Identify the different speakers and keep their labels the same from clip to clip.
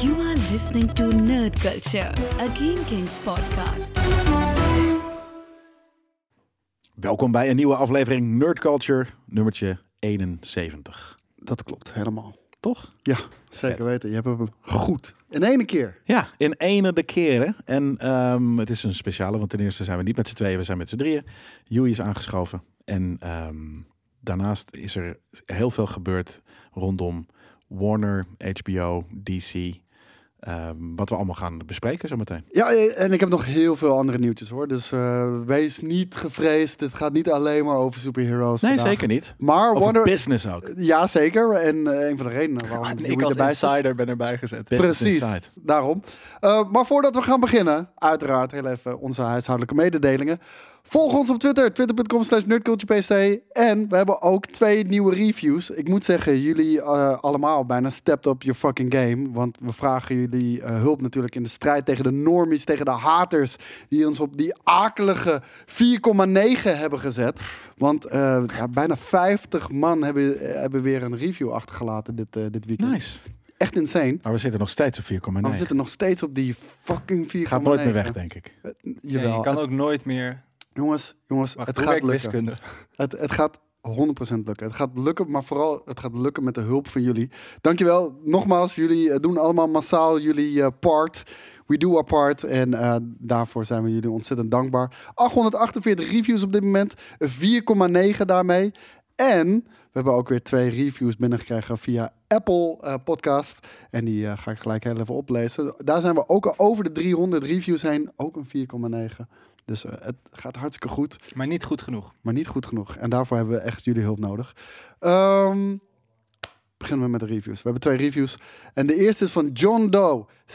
Speaker 1: You are listening to Nerd Culture, a Game Kings podcast.
Speaker 2: Welkom bij een nieuwe aflevering Nerd Culture, nummertje 71.
Speaker 3: Dat klopt, helemaal.
Speaker 2: Toch?
Speaker 3: Ja, zeker
Speaker 2: Vet.
Speaker 3: weten. Je hebt hem goed. In ene keer.
Speaker 2: Ja, in ene de keren. En ehm, het is een speciale, want ten eerste zijn we niet met z'n tweeën, we zijn met z'n drieën. Joey is aangeschoven. En ehm, daarnaast is er heel veel gebeurd rondom Warner, HBO, DC. ehm, wat we allemaal gaan bespreken zometeen.
Speaker 3: Ja, eh, en ik heb nog heel veel andere nieuwtjes hoor. Dus eh, wees niet gevreesd. Het gaat niet alleen maar over superheroes.
Speaker 2: Nee,
Speaker 3: vandaag.
Speaker 2: zeker niet.
Speaker 3: Maar
Speaker 2: Over
Speaker 3: Warner...
Speaker 2: business ook.
Speaker 3: Ja, zeker. En eh, een van de redenen waarom
Speaker 4: En
Speaker 3: jullie
Speaker 4: ik als
Speaker 3: erbij zijn.
Speaker 4: insider ben erbij gezet.
Speaker 2: Business
Speaker 3: Precies,
Speaker 2: Inside.
Speaker 3: daarom. Eh, maar voordat we gaan beginnen, uiteraard heel even onze huishoudelijke mededelingen. Volg ons op Twitter, twitter.com slash nerdculturepc. En we hebben ook twee nieuwe reviews. Ik moet zeggen, jullie eh, allemaal bijna stepped up your fucking game. Want we vragen jullie eh, hulp natuurlijk in de strijd tegen de normies, tegen de haters... die ons op die akelige 4,9 hebben gezet. Want eh, ja, bijna 50 man hebben, eh, hebben weer een review achtergelaten dit, eh, dit weekend.
Speaker 2: Nice.
Speaker 3: Echt insane.
Speaker 2: Maar we zitten nog steeds op 4,9.
Speaker 3: Maar we zitten nog steeds op die fucking 4,9.
Speaker 2: Gaat nooit meer weg, denk ik.
Speaker 4: Ja,
Speaker 3: Jawel.
Speaker 4: je kan ook nooit meer.
Speaker 3: Jongens, jongens
Speaker 4: Wacht,
Speaker 3: het
Speaker 4: hoe
Speaker 3: gaat
Speaker 4: werkt
Speaker 3: lukken.
Speaker 4: wiskunde?
Speaker 3: Het, het gaat 100% lukken. Het gaat lukken, maar vooral het gaat lukken met de hulp van jullie. Dankjewel. Nogmaals, jullie eh, doen allemaal massaal jullie eh, part. We do our part. En eh, daarvoor zijn we jullie ontzettend dankbaar. 848 reviews op dit moment. 4,9 daarmee. En we hebben ook weer twee reviews binnengekregen via Apple eh, Podcast. En die eh, ga ik gelijk heel even oplezen. Daar zijn we ook al over de 300 reviews heen. Ook een 4,9. Dus eh, het gaat hartstikke goed
Speaker 4: Maar niet goed genoeg.
Speaker 3: maar niet goed genoeg. En daarvoor hebben we echt jullie hulp nodig. Ehm, beginnen we met de reviews. We hebben twee reviews. En de eerste is van John Doe 666X.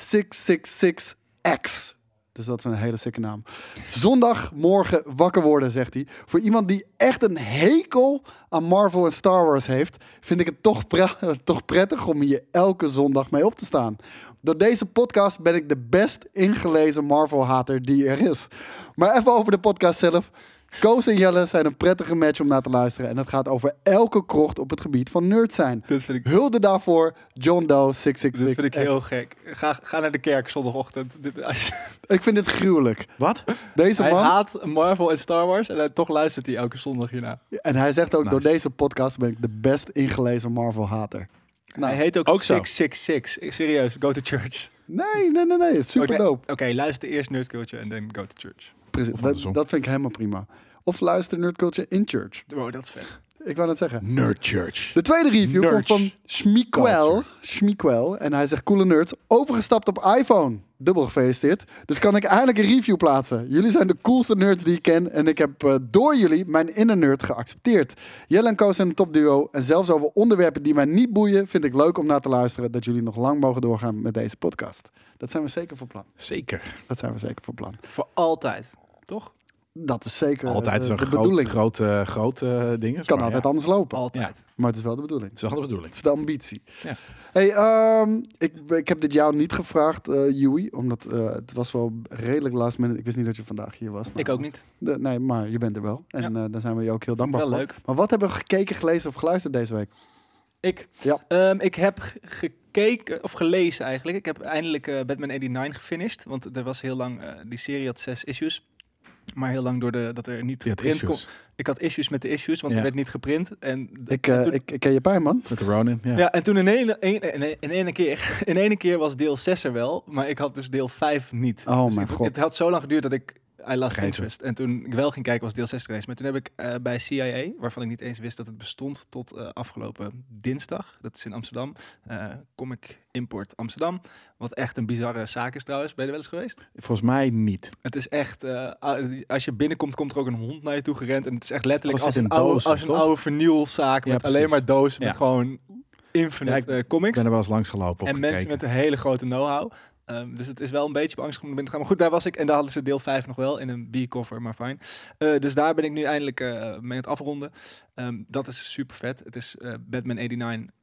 Speaker 3: Dus dat is een hele sikke naam. Zondagmorgen wakker worden, zegt hij. Voor iemand die echt een hekel aan Marvel en Star Wars heeft, vind ik het toch, pra- toch prettig om hier elke zondag mee op te staan. Door deze podcast ben ik de best ingelezen Marvel-hater die er is. Maar even over de podcast zelf. Koos en Jelle zijn een prettige match om naar te luisteren. En het gaat over elke krocht op het gebied van nerd zijn.
Speaker 4: Dit vind ik,
Speaker 3: Hulde daarvoor, John Doe
Speaker 4: dit vind ik
Speaker 3: 666.
Speaker 4: heel gek. Ga, ga naar de kerk zondagochtend. Dit, als je-
Speaker 3: Ik vind dit gruwelijk.
Speaker 2: Wat?
Speaker 3: Deze
Speaker 4: hij
Speaker 3: man.
Speaker 4: haat Marvel en Star Wars en hij, toch luistert hij elke zondag hierna.
Speaker 3: En hij zegt ook:
Speaker 2: Nice.
Speaker 3: door deze podcast ben ik de best ingelezen Marvel-hater. Nou,
Speaker 4: hij heet ook,
Speaker 2: ook zo.
Speaker 4: 666. Ik- Serieus, go to church.
Speaker 3: nee, nee, nee, nee. Super
Speaker 4: Oké,
Speaker 3: dope.
Speaker 4: Oké, luister eerst Nerd Culture en dan go to church.
Speaker 3: Precies,
Speaker 2: Of
Speaker 3: dat,
Speaker 2: andersom.
Speaker 3: dat vind ik helemaal prima. Of luister Nerd Culture in Church.
Speaker 4: Wow, dat is vet.
Speaker 3: Ik wou dat zeggen.
Speaker 2: Nerd Church.
Speaker 3: De tweede review
Speaker 2: Nerd
Speaker 3: komt van Schmiequel. Schmiequel. En hij zegt, coole nerds, overgestapt op iPhone. Dubbel gefeliciteerd. Dus kan ik eindelijk een review plaatsen. Jullie zijn de coolste nerds die ik ken. En ik heb eh, door jullie mijn inner nerd geaccepteerd. Jelle en Koos zijn een topduo. En zelfs over onderwerpen die mij niet boeien... vind ik leuk om naar te luisteren. Dat jullie nog lang mogen doorgaan met deze podcast. Dat zijn we zeker voor plan.
Speaker 2: Zeker.
Speaker 3: Dat zijn we zeker voor plan.
Speaker 4: Voor altijd. Toch?
Speaker 3: Dat is zeker
Speaker 2: Altijd
Speaker 3: eh,
Speaker 2: zo'n
Speaker 3: de
Speaker 2: groot,
Speaker 3: bedoeling.
Speaker 2: groot, eh, groot eh, ding.
Speaker 3: kan
Speaker 2: maar
Speaker 3: altijd
Speaker 2: ja.
Speaker 3: anders lopen.
Speaker 4: Altijd.
Speaker 3: Maar het is wel de bedoeling.
Speaker 2: Het is wel de bedoeling.
Speaker 3: Het is de ambitie.
Speaker 2: Ja.
Speaker 3: Hey, ehm, ik, ik heb dit jou niet gevraagd, eh Joey, omdat eh, het was wel redelijk last minute. Ik wist niet dat je vandaag hier was. Nou,
Speaker 4: Ik ook niet.
Speaker 3: de- nee, maar je bent er wel. En eh, daar zijn we je ook heel dankbaar
Speaker 4: Wel
Speaker 3: voor.
Speaker 4: leuk.
Speaker 3: Maar wat hebben we gekeken, gelezen of geluisterd deze week?
Speaker 4: Ik,
Speaker 3: Ja.
Speaker 4: Ehm, ik heb ge- gekeken, of gelezen eigenlijk. Ik heb eindelijk eh, Batman 89 gefinished. Want er was heel lang, eh, die serie had zes issues. Maar heel lang door de, dat er niet
Speaker 2: Die had
Speaker 4: geprint kon.
Speaker 2: issues
Speaker 4: Ik had issues met de issues, want
Speaker 2: Ja.
Speaker 4: er werd niet geprint. En, d-
Speaker 3: Ik,
Speaker 4: en
Speaker 3: eh,
Speaker 4: toen-
Speaker 3: ik, ik ken je pijn, man.
Speaker 2: met de Ronin. Ja.
Speaker 4: ja. en toen in ene, in, in, in ene keer, in ene keer was deel 6 er wel, maar ik had dus deel 5 niet.
Speaker 3: Oh
Speaker 4: Dus
Speaker 3: mijn
Speaker 4: het,
Speaker 3: god.
Speaker 4: Het had zo lang geduurd dat ik I lost
Speaker 2: Vergeten.
Speaker 4: interest. En toen ik wel ging kijken was deel 6 geweest. Maar toen heb ik eh, bij CIA, waarvan ik niet eens wist dat het bestond tot eh, afgelopen dinsdag, dat is in Amsterdam, eh, Comic Import Amsterdam, wat echt een bizarre zaak is trouwens. Ben je er wel eens geweest?
Speaker 2: Volgens mij niet.
Speaker 4: Het is echt, eh, a- als je binnenkomt, komt er ook een hond naar je toe gerend. En het is echt letterlijk
Speaker 2: Alles
Speaker 4: als
Speaker 2: zit
Speaker 4: een,
Speaker 2: in
Speaker 4: oude,
Speaker 2: dozen,
Speaker 4: als een
Speaker 2: toch?
Speaker 4: oude vernielzaak
Speaker 2: Ja,
Speaker 4: met alleen
Speaker 2: precies.
Speaker 4: maar dozen
Speaker 2: Ja.
Speaker 4: met gewoon infinite
Speaker 2: Ja, ik
Speaker 4: eh,
Speaker 2: Ik
Speaker 4: comics.
Speaker 2: ben er wel eens langs gelopen.
Speaker 4: En mensen
Speaker 2: gekeken.
Speaker 4: met een hele grote know-how. Ehm, dus het is wel een beetje beangstigend om binnen te gaan. Maar goed, daar was ik. En daar hadden ze deel 5 nog wel in een B-cover, maar fijn. Eh, dus daar ben ik nu eindelijk eh, mee aan het afronden. Ehm, dat is super vet. Het is eh, Batman 89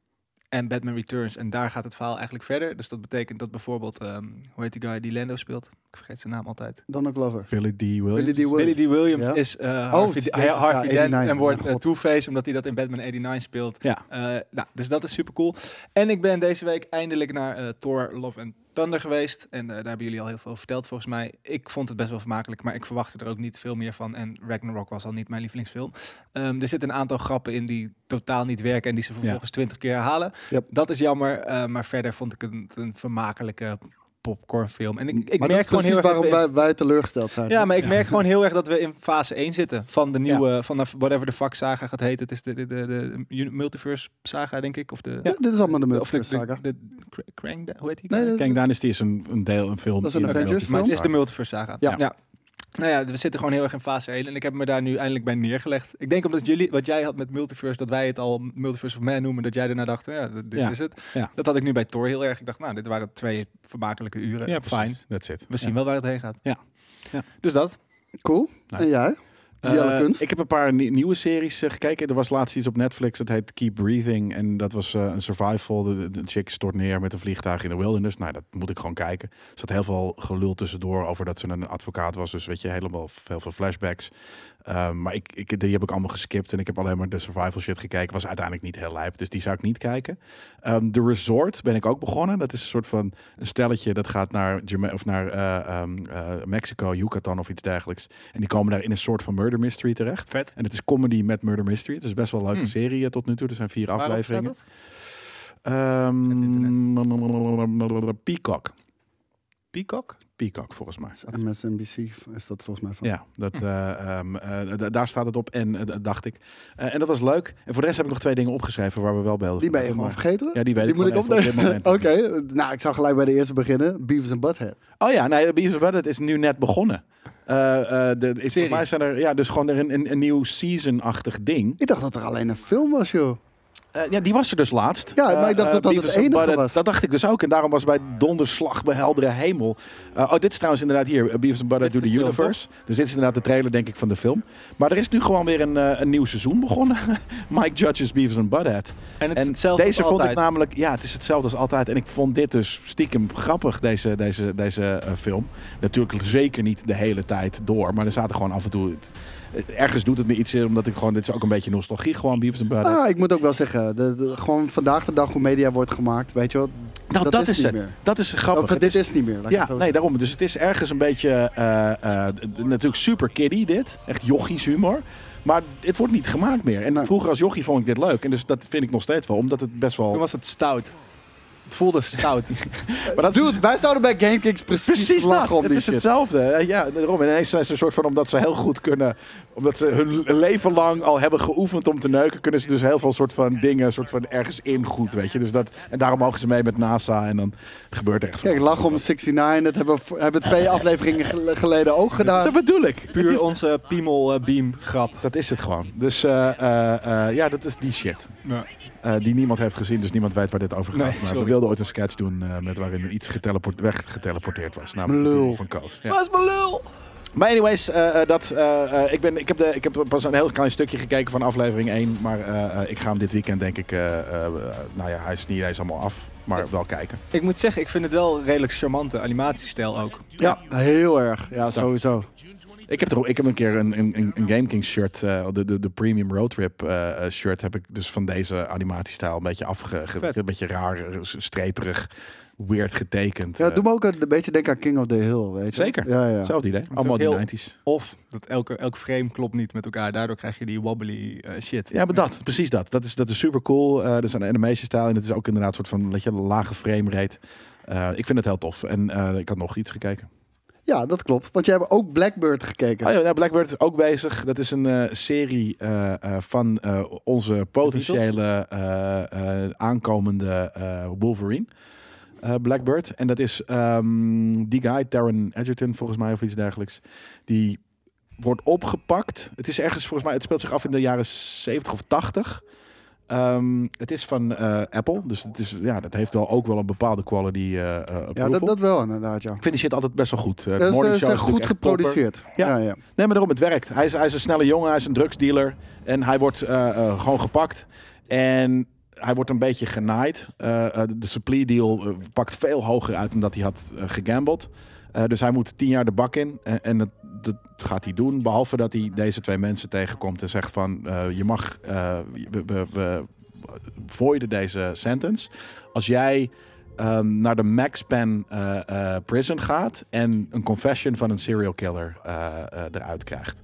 Speaker 4: en Batman Returns. En daar gaat het verhaal eigenlijk verder. Dus dat betekent dat bijvoorbeeld, ehm, hoe heet die guy die Lando speelt? Ik vergeet zijn naam altijd.
Speaker 3: Dan ook Glover.
Speaker 2: Billy D. Williams.
Speaker 3: Billy D. Williams.
Speaker 4: Billy D. Williams
Speaker 3: Ja.
Speaker 4: is eh Harvey,
Speaker 3: jezus,
Speaker 4: Harvey
Speaker 3: ja,
Speaker 4: Dent
Speaker 3: 89,
Speaker 4: en wordt
Speaker 3: oh
Speaker 4: eh,
Speaker 3: god.
Speaker 4: Two-Face omdat hij dat in Batman 89 speelt.
Speaker 2: Ja.
Speaker 4: Eh, nou, dus dat is super cool. En ik ben deze week eindelijk naar eh, Thor Love and Thunder geweest. En eh, daar hebben jullie al heel veel over verteld volgens mij. Ik vond het best wel vermakelijk, maar ik verwachtte er ook niet veel meer van. En Ragnarok was al niet mijn lievelingsfilm. Ehm, er zitten een aantal grappen in die totaal niet werken en die ze vervolgens twintig keer herhalen.
Speaker 3: Yep.
Speaker 4: Dat is jammer, eh, maar verder vond ik het een, een vermakelijke popcornfilm. En ik, ik
Speaker 3: maar
Speaker 4: merk
Speaker 3: dat
Speaker 4: gewoon
Speaker 3: is precies
Speaker 4: heel erg dat
Speaker 3: waarom
Speaker 4: we in-
Speaker 3: wij, wij teleurgesteld zijn.
Speaker 4: ja, maar ik merk gewoon heel erg dat we in fase 1 zitten van de
Speaker 2: Oh, Ja.
Speaker 4: nieuwe, van de, whatever de fuck saga gaat heten. Het is de, de, de, de uni- multiverse saga, denk ik. Of de,
Speaker 3: Ja, dit is allemaal de
Speaker 4: of de,
Speaker 3: multiverse
Speaker 4: de,
Speaker 3: saga.
Speaker 4: de, Kra- Krang, de- hoe heet die?
Speaker 3: Nee, dat-
Speaker 2: Kang Dynasty is een, een deel, een film.
Speaker 3: Dat is een
Speaker 2: in de
Speaker 3: Avengers
Speaker 4: maar
Speaker 2: multiverse
Speaker 4: het is
Speaker 3: film.
Speaker 4: de multiverse saga.
Speaker 3: Ja.
Speaker 4: Nou ja, we zitten gewoon heel erg in fase 1 en ik heb me daar nu eindelijk bij neergelegd. Ik denk omdat jullie, wat jij had met multiverse, dat wij het al multiverse of man noemen, dat jij daarna dacht, ja, dit dit
Speaker 2: Ja.
Speaker 4: is het.
Speaker 2: Ja.
Speaker 4: Dat had ik nu bij Thor heel erg. Ik dacht, nou, dit waren twee vermakelijke uren.
Speaker 2: Ja,
Speaker 4: fijn.
Speaker 2: fijn. That's it.
Speaker 4: We zien wel waar het heen gaat.
Speaker 2: Ja. Ja.
Speaker 4: Dus dat.
Speaker 3: Cool.
Speaker 2: Nou.
Speaker 3: En jij?
Speaker 2: Eh,
Speaker 3: Jelle Kunst?
Speaker 2: ik heb een paar nie- nieuwe series eh, gekeken. Er was laatst iets op Netflix, dat heet Keep Breathing. En dat was eh, een survival. De, de- de chick stort neer met een vliegtuig in de wilderness. Nou, dat moet ik gewoon kijken. Er zat heel veel gelul tussendoor over dat ze een advocaat was. Dus weet je, helemaal f- heel veel flashbacks. Eh, maar ik, ik, die heb ik allemaal geskipt. En ik heb alleen maar de survival shit gekeken. Was uiteindelijk niet heel lijp, dus die zou ik niet kijken. Ehm The Resort ben ik ook begonnen. Dat is een soort van een stelletje dat gaat naar, Jama- of naar eh, ehm, eh, Mexico, Yucatan of iets dergelijks. En die komen daar in een soort van murder mystery terecht.
Speaker 4: Vet.
Speaker 2: En het is comedy met murder mystery. Het is best wel een leuke
Speaker 4: Hmm.
Speaker 2: serie eh, tot nu toe. Er zijn vier
Speaker 4: Waarom staat
Speaker 2: afleveringen.
Speaker 4: dat?
Speaker 2: Ehm Peacock.
Speaker 4: Peacock?
Speaker 2: Peacock volgens mij.
Speaker 3: MSNBC is dat volgens mij van.
Speaker 2: Ja, dat,
Speaker 3: Hm.
Speaker 2: eh, ehm, eh, d- daar staat het op en eh, d- dacht ik. Eh, en dat was leuk. En voor de rest heb ik nog twee dingen opgeschreven waar we wel bij hadden
Speaker 3: Die ben je
Speaker 2: verteld,
Speaker 3: gewoon
Speaker 2: maar-
Speaker 3: vergeten?
Speaker 2: Ja, die weet
Speaker 3: die
Speaker 2: ik
Speaker 3: moet ik
Speaker 2: gewoon even op dit
Speaker 3: opnemen.
Speaker 2: moment
Speaker 3: Oké, nou ik zou gelijk bij de eerste beginnen. Beavis and Butthead.
Speaker 2: Oh ja, nee, de Beavis Butt is nu net begonnen. Eh, eh, de, is, volgens
Speaker 4: Serie.
Speaker 2: mij zijn er ja, dus gewoon er een, een, een nieuw season-achtig ding.
Speaker 3: Ik dacht dat er alleen een film was, joh.
Speaker 2: Eh, ja, die was er dus laatst.
Speaker 3: Ja, maar
Speaker 2: Eh,
Speaker 3: ik dacht dat
Speaker 2: eh,
Speaker 3: dat
Speaker 2: Beavis
Speaker 3: het
Speaker 2: and
Speaker 3: enige
Speaker 2: Butthead.
Speaker 3: was.
Speaker 2: Dat dacht ik dus ook. En daarom was bij donderslag bij heldere hemel. Eh, oh, dit is trouwens inderdaad hier. eh, Beavis and Butthead
Speaker 4: Dit
Speaker 2: Do
Speaker 4: is
Speaker 2: the
Speaker 4: de film,
Speaker 2: Universe. Dus dit is inderdaad de trailer, denk ik, van de film. Maar er is nu gewoon weer een, eh, een nieuw seizoen begonnen. Mike Judge's Beavis and Butthead.
Speaker 4: En het is
Speaker 2: En
Speaker 4: hetzelfde
Speaker 2: deze
Speaker 4: als
Speaker 2: vond ik
Speaker 4: altijd.
Speaker 2: namelijk, ja, het is hetzelfde als altijd. En ik vond dit dus stiekem grappig, deze, deze, deze eh, film. Natuurlijk zeker niet de hele tijd door, maar er zaten gewoon af en toe. Het, eh, ergens doet het me iets, eh, omdat ik gewoon, dit is ook een beetje nostalgie, gewoon Beavis and Butthead.
Speaker 3: Ah, ik moet ook wel zeggen, de, de- gewoon vandaag de dag hoe media wordt gemaakt, weet je wel.
Speaker 2: nou, dat, is,
Speaker 3: niet
Speaker 2: het.
Speaker 3: meer.
Speaker 2: Dat is grappig.
Speaker 3: Of,
Speaker 2: Het
Speaker 3: dit is, niet meer. laat ik
Speaker 2: Ja,
Speaker 3: het zo
Speaker 2: nee, daarom. Dus het is ergens een beetje, eh, eh, d- d- natuurlijk super kiddie dit. Echt jochies humor. Maar het wordt niet gemaakt meer. En
Speaker 3: Nee.
Speaker 2: vroeger als jochie vond ik dit leuk. En dus dat vind ik nog steeds wel, omdat het best wel...
Speaker 4: Toen was het stout. Het voelde stout.
Speaker 2: Maar dat
Speaker 3: Dude, wij zouden bij GameKicks precies,
Speaker 2: Precies
Speaker 3: lachen
Speaker 2: dat.
Speaker 3: om
Speaker 2: Het
Speaker 3: die
Speaker 2: is
Speaker 3: shit.
Speaker 2: hetzelfde. Eh, Ja, daarom. En ineens zijn ze een soort van, omdat ze heel goed kunnen, omdat ze hun leven lang al hebben geoefend om te neuken, kunnen ze dus heel veel soort van dingen, soort van ergens in goed, weet je. Dus dat, en daarom mogen ze mee met NASA en dan gebeurt er echt van
Speaker 3: Kijk,
Speaker 2: alles.
Speaker 3: lachen om 69, dat hebben we v- hebben we twee afleveringen gel- geleden ook gedaan.
Speaker 2: Dat bedoel ik. Het
Speaker 4: Puur
Speaker 2: is-
Speaker 4: onze piemel eh, beam grap.
Speaker 2: dat is het gewoon. Dus eh, eh, eh, ja, dat is die shit. Eh, die niemand heeft gezien, dus niemand weet waar dit over gaat.
Speaker 4: Nee,
Speaker 2: maar we
Speaker 4: sorry.
Speaker 2: wilden ooit een sketch doen eh, met waarin iets geteleport, weggeteleporteerd was. Namelijk
Speaker 3: Lul.
Speaker 2: de video van Koos. Ja.
Speaker 4: Waar is mijn lul?
Speaker 2: Maar anyways, eh, eh, dat, eh, eh, ik, ben, ik, heb de, ik heb pas een heel klein stukje gekeken van aflevering 1. Maar eh, eh, ik ga hem dit weekend denk ik... eh, eh, eh, nou ja, hij is niet eens allemaal af. Maar wel kijken.
Speaker 4: Ik moet zeggen, ik vind het wel een redelijk charmante animatiestijl ook.
Speaker 3: Ja, heel erg. Ja,
Speaker 2: Zo.
Speaker 3: sowieso.
Speaker 2: Ik heb, er, ik heb een keer een, een, een een Game King shirt, eh, de, de, de Premium Roadtrip eh eh, shirt, heb ik dus van deze animatiestijl een beetje afge... ge-
Speaker 4: Vet.
Speaker 2: Een beetje raar, eh, streperig, weird getekend.
Speaker 3: Ja,
Speaker 2: eh.
Speaker 3: doe me ook een beetje denken aan King of the Hill, weet je.
Speaker 2: Zeker.
Speaker 3: Ja, ja.
Speaker 2: Hetzelfde idee. Allemaal
Speaker 4: ook
Speaker 2: die
Speaker 4: heel-
Speaker 2: 90s.
Speaker 4: Of dat elke, elk frame klopt niet met elkaar. Daardoor krijg je die wobbly eh, shit.
Speaker 2: Ja, maar dat, precies dat. Dat is, dat is super cool. Eh dat is een animation stijl en het is ook inderdaad een soort van weet je, lage frame rate. Eh, ik vind het heel tof. En eh, ik had nog iets gekeken.
Speaker 3: ja, dat klopt. Want jij hebt ook Blackbird gekeken.
Speaker 2: Oh ja, nou, Blackbird is ook bezig. Dat is een eh, serie eh, eh, van eh, onze potentiële eh, eh, aankomende eh, Wolverine. eh, Blackbird. En dat is ehm, die guy, Taron Edgerton volgens mij of iets dergelijks. Die wordt opgepakt. Het is ergens volgens mij, het speelt zich af in de jaren 70 of 80. Ehm, het is van eh, Apple, dus het is, ja, dat heeft wel ook wel een bepaalde quality eh, eh,
Speaker 3: ja
Speaker 2: approval.
Speaker 3: dat, dat wel inderdaad, ja.
Speaker 2: Ik vind die shit altijd best wel goed. Eh, de
Speaker 3: Ja, Ze
Speaker 2: morning show
Speaker 3: ze zijn
Speaker 2: is natuurlijk
Speaker 3: goed
Speaker 2: echt proper.
Speaker 3: geproduceerd.
Speaker 2: Ja.
Speaker 3: Ja,
Speaker 2: Nee,
Speaker 3: ja.
Speaker 2: maar daarom, het werkt. Hij is, hij is een snelle jongen, hij is een drugsdealer. En hij wordt eh, eh, gewoon gepakt. En hij wordt een beetje genaaid. Eh, eh, de supply deal eh, pakt veel hoger uit dan dat hij had eh, gegambeld. Eh, dus hij moet tien jaar de bak in. Eh, en dat, dat gaat hij doen. Behalve dat hij deze twee mensen tegenkomt en zegt van... eh, je mag... eh, we, we, we voiden deze sentence. Als jij ehm, naar de Max Pen eh, eh, prison gaat... en een confession van een serial killer eh, eh, eruit krijgt.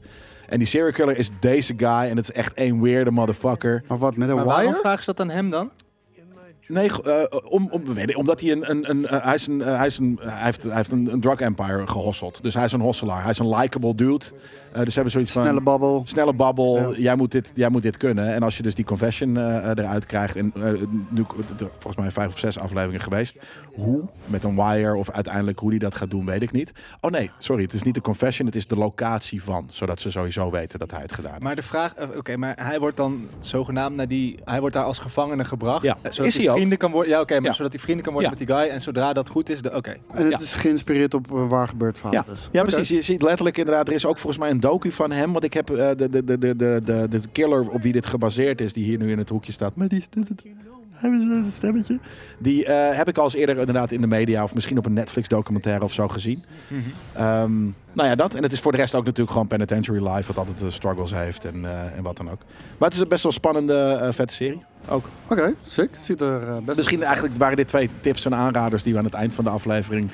Speaker 2: En die serial killer is deze guy. En het is echt één weirde motherfucker.
Speaker 3: Maar wat, met een
Speaker 4: Maar waarom
Speaker 3: wire?
Speaker 4: vragen ze dat aan hem dan?
Speaker 2: Nee, go- eh, om, om, weet ik, omdat hij een, een, een, eh, hij is een, eh, hij is een, hij heeft, hij heeft een, een drug empire gehosseld. Dus hij is een hosselaar. Hij is een likable dude. Eh, dus ze hebben zoiets van
Speaker 3: Snelle babbel.
Speaker 2: snelle babbel.
Speaker 3: Ja.
Speaker 2: Jij, moet dit, jij moet dit kunnen. En als je dus die confession eh, eruit krijgt. En eh, nu er- volgens mij vijf of zes afleveringen geweest. Hoe? Met een wire of uiteindelijk hoe die dat gaat doen, weet ik niet. Oh nee, sorry. Het is niet de confession. Het is de locatie van. Zodat ze sowieso weten dat hij het gedaan heeft.
Speaker 4: Maar de vraag, eh, oké, maar hij wordt dan zogenaamd naar die, hij wordt daar als gevangene gebracht.
Speaker 2: Ja.
Speaker 4: eh, Zodat
Speaker 2: Is
Speaker 4: hij
Speaker 2: hij ook?
Speaker 4: vrienden kan worden. Ja, oké, maar
Speaker 2: Ja.
Speaker 4: zodat hij vrienden kan worden
Speaker 2: Ja.
Speaker 4: met die guy. En zodra dat goed is, dan- oké.
Speaker 3: En het
Speaker 2: Ja.
Speaker 3: is geïnspireerd op eh, waar gebeurd verhaal.
Speaker 2: Ja,
Speaker 3: dus.
Speaker 2: ja
Speaker 3: Oké.
Speaker 2: precies. Je ziet letterlijk inderdaad, er is ook volgens mij een docu van hem. Want ik heb eh, de, de, de, de, de, de, de killer op wie dit gebaseerd is, die hier nu in het hoekje staat. Maar die hebben ze een stemmetje. Die eh, heb ik al eens eerder inderdaad in de media of misschien op een Netflix documentaire of zo gezien.
Speaker 3: Mhm.
Speaker 2: Ehm, nou ja, dat. En het is voor de rest ook natuurlijk gewoon Penitentiary Life, wat altijd eh, struggles heeft en, eh, en wat dan ook. Maar het is een best wel spannende, eh, vette serie. Ook.
Speaker 3: Oké, sick. Ziet er eh, best
Speaker 2: Misschien eigenlijk waren dit twee tips en aanraders die we aan het eind van de aflevering.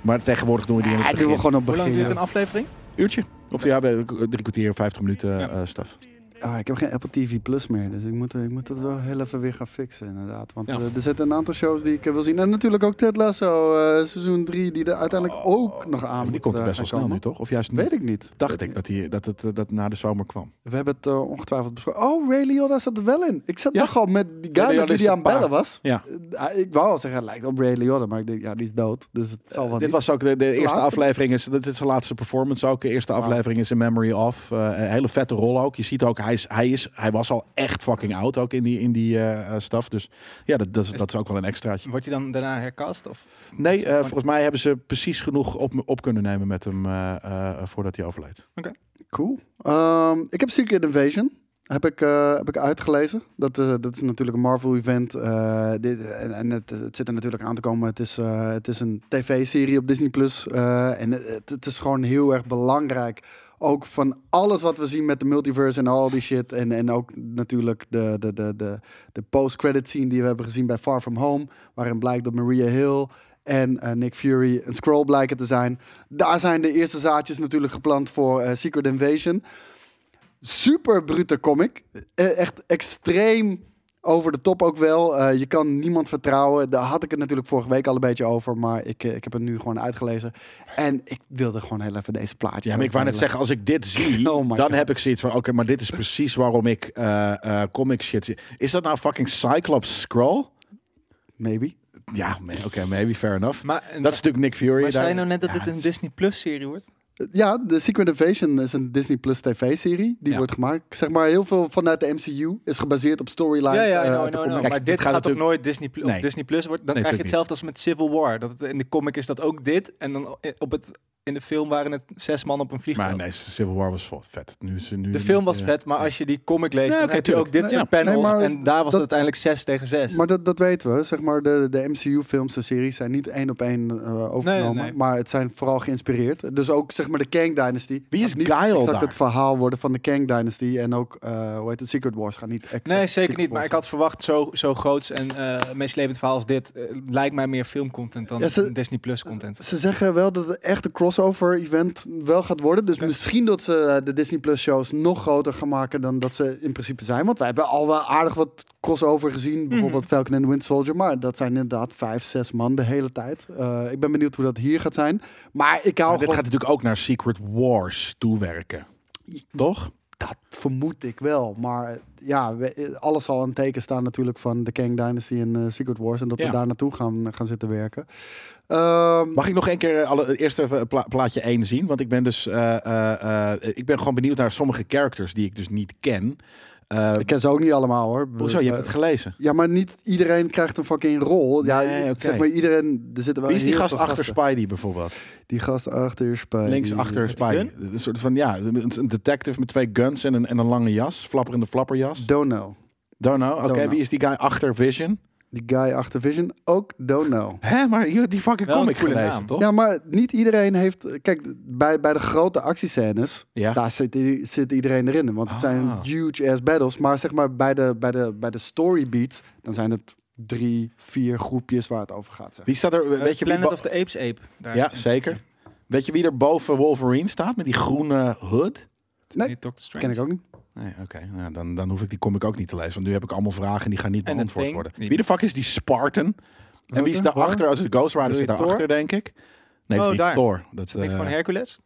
Speaker 2: Maar tegenwoordig doen we die in
Speaker 3: Ja,
Speaker 2: het
Speaker 3: doen
Speaker 2: begin.
Speaker 3: we Ah, gewoon op
Speaker 4: Hoe lang
Speaker 3: begin.
Speaker 4: duurt
Speaker 3: ja.
Speaker 4: een aflevering?
Speaker 2: Uurtje. Of ja, bij drie kwartier, vijftig minuten eh, staf.
Speaker 3: Ah, ik heb geen Apple TV Plus meer, dus ik moet, ik moet dat wel heel even weer gaan fixen, inderdaad. Want
Speaker 2: Ja.
Speaker 3: eh, er zitten een aantal shows die ik eh, wil zien. En natuurlijk ook Ted Lasso, eh, seizoen 3, die er uiteindelijk ook nog aan
Speaker 2: Oh. die
Speaker 3: moet,
Speaker 2: komt er
Speaker 3: eh,
Speaker 2: best wel
Speaker 3: gaan
Speaker 2: snel nu,
Speaker 3: komen.
Speaker 2: toch? Of juist
Speaker 3: Weet
Speaker 2: niet?
Speaker 3: ik niet.
Speaker 2: Dacht ik dat, die, dat het eh, dat na de zomer kwam.
Speaker 3: We hebben het eh, ongetwijfeld besproken. Oh, Ray Liotta zat er wel in. Ik zat
Speaker 2: Ja.
Speaker 3: nogal met die
Speaker 2: Ray
Speaker 3: guy met
Speaker 2: Liotta
Speaker 3: wie
Speaker 2: is
Speaker 3: die
Speaker 2: een
Speaker 3: aan het bellen
Speaker 2: paar.
Speaker 3: was.
Speaker 2: Ja.
Speaker 3: Eh, ik wou al zeggen, het lijkt op Ray Liotta, maar ik denk, ja, die is dood. Dus het zal wel
Speaker 2: Eh, Dit
Speaker 3: niet.
Speaker 2: was ook de, de eerste
Speaker 3: laatste.
Speaker 2: aflevering. Is, dit is zijn laatste performance ook. De eerste aflevering is in Memory of. Eh, een hele vette rol ook. Je ziet ook, hij, is, hij, is, hij was al echt fucking oud ook in die, in die eh eh, staf. Dus ja, dat, dat, is- dat is ook wel een extraatje.
Speaker 4: Wordt hij dan daarna herkast? Of?
Speaker 2: Nee, eh, volgens mij hebben ze precies genoeg op, op kunnen nemen met hem eh, eh, voordat hij overleed.
Speaker 3: Cool. Ehm, ik heb Secret Invasion. Heb ik, eh, heb ik uitgelezen. Dat, eh, dat is natuurlijk een Marvel-event. eh, dit- en en het, het zit er natuurlijk aan te komen. Het is, eh, het is een tv-serie op Disney+. Plus eh, en het, het is gewoon heel erg belangrijk. Ook van alles wat we zien met de multiverse en al die shit. En, en ook natuurlijk de, de, de, de, de post-credit scene die we hebben gezien bij Far From Home. Waarin blijkt dat Maria Hill en eh, Nick Fury een scroll blijken te zijn. Daar zijn de eerste zaadjes natuurlijk geplant voor eh, Secret Invasion. Super brute comic. Eh, echt extreem over de top ook wel. Eh, je kan niemand vertrouwen. Daar had ik het natuurlijk vorige week al een beetje over. Maar ik, eh, ik heb het nu gewoon uitgelezen. En ik wilde gewoon heel even deze plaatjes.
Speaker 2: Ja, maar ik wou net zeggen, als ik dit zie,
Speaker 3: Oh my
Speaker 2: dan
Speaker 3: God.
Speaker 2: heb ik zoiets van... Oké, maar dit is precies waarom ik eh, eh, comic shit zie. Is dat nou fucking Cyclops Scroll?
Speaker 3: Maybe.
Speaker 2: Ja, ma- oké, maybe, fair enough.
Speaker 4: Maar,
Speaker 2: dat is natuurlijk Nick Fury.
Speaker 4: maar zei
Speaker 2: daar.
Speaker 4: je nou net dat
Speaker 2: Ja,
Speaker 4: dit een
Speaker 2: het
Speaker 4: Disney Plus serie wordt?
Speaker 3: Eh, Ja, de Secret Invasion is een Disney Plus tv-serie. Die
Speaker 2: Ja.
Speaker 3: wordt gemaakt. Zeg maar, heel veel vanuit de MCU is gebaseerd op storylines.
Speaker 4: Ja, ja,
Speaker 3: eh,
Speaker 4: no,
Speaker 3: uit de
Speaker 4: no, no.
Speaker 3: comic.
Speaker 2: Kijk,
Speaker 4: Maar
Speaker 2: dit
Speaker 4: dit
Speaker 2: gaat
Speaker 4: gaat toch
Speaker 2: natuurlijk-
Speaker 4: nooit Disney Plus.
Speaker 2: Nee.
Speaker 4: Disney Plus wordt, dan
Speaker 2: Nee,
Speaker 4: krijg je
Speaker 2: natuurlijk
Speaker 4: hetzelfde als met Civil War. Dat het, in de comic is dat ook dit. En dan op het, in de film waren het zes man op een vliegtuig.
Speaker 2: Maar nee, Civil War was vol- vet. Nu, is- nu,
Speaker 4: De film was vet, maar als je die comic leest,
Speaker 2: Ja,
Speaker 4: dan
Speaker 2: oké,
Speaker 4: heb je ook dit
Speaker 2: tuurlijk.
Speaker 4: soort
Speaker 3: Nee,
Speaker 4: panels.
Speaker 3: maar
Speaker 4: en daar was
Speaker 3: dat-
Speaker 4: het uiteindelijk 6 tegen 6.
Speaker 3: Maar dat, dat weten we. Zeg maar, de, de MCU-films en series zijn niet één op één eh, overgenomen.
Speaker 4: nee.
Speaker 3: Maar het zijn vooral geïnspireerd. Dus ook zeg maar de Kang Dynasty.
Speaker 2: Wie is
Speaker 3: gaat niet
Speaker 2: Guile
Speaker 3: exact
Speaker 2: daar?
Speaker 3: het verhaal worden van de Kang Dynasty. En ook, eh, hoe heet het, Secret Wars gaat niet exact
Speaker 4: nee, zeker
Speaker 3: Secret
Speaker 4: niet. Maar ik
Speaker 3: Wars
Speaker 4: had verwacht, zo, zo groots en eh meeslepend verhaal als dit, eh, lijkt mij meer filmcontent dan
Speaker 3: Ja, ze-
Speaker 4: Disney Plus content.
Speaker 3: Ze zeggen wel dat het echt een crossover-event wel gaat worden. Dus misschien dat ze eh, de Disney Plus-shows nog groter gaan maken dan dat ze in principe zijn. Want wij hebben al wel aardig wat crossover
Speaker 4: Mhm.
Speaker 3: gezien. Bijvoorbeeld Falcon and the Wind Soldier. Maar dat zijn inderdaad vijf, zes man de hele tijd. Eh, ik ben benieuwd hoe dat hier gaat zijn. Maar
Speaker 2: Maar
Speaker 3: ik hou
Speaker 2: dit
Speaker 3: gewoon-
Speaker 2: gaat natuurlijk ook naar Secret Wars toewerken. Toch?
Speaker 3: Dat vermoed ik wel. Maar eh, ja, we- eh, alles zal aan het teken staan natuurlijk van de Kang Dynasty en eh, Secret Wars. En dat
Speaker 2: Ja.
Speaker 3: we daar naartoe gaan, eh, gaan zitten werken. Ehm,
Speaker 2: Mag ik nog één keer eh, alle, eerst even pla- plaatje 1 zien? Want ik ben dus eh, eh, eh, ik ben gewoon benieuwd naar sommige characters die ik dus niet ken. Eh,
Speaker 3: ik ken ze ook niet allemaal hoor. Eh,
Speaker 2: hoezo?
Speaker 4: eh,
Speaker 2: Je hebt het gelezen.
Speaker 3: Ja, maar niet iedereen krijgt een fucking rol. Ja, eh,
Speaker 2: Nee, oké.
Speaker 3: zeg maar iedereen. Er zitten wel
Speaker 2: Wie is die
Speaker 3: heel
Speaker 2: gast
Speaker 3: veel
Speaker 2: achter
Speaker 3: gasten.
Speaker 2: Spidey bijvoorbeeld?
Speaker 3: Die gast achter Spy.
Speaker 2: Links
Speaker 3: die-
Speaker 2: achter
Speaker 4: die
Speaker 2: Spidey. Een soort van, ja, een een detective met twee guns en een, en een lange jas. Flapperende flapperjas.
Speaker 3: Eh, Dono.
Speaker 2: Don't know. Oké,
Speaker 3: Don't know.
Speaker 2: wie is die guy achter Vision?
Speaker 3: Die guy achter Vision, ook don't know.
Speaker 2: Hè, maar je hebt die fucking
Speaker 4: Wel een
Speaker 2: comic
Speaker 4: coole
Speaker 2: gelezen,
Speaker 4: naam.
Speaker 2: toch?
Speaker 3: Ja, maar niet iedereen heeft... Kijk, bij, bij de grote actiescènes...
Speaker 2: Ja.
Speaker 3: Daar zit, i- zit iedereen erin. Want het zijn
Speaker 2: Ah.
Speaker 3: huge ass battles. Maar zeg maar bij de, bij de, bij de story beat, dan zijn het drie, vier groepjes waar het over gaat. Zeg.
Speaker 2: Wie staat er?
Speaker 4: Eh,
Speaker 2: weet je wie
Speaker 4: Planet
Speaker 2: bo-
Speaker 4: of the Apes ape. Daar
Speaker 2: Ja, zeker. Weet je wie er boven Wolverine staat met die groene hood?
Speaker 3: Nee.
Speaker 4: Niet Doctor Strange.
Speaker 3: Ken ik ook niet.
Speaker 2: Nee, oké. Nou, dan, dan hoef ik die comic ook niet te lezen. Want nu heb ik allemaal vragen en die gaan niet
Speaker 4: En het
Speaker 2: beantwoord
Speaker 4: ding-
Speaker 2: worden. Wie de fuck is die Spartan? En wie is
Speaker 3: Welke?
Speaker 2: daarachter? Als het Ghost Rider
Speaker 4: Bedoel
Speaker 2: zit
Speaker 4: je
Speaker 2: daarachter, denk ik. Nee, het
Speaker 4: Oh,
Speaker 2: is niet
Speaker 4: daar.
Speaker 2: Thor. Dat
Speaker 4: Is dat niet
Speaker 2: eh,
Speaker 4: gewoon Hercules?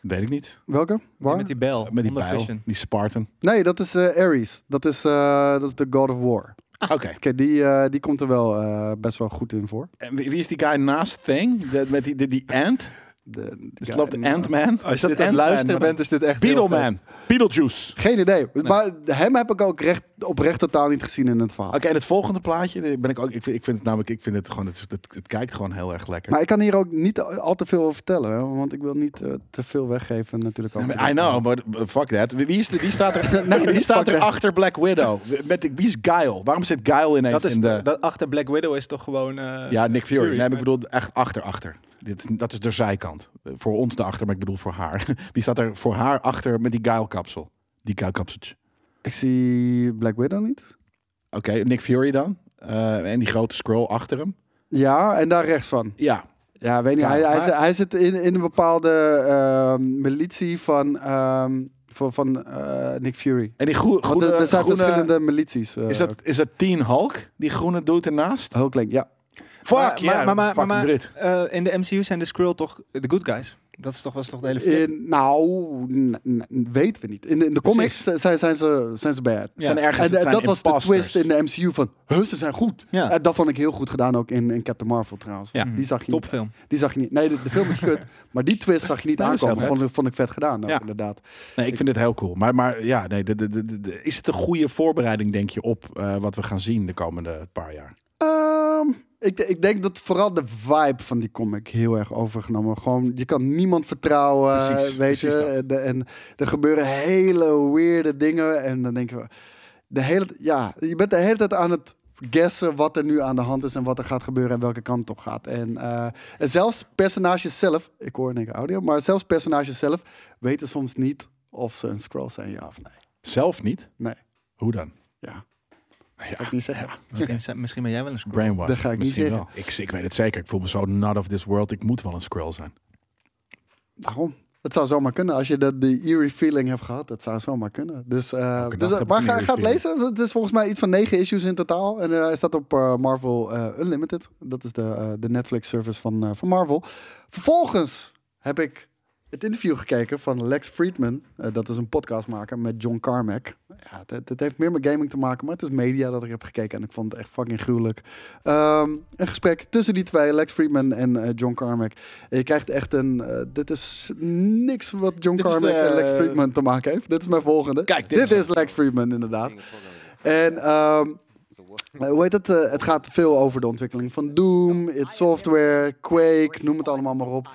Speaker 2: weet ik niet.
Speaker 3: Welke?
Speaker 4: Die
Speaker 3: Waar?
Speaker 4: Eh, Met die bel.
Speaker 2: Met die
Speaker 4: onder
Speaker 2: pijl,
Speaker 4: Vision.
Speaker 2: die Spartan.
Speaker 3: Nee, dat is eh, Ares. Dat is, eh, dat is de God of War.
Speaker 2: Oké.
Speaker 3: Oké, die, eh, die komt er wel eh, best wel goed in voor.
Speaker 2: En wie wie is die guy naast Thing? Dat met die, die, die ant?
Speaker 3: De,
Speaker 2: Dus
Speaker 3: ja,
Speaker 2: loopt de
Speaker 3: en-
Speaker 2: Ant-Man?
Speaker 4: Als je dit aan het
Speaker 2: Ant-Man, maar
Speaker 4: luisteren
Speaker 2: dan-
Speaker 4: bent, is dit echt heel vet.
Speaker 2: Beetleman. Beetlejuice.
Speaker 3: Geen idee. Maar hem heb ik ook recht, oprecht totaal niet gezien in het verhaal.
Speaker 2: Oké, en het volgende plaatje daar ben ik ook. Ik vind, ik vind het namelijk, ik vind het gewoon, het, is- het, het kijkt gewoon heel erg lekker.
Speaker 3: Maar ik kan hier ook niet al al te veel over vertellen. hè, Want ik wil niet eh, te veel weggeven natuurlijk. ook.
Speaker 2: I know, maar fuck that. Wie, wie is de, wie staat er,
Speaker 3: Nee,
Speaker 2: wie staat
Speaker 3: fuck
Speaker 2: er
Speaker 3: that.
Speaker 2: achter Black Widow? Met, wie is Guile? Waarom zit Guile ineens
Speaker 4: Dat, is
Speaker 2: in de...
Speaker 4: dat achter Black Widow is toch gewoon... eh,
Speaker 2: ja, Nick Fury. Nee, maar ik
Speaker 4: maar-
Speaker 2: bedoel echt achter, achter. Dit, is- dat is de zijkant. Eh, Voor ons de achter, maar ik bedoel voor haar. Wie staat er voor haar achter met die Guile-kapsel? Die Guile-kapseltje.
Speaker 3: Ik zie Black Widow niet.
Speaker 2: Oké, Nick Fury dan. Eh, en die grote scroll achter hem.
Speaker 3: Ja, en daar rechts van.
Speaker 2: Ja,
Speaker 3: Ja, weet niet.
Speaker 2: Ja,
Speaker 3: hij, hij,
Speaker 2: maar-
Speaker 3: zit, hij zit in, in een bepaalde ehm, militie van, ehm, van, van eh, Nick Fury.
Speaker 2: en die groe,
Speaker 3: Want
Speaker 2: groene...
Speaker 3: er, er zijn
Speaker 2: groene-
Speaker 3: verschillende milities. eh,
Speaker 2: Is dat, is dat Teen Hulk? Die groene doet ernaast?
Speaker 3: Hulkling, ja.
Speaker 2: Fuck,
Speaker 4: Maar-
Speaker 2: ja,
Speaker 4: maar- maar- maar-
Speaker 2: fucking
Speaker 4: maar-
Speaker 2: Brit.
Speaker 4: eh, in de MCU zijn de Skrull toch de good guys. Dat is toch, was toch de hele film.
Speaker 3: In, nou, n- n- weten we niet. In de, in de comics eh, zijn, zijn, ze, zijn ze bad.
Speaker 4: Ja.
Speaker 2: Zijn ergens,
Speaker 3: En
Speaker 2: het
Speaker 3: eh,
Speaker 2: zijn
Speaker 3: dat was de
Speaker 2: imposters.
Speaker 3: twist in de MCU van, huh, ze zijn goed.
Speaker 4: Ja.
Speaker 3: En dat vond ik heel goed gedaan ook in, in Captain Marvel trouwens.
Speaker 2: Ja.
Speaker 3: Die, zag je niet,
Speaker 4: Topfilm.
Speaker 3: die zag je niet. Nee, de, de film is kut, maar die twist zag je niet
Speaker 2: Nee, dat is heel
Speaker 3: aankomen.
Speaker 2: vet.
Speaker 3: Vond, ik- vond ik vet gedaan, ook,
Speaker 2: Ja.
Speaker 3: inderdaad.
Speaker 2: Nee, ik vind het heel cool. Maar, maar ja, nee, de, de, de- de- de- is het een goede voorbereiding, denk je, op eh, wat we gaan zien de komende paar jaar?
Speaker 3: Ehm, ik, de- ik denk dat vooral de vibe van die comic heel erg overgenomen. Gewoon, je kan niemand vertrouwen,
Speaker 2: Precies,
Speaker 3: weet
Speaker 2: precies
Speaker 3: je.
Speaker 2: dat.
Speaker 3: En, de- en er gebeuren hele weirde dingen. En dan denken we, de hele, t- ja, je bent de hele tijd aan het guessen wat er nu aan de hand is en wat er gaat gebeuren en welke kant het op gaat. En, eh, en zelfs personages zelf, ik hoor in één keer audio, maar zelfs personages zelf weten soms niet of ze een scroll zijn, ja of nee.
Speaker 2: Zelf niet?
Speaker 3: Nee,
Speaker 2: Hoe dan?
Speaker 3: ja,
Speaker 2: Ja,
Speaker 3: kan ik niet zeggen.
Speaker 4: Misschien, zijn- misschien ben jij wel een Skrull.
Speaker 2: brainwash.
Speaker 3: Dat ga ik niet
Speaker 2: misschien
Speaker 3: zeggen.
Speaker 2: wel. Ik, ik weet het zeker. Ik voel me zo not of this world. Ik moet wel een Skrull zijn.
Speaker 3: Waarom? Het zou zomaar kunnen. Als je dat, die eerie feeling hebt gehad, dat zou zomaar kunnen. Dus, eh,
Speaker 2: Elke dag
Speaker 3: dus
Speaker 2: heb
Speaker 3: maar
Speaker 2: ik een
Speaker 3: ga,
Speaker 2: eerie
Speaker 3: ga het
Speaker 2: feeling.
Speaker 3: lezen. Het is volgens mij iets van negen issues in totaal. En eh, hij staat op eh, Marvel eh, Unlimited. Dat is de, eh, de Netflix-service van, eh, van Marvel. Vervolgens heb ik het interview gekeken van Lex Friedman. Eh, dat is een podcastmaker met John Carmack. Ja, het, het heeft meer met gaming te maken, maar het is media dat ik heb gekeken. En ik vond het echt fucking gruwelijk. Ehm, een gesprek tussen die twee, Lex Friedman en eh, John Carmack. En je krijgt echt een... eh, dit is niks wat John
Speaker 2: Dit is
Speaker 3: Carmack
Speaker 2: de-
Speaker 3: en Lex Friedman te maken heeft. Dit is mijn volgende.
Speaker 2: Kijk, dit
Speaker 3: dit,
Speaker 2: is-
Speaker 3: is Lex Friedman inderdaad. En ehm, eh, hoe heet het? Eh, het gaat veel over de ontwikkeling van Doom, id Software, Quake, noem het allemaal maar op.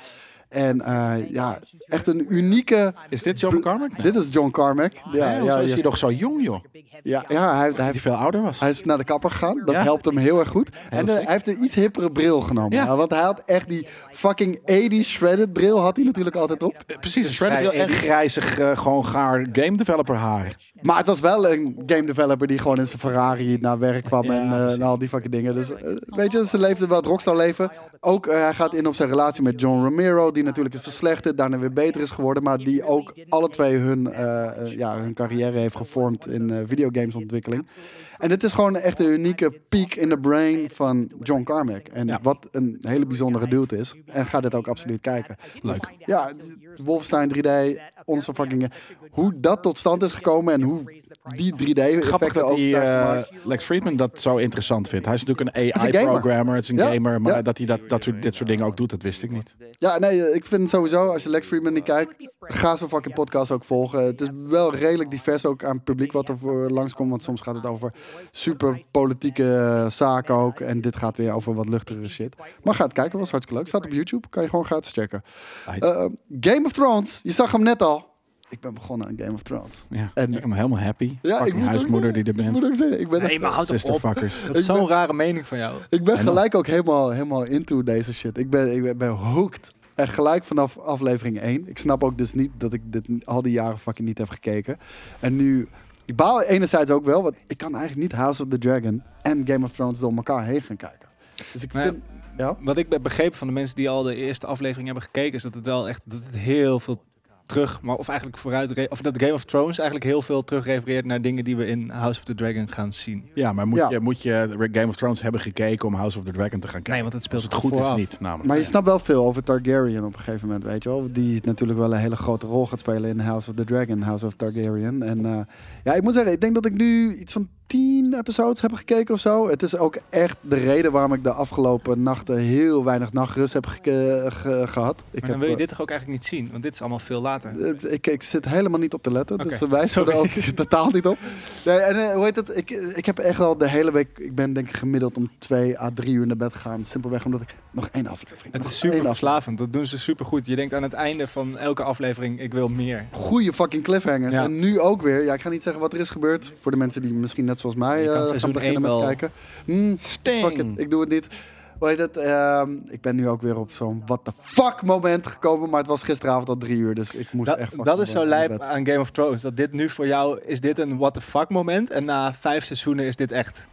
Speaker 3: En eh, ja, echt een unieke...
Speaker 2: Is dit John Carmack? Nee.
Speaker 3: Dit is John Carmack. Ja,
Speaker 2: Hè,
Speaker 3: ja,
Speaker 2: hoezo is
Speaker 3: yes.
Speaker 2: hij nog zo jong, joh?
Speaker 3: ja, ja hij, hij,
Speaker 2: Die veel ouder was.
Speaker 3: hij is naar de kapper gegaan. Dat
Speaker 2: Ja.
Speaker 3: helpt hem heel erg goed. en eh,
Speaker 2: sick.
Speaker 3: hij heeft een iets hippere bril genomen.
Speaker 2: Ja.
Speaker 3: Ja, want hij had echt die fucking 80s shredded bril had hij natuurlijk altijd op.
Speaker 2: Eh, Precies, een shredder bril en grijzig, eh, gewoon gaar game developer haar.
Speaker 3: Maar het was wel een game developer die gewoon in zijn Ferrari naar werk kwam en, eh, en al die fucking dingen. Dus eh, weet je, ze leefde wel het rockstar leven. Ook eh, hij gaat in op zijn relatie met John Romero, die natuurlijk is verslechterd, daarna weer beter is geworden. Maar die ook alle twee hun, eh, eh, ja, hun carrière heeft gevormd in eh, videogamesontwikkeling. En dit is gewoon echt een unieke peak in the brain van John Carmack. En
Speaker 2: Ja.
Speaker 3: wat een hele bijzondere dude is. En ga dit ook absoluut kijken.
Speaker 2: Leuk.
Speaker 3: Ja, Wolfenstein 3D, onze fucking... Hoe dat tot stand is gekomen en hoe die 3D-effecten
Speaker 2: Grappig dat
Speaker 3: ook
Speaker 2: hij,
Speaker 3: zijn
Speaker 2: eh,
Speaker 3: gemaakt.
Speaker 2: Lex Friedman dat zo interessant vindt. Hij is natuurlijk een
Speaker 3: een gamer.
Speaker 2: AI-programmer, het is een
Speaker 3: Ja,
Speaker 2: gamer. Maar
Speaker 3: ja.
Speaker 2: dat hij dat, dat soort, dit soort dingen ook doet, dat wist ik niet.
Speaker 3: Ja, nee, eh, ik vind sowieso, als je Lex Friedman niet kijkt, ga zijn fucking podcast ook volgen. Het is wel redelijk divers ook aan het publiek wat er voor langskomt, want soms gaat Ah, het over super politieke eh, zaken ook. En dit gaat weer over wat luchtigere shit. Maar ga het kijken, was hartstikke leuk. Staat op YouTube, kan je gewoon gratis checken.
Speaker 2: Hij-
Speaker 3: Eh, Game of Thrones, je zag hem net al. ik ben begonnen aan Game of Thrones.
Speaker 2: Ja,
Speaker 3: En-
Speaker 2: ik ben helemaal happy.
Speaker 3: Ja,
Speaker 2: Ja,
Speaker 3: ik
Speaker 2: ik
Speaker 3: moet ook
Speaker 2: huismoeder die
Speaker 3: zeggen,
Speaker 2: er
Speaker 3: Ik
Speaker 2: bent.
Speaker 3: moet ook zeggen, ik ben,
Speaker 4: Nee, maar Nou, houd toch
Speaker 2: Sister
Speaker 4: op.
Speaker 2: fuckers.
Speaker 4: Dat is
Speaker 3: Ik ben-
Speaker 4: zo'n rare mening van jou.
Speaker 3: ik ben
Speaker 2: En
Speaker 3: gelijk ook helemaal, helemaal into deze shit. Ik ben, ik ben, ben hooked. Echt gelijk vanaf aflevering 1. Ik snap ook dus niet dat ik dit al die jaren fucking niet heb gekeken. En nu, ik baal enerzijds ook wel, want ik kan eigenlijk niet House of the Dragon en Game of Thrones door elkaar heen gaan kijken. Dus ik
Speaker 4: Maar ja,
Speaker 3: vind, ja.
Speaker 4: Wat ik heb begrepen van de mensen die al de eerste aflevering hebben gekeken, is dat het wel echt dat het heel veel terug, maar of eigenlijk vooruit, re- of dat Game of Thrones eigenlijk heel veel terug refereert naar dingen die we in House of the Dragon gaan zien.
Speaker 2: Ja, maar moet,
Speaker 3: Ja.
Speaker 2: Je, moet je Game of Thrones hebben gekeken om House of the Dragon te gaan kijken?
Speaker 4: Nee, want het speelt
Speaker 2: Als het
Speaker 4: toch
Speaker 2: goed
Speaker 4: vooraf?
Speaker 2: is niet, namelijk.
Speaker 3: Maar je snapt wel veel over Targaryen op een gegeven moment, weet je wel. Die natuurlijk wel een hele grote rol gaat spelen in House of the Dragon, House of Targaryen. En eh, ja, ik moet zeggen, ik denk dat ik nu iets van tien episodes heb gekeken of zo. Het is ook echt de reden waarom ik de afgelopen nachten heel weinig nachtrust heb geke- ge- gehad. Ik
Speaker 4: maar
Speaker 3: heb,
Speaker 4: dan wil je dit toch ook eigenlijk niet zien, want dit is allemaal veel later.
Speaker 3: eh, Ik, ik zit helemaal niet op te letten, dus
Speaker 4: Oké,
Speaker 3: we wijzen er ook
Speaker 4: sorry.
Speaker 3: totaal niet op. Nee, en eh, hoe heet het? Ik, ik heb echt al de hele week, ik ben denk ik gemiddeld om twee à drie uur naar bed gegaan. Simpelweg omdat ik nog één aflevering
Speaker 4: Het
Speaker 3: nog
Speaker 4: is
Speaker 3: één
Speaker 4: super
Speaker 3: aflevering.
Speaker 4: verslavend. Dat doen ze super goed. Je denkt aan het einde van elke aflevering: ik wil meer.
Speaker 3: goede fucking cliffhangers.
Speaker 4: Ja.
Speaker 3: En nu ook weer. Ja, ik ga niet zeggen wat er is gebeurd. Voor de mensen die misschien net zoals mij
Speaker 4: Je kan
Speaker 3: eh, gaan
Speaker 4: seizoen
Speaker 3: beginnen
Speaker 4: één
Speaker 3: met
Speaker 4: wel.
Speaker 3: kijken. Hmm,
Speaker 2: Sting.
Speaker 3: fuck it, ik doe het niet. Hoe heet het? Ehm, ik ben nu ook weer op zo'n what the fuck moment gekomen. Maar het was gisteravond al drie uur, dus ik moest
Speaker 4: Dat,
Speaker 3: echt fucking
Speaker 4: dat is zo
Speaker 3: wel naar
Speaker 4: lijp
Speaker 3: bed.
Speaker 4: aan Game of Thrones. Dat dit nu voor jou is dit een what the fuck moment. En na vijf seizoenen is dit echt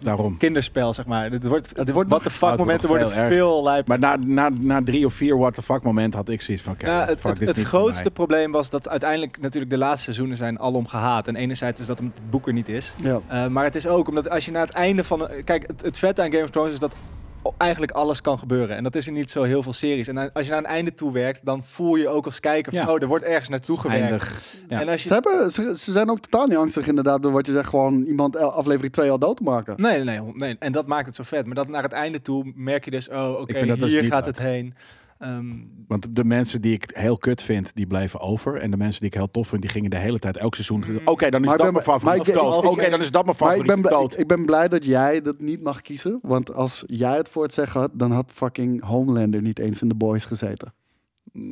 Speaker 2: Daarom.
Speaker 4: kinderspel, zeg maar. Dit wordt, dit
Speaker 3: wordt
Speaker 4: what
Speaker 3: nog-
Speaker 4: the fuck
Speaker 2: Oh, het wordt
Speaker 4: momenten
Speaker 2: nog
Speaker 4: worden
Speaker 2: veel erger.
Speaker 4: veel lijper.
Speaker 2: Maar na, na, na drie of vier what the fuck moment had ik zoiets van... oké,
Speaker 4: Ja,
Speaker 2: what the
Speaker 4: het
Speaker 2: fuck,
Speaker 4: het,
Speaker 2: dit is
Speaker 4: het
Speaker 2: niet voor
Speaker 4: grootste probleem was dat uiteindelijk natuurlijk de laatste seizoenen zijn alom gehaat. En enerzijds is dat omdat het boek er niet is.
Speaker 3: Ja.
Speaker 4: Eh, maar het is ook omdat als je naar het einde van... eh, Kijk, het, het vette aan Game of Thrones is dat o- eigenlijk alles kan gebeuren. En dat is in niet zo heel veel series. En dan- als je naar een einde toe werkt, dan voel je ook als kijker... van,
Speaker 2: Ja.
Speaker 4: oh, er wordt ergens naartoe
Speaker 2: mij.
Speaker 4: gewerkt.
Speaker 2: Eindig. Ja.
Speaker 4: En als je
Speaker 3: Ze, hebben, ze, ze zijn ook totaal niet angstig inderdaad door wat je zegt. Gewoon iemand el- aflevering 2 al dood te maken.
Speaker 4: Nee, nee, nee, nee. En dat maakt het zo vet. Maar dat naar het einde toe merk je dus, oh, oké,
Speaker 2: Ik vind dat dus
Speaker 4: hier
Speaker 2: niet
Speaker 4: gaat
Speaker 2: leuk.
Speaker 4: het heen. Ehm,
Speaker 2: Want de mensen die ik heel kut vind, die blijven over. En de mensen die ik heel tof vind, die gingen de hele tijd elk seizoen... Oké, dan is
Speaker 3: Mm. Maar ik
Speaker 2: dat
Speaker 3: ben-
Speaker 2: mijn favoriet.
Speaker 3: maar
Speaker 2: Of
Speaker 3: ik-
Speaker 2: dood.
Speaker 3: ik-
Speaker 2: Oké,
Speaker 3: ik-
Speaker 2: dan is dat mijn
Speaker 3: Maar ik
Speaker 2: favoriet.
Speaker 3: ben, blij, ik,
Speaker 2: dood.
Speaker 3: ik ben blij dat jij dat niet mag kiezen. Want als jij het voor het zeggen had, dan had fucking Homelander niet eens in de boys gezeten.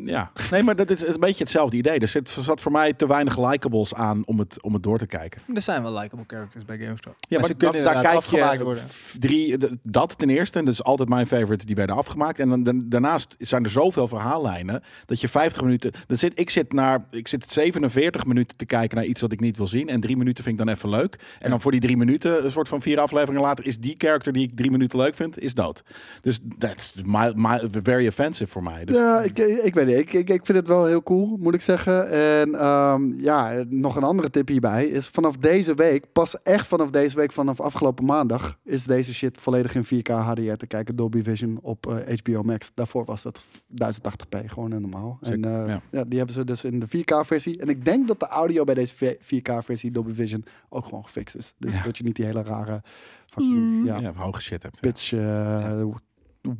Speaker 2: Ja. Nee, maar dat is een beetje hetzelfde idee. Er zit, zat voor mij te weinig likables aan om het, om het door te kijken.
Speaker 4: er zijn wel likable characters bij Game of Thrones.
Speaker 2: Ja, maar
Speaker 4: ze
Speaker 2: dan-
Speaker 4: kunnen
Speaker 2: daar
Speaker 4: inderdaad
Speaker 2: kijk
Speaker 4: afgemaakt
Speaker 2: je eh,
Speaker 4: worden.
Speaker 2: f- drie, d- dat ten eerste, en dat is altijd mijn favorite, die werden afgemaakt. En dan, dan- daarnaast zijn er zoveel verhaallijnen, dat je 50 minuten, dan zit, ik, zit naar, ik zit 47 minuten te kijken naar iets wat ik niet wil zien. En drie minuten vind ik dan even leuk. En dan voor die drie minuten, een soort van vier afleveringen later, is die character die ik drie minuten leuk vind, is dood. Dus that's my, my, very offensive voor mij. Dus
Speaker 3: Ja, ik, ik weet niet. Ik, ik, ik vind het wel heel cool, moet ik zeggen. En ehm, ja, nog een andere tip hierbij is vanaf deze week, pas echt vanaf deze week, vanaf afgelopen maandag, is deze shit volledig in 4K HDR te kijken, Dolby Vision op eh, HBO Max. Daarvoor was dat 1080p, gewoon heel normaal.
Speaker 2: Zeker,
Speaker 3: en eh,
Speaker 2: ja.
Speaker 3: ja. die hebben ze dus in de 4K versie. En ik denk dat de audio bij deze 4K versie Dolby Vision ook gewoon gefixt is. Dus
Speaker 2: Ja. Mm.
Speaker 3: dat je niet die hele rare fucking, ja,
Speaker 2: ja, hoge shit hebt. ja.
Speaker 3: pitch eh,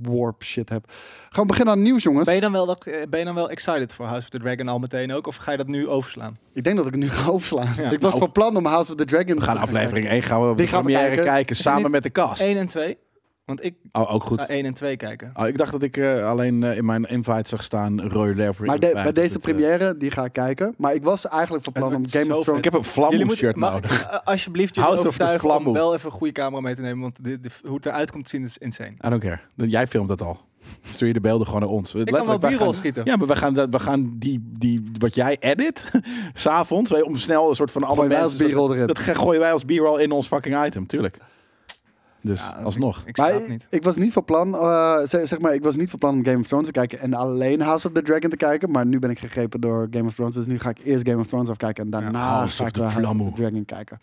Speaker 3: warp shit hebt. Gaan we beginnen aan het nieuws, jongens.
Speaker 4: Ben je, dan wel, dat- eh, ben je dan wel excited voor House of the Dragon al meteen ook? Of ga je dat nu overslaan?
Speaker 3: Ik denk dat ik nu ga opslaan.
Speaker 4: Ja.
Speaker 3: ik was
Speaker 2: Nou.
Speaker 3: van plan om House of the Dragon
Speaker 2: We gaan
Speaker 3: te
Speaker 2: aflevering 1 gaan we de
Speaker 3: Die gaan we
Speaker 2: première kijken,
Speaker 3: kijken.
Speaker 4: er
Speaker 2: samen
Speaker 4: niet-
Speaker 2: met de kast.
Speaker 4: 1 en 2? Want ik
Speaker 2: Oh, ook goed.
Speaker 4: ga 1 en 2 kijken.
Speaker 2: Oh, ik dacht dat ik eh, alleen eh, in mijn invite zag staan Roy Leopard.
Speaker 3: Maar de- bij
Speaker 2: Dat,
Speaker 3: deze
Speaker 2: eh,
Speaker 3: première, die ga ik kijken. Maar ik was eigenlijk van plan om
Speaker 4: wordt
Speaker 3: Game
Speaker 4: zo
Speaker 3: of
Speaker 2: eh, ik
Speaker 3: Thrones...
Speaker 2: heb een vlammoe
Speaker 4: moeten-
Speaker 2: shirt
Speaker 4: mag ik,
Speaker 2: nodig.
Speaker 4: eh, alsjeblieft jullie
Speaker 2: House of the
Speaker 4: overtuigen om
Speaker 2: Flamboe.
Speaker 4: wel even een goede camera mee te nemen. Want de, de- hoe het eruit komt te zien is insane.
Speaker 2: I don't care. Jij filmt dat al. Stuur je de beelden gewoon naar ons.
Speaker 4: Ik kan wel
Speaker 2: wij
Speaker 4: b-roll
Speaker 2: gaan-
Speaker 4: schieten.
Speaker 2: Ja, maar we gaan, dat- we gaan die, die, wat jij edit, s'avonds, wij- om snel een soort van alle
Speaker 3: Gooien wij
Speaker 2: mensen...
Speaker 3: als b-roll erin.
Speaker 2: Dat ge- gooien wij als b-roll in ons fucking item, tuurlijk. Dus,
Speaker 4: Ja, dat is-
Speaker 2: alsnog.
Speaker 4: Ah, Ik, ik
Speaker 3: Maar
Speaker 4: snap
Speaker 3: ik-
Speaker 4: niet.
Speaker 3: ik was niet van plan, eh, zeg, zeg maar, ik was niet van plan om Game of Thrones te kijken en alleen House of the Dragon te kijken. Maar nu ben ik gegrepen door Game of Thrones. Dus nu ga ik eerst Game of Thrones afkijken en daarna
Speaker 2: House
Speaker 3: ga
Speaker 2: of
Speaker 3: ik
Speaker 2: the
Speaker 3: wel House of
Speaker 2: Flammo.
Speaker 3: the Dragon kijken.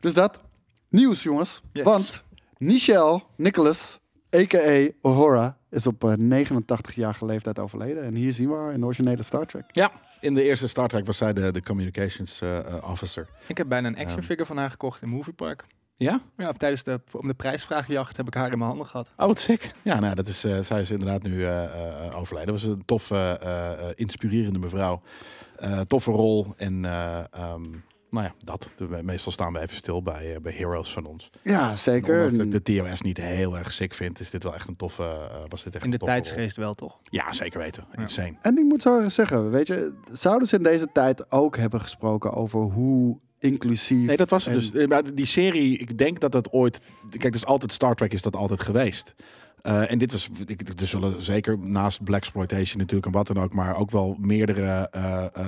Speaker 3: Dus dat, nieuws jongens.
Speaker 4: Yes.
Speaker 3: Want Nichelle Nicholas, a.k.a. Uhura, is op eh, 89-jarige leeftijd overleden. En hier zien we haar in de originele Star Trek.
Speaker 2: Ja, in de eerste Star Trek was zij de, de communications eh, eh, officer.
Speaker 4: Ik heb bijna een action
Speaker 2: Ehm.
Speaker 4: figure van haar gekocht in Movie Park.
Speaker 2: Ja?
Speaker 4: Ja, tijdens de, om de prijsvraagjacht heb ik haar in mijn handen gehad.
Speaker 2: Oh, wat sick. Ja, nou, dat is, eh, zij is inderdaad nu eh, eh, overleden. Was een toffe, eh, eh, inspirerende mevrouw. Eh, toffe rol. En eh, ehm, Nou ja, dat. De- Meestal staan we even stil bij, eh, bij heroes van ons.
Speaker 3: Ja,
Speaker 2: En
Speaker 3: zeker.
Speaker 2: Omdat ik de TOS niet heel erg sick vind, is dit wel echt een toffe... eh, was dit echt
Speaker 4: In de
Speaker 2: een toffe rol.
Speaker 4: tijdsgeest wel, toch?
Speaker 2: Ja, zeker weten.
Speaker 4: Ja.
Speaker 2: Insane.
Speaker 3: En ik moet zo erg zeggen, weet je, zouden ze in deze tijd ook hebben gesproken over hoe inclusief.
Speaker 2: Nee, dat was het
Speaker 3: en-
Speaker 2: dus. Eh, Maar die serie, ik denk dat dat ooit... Kijk, dat is altijd Star Trek is dat altijd geweest. Eh, en dit was, ik- ik- er zullen zeker naast Black Exploitation natuurlijk en wat dan ook, maar ook wel meerdere eh, eh,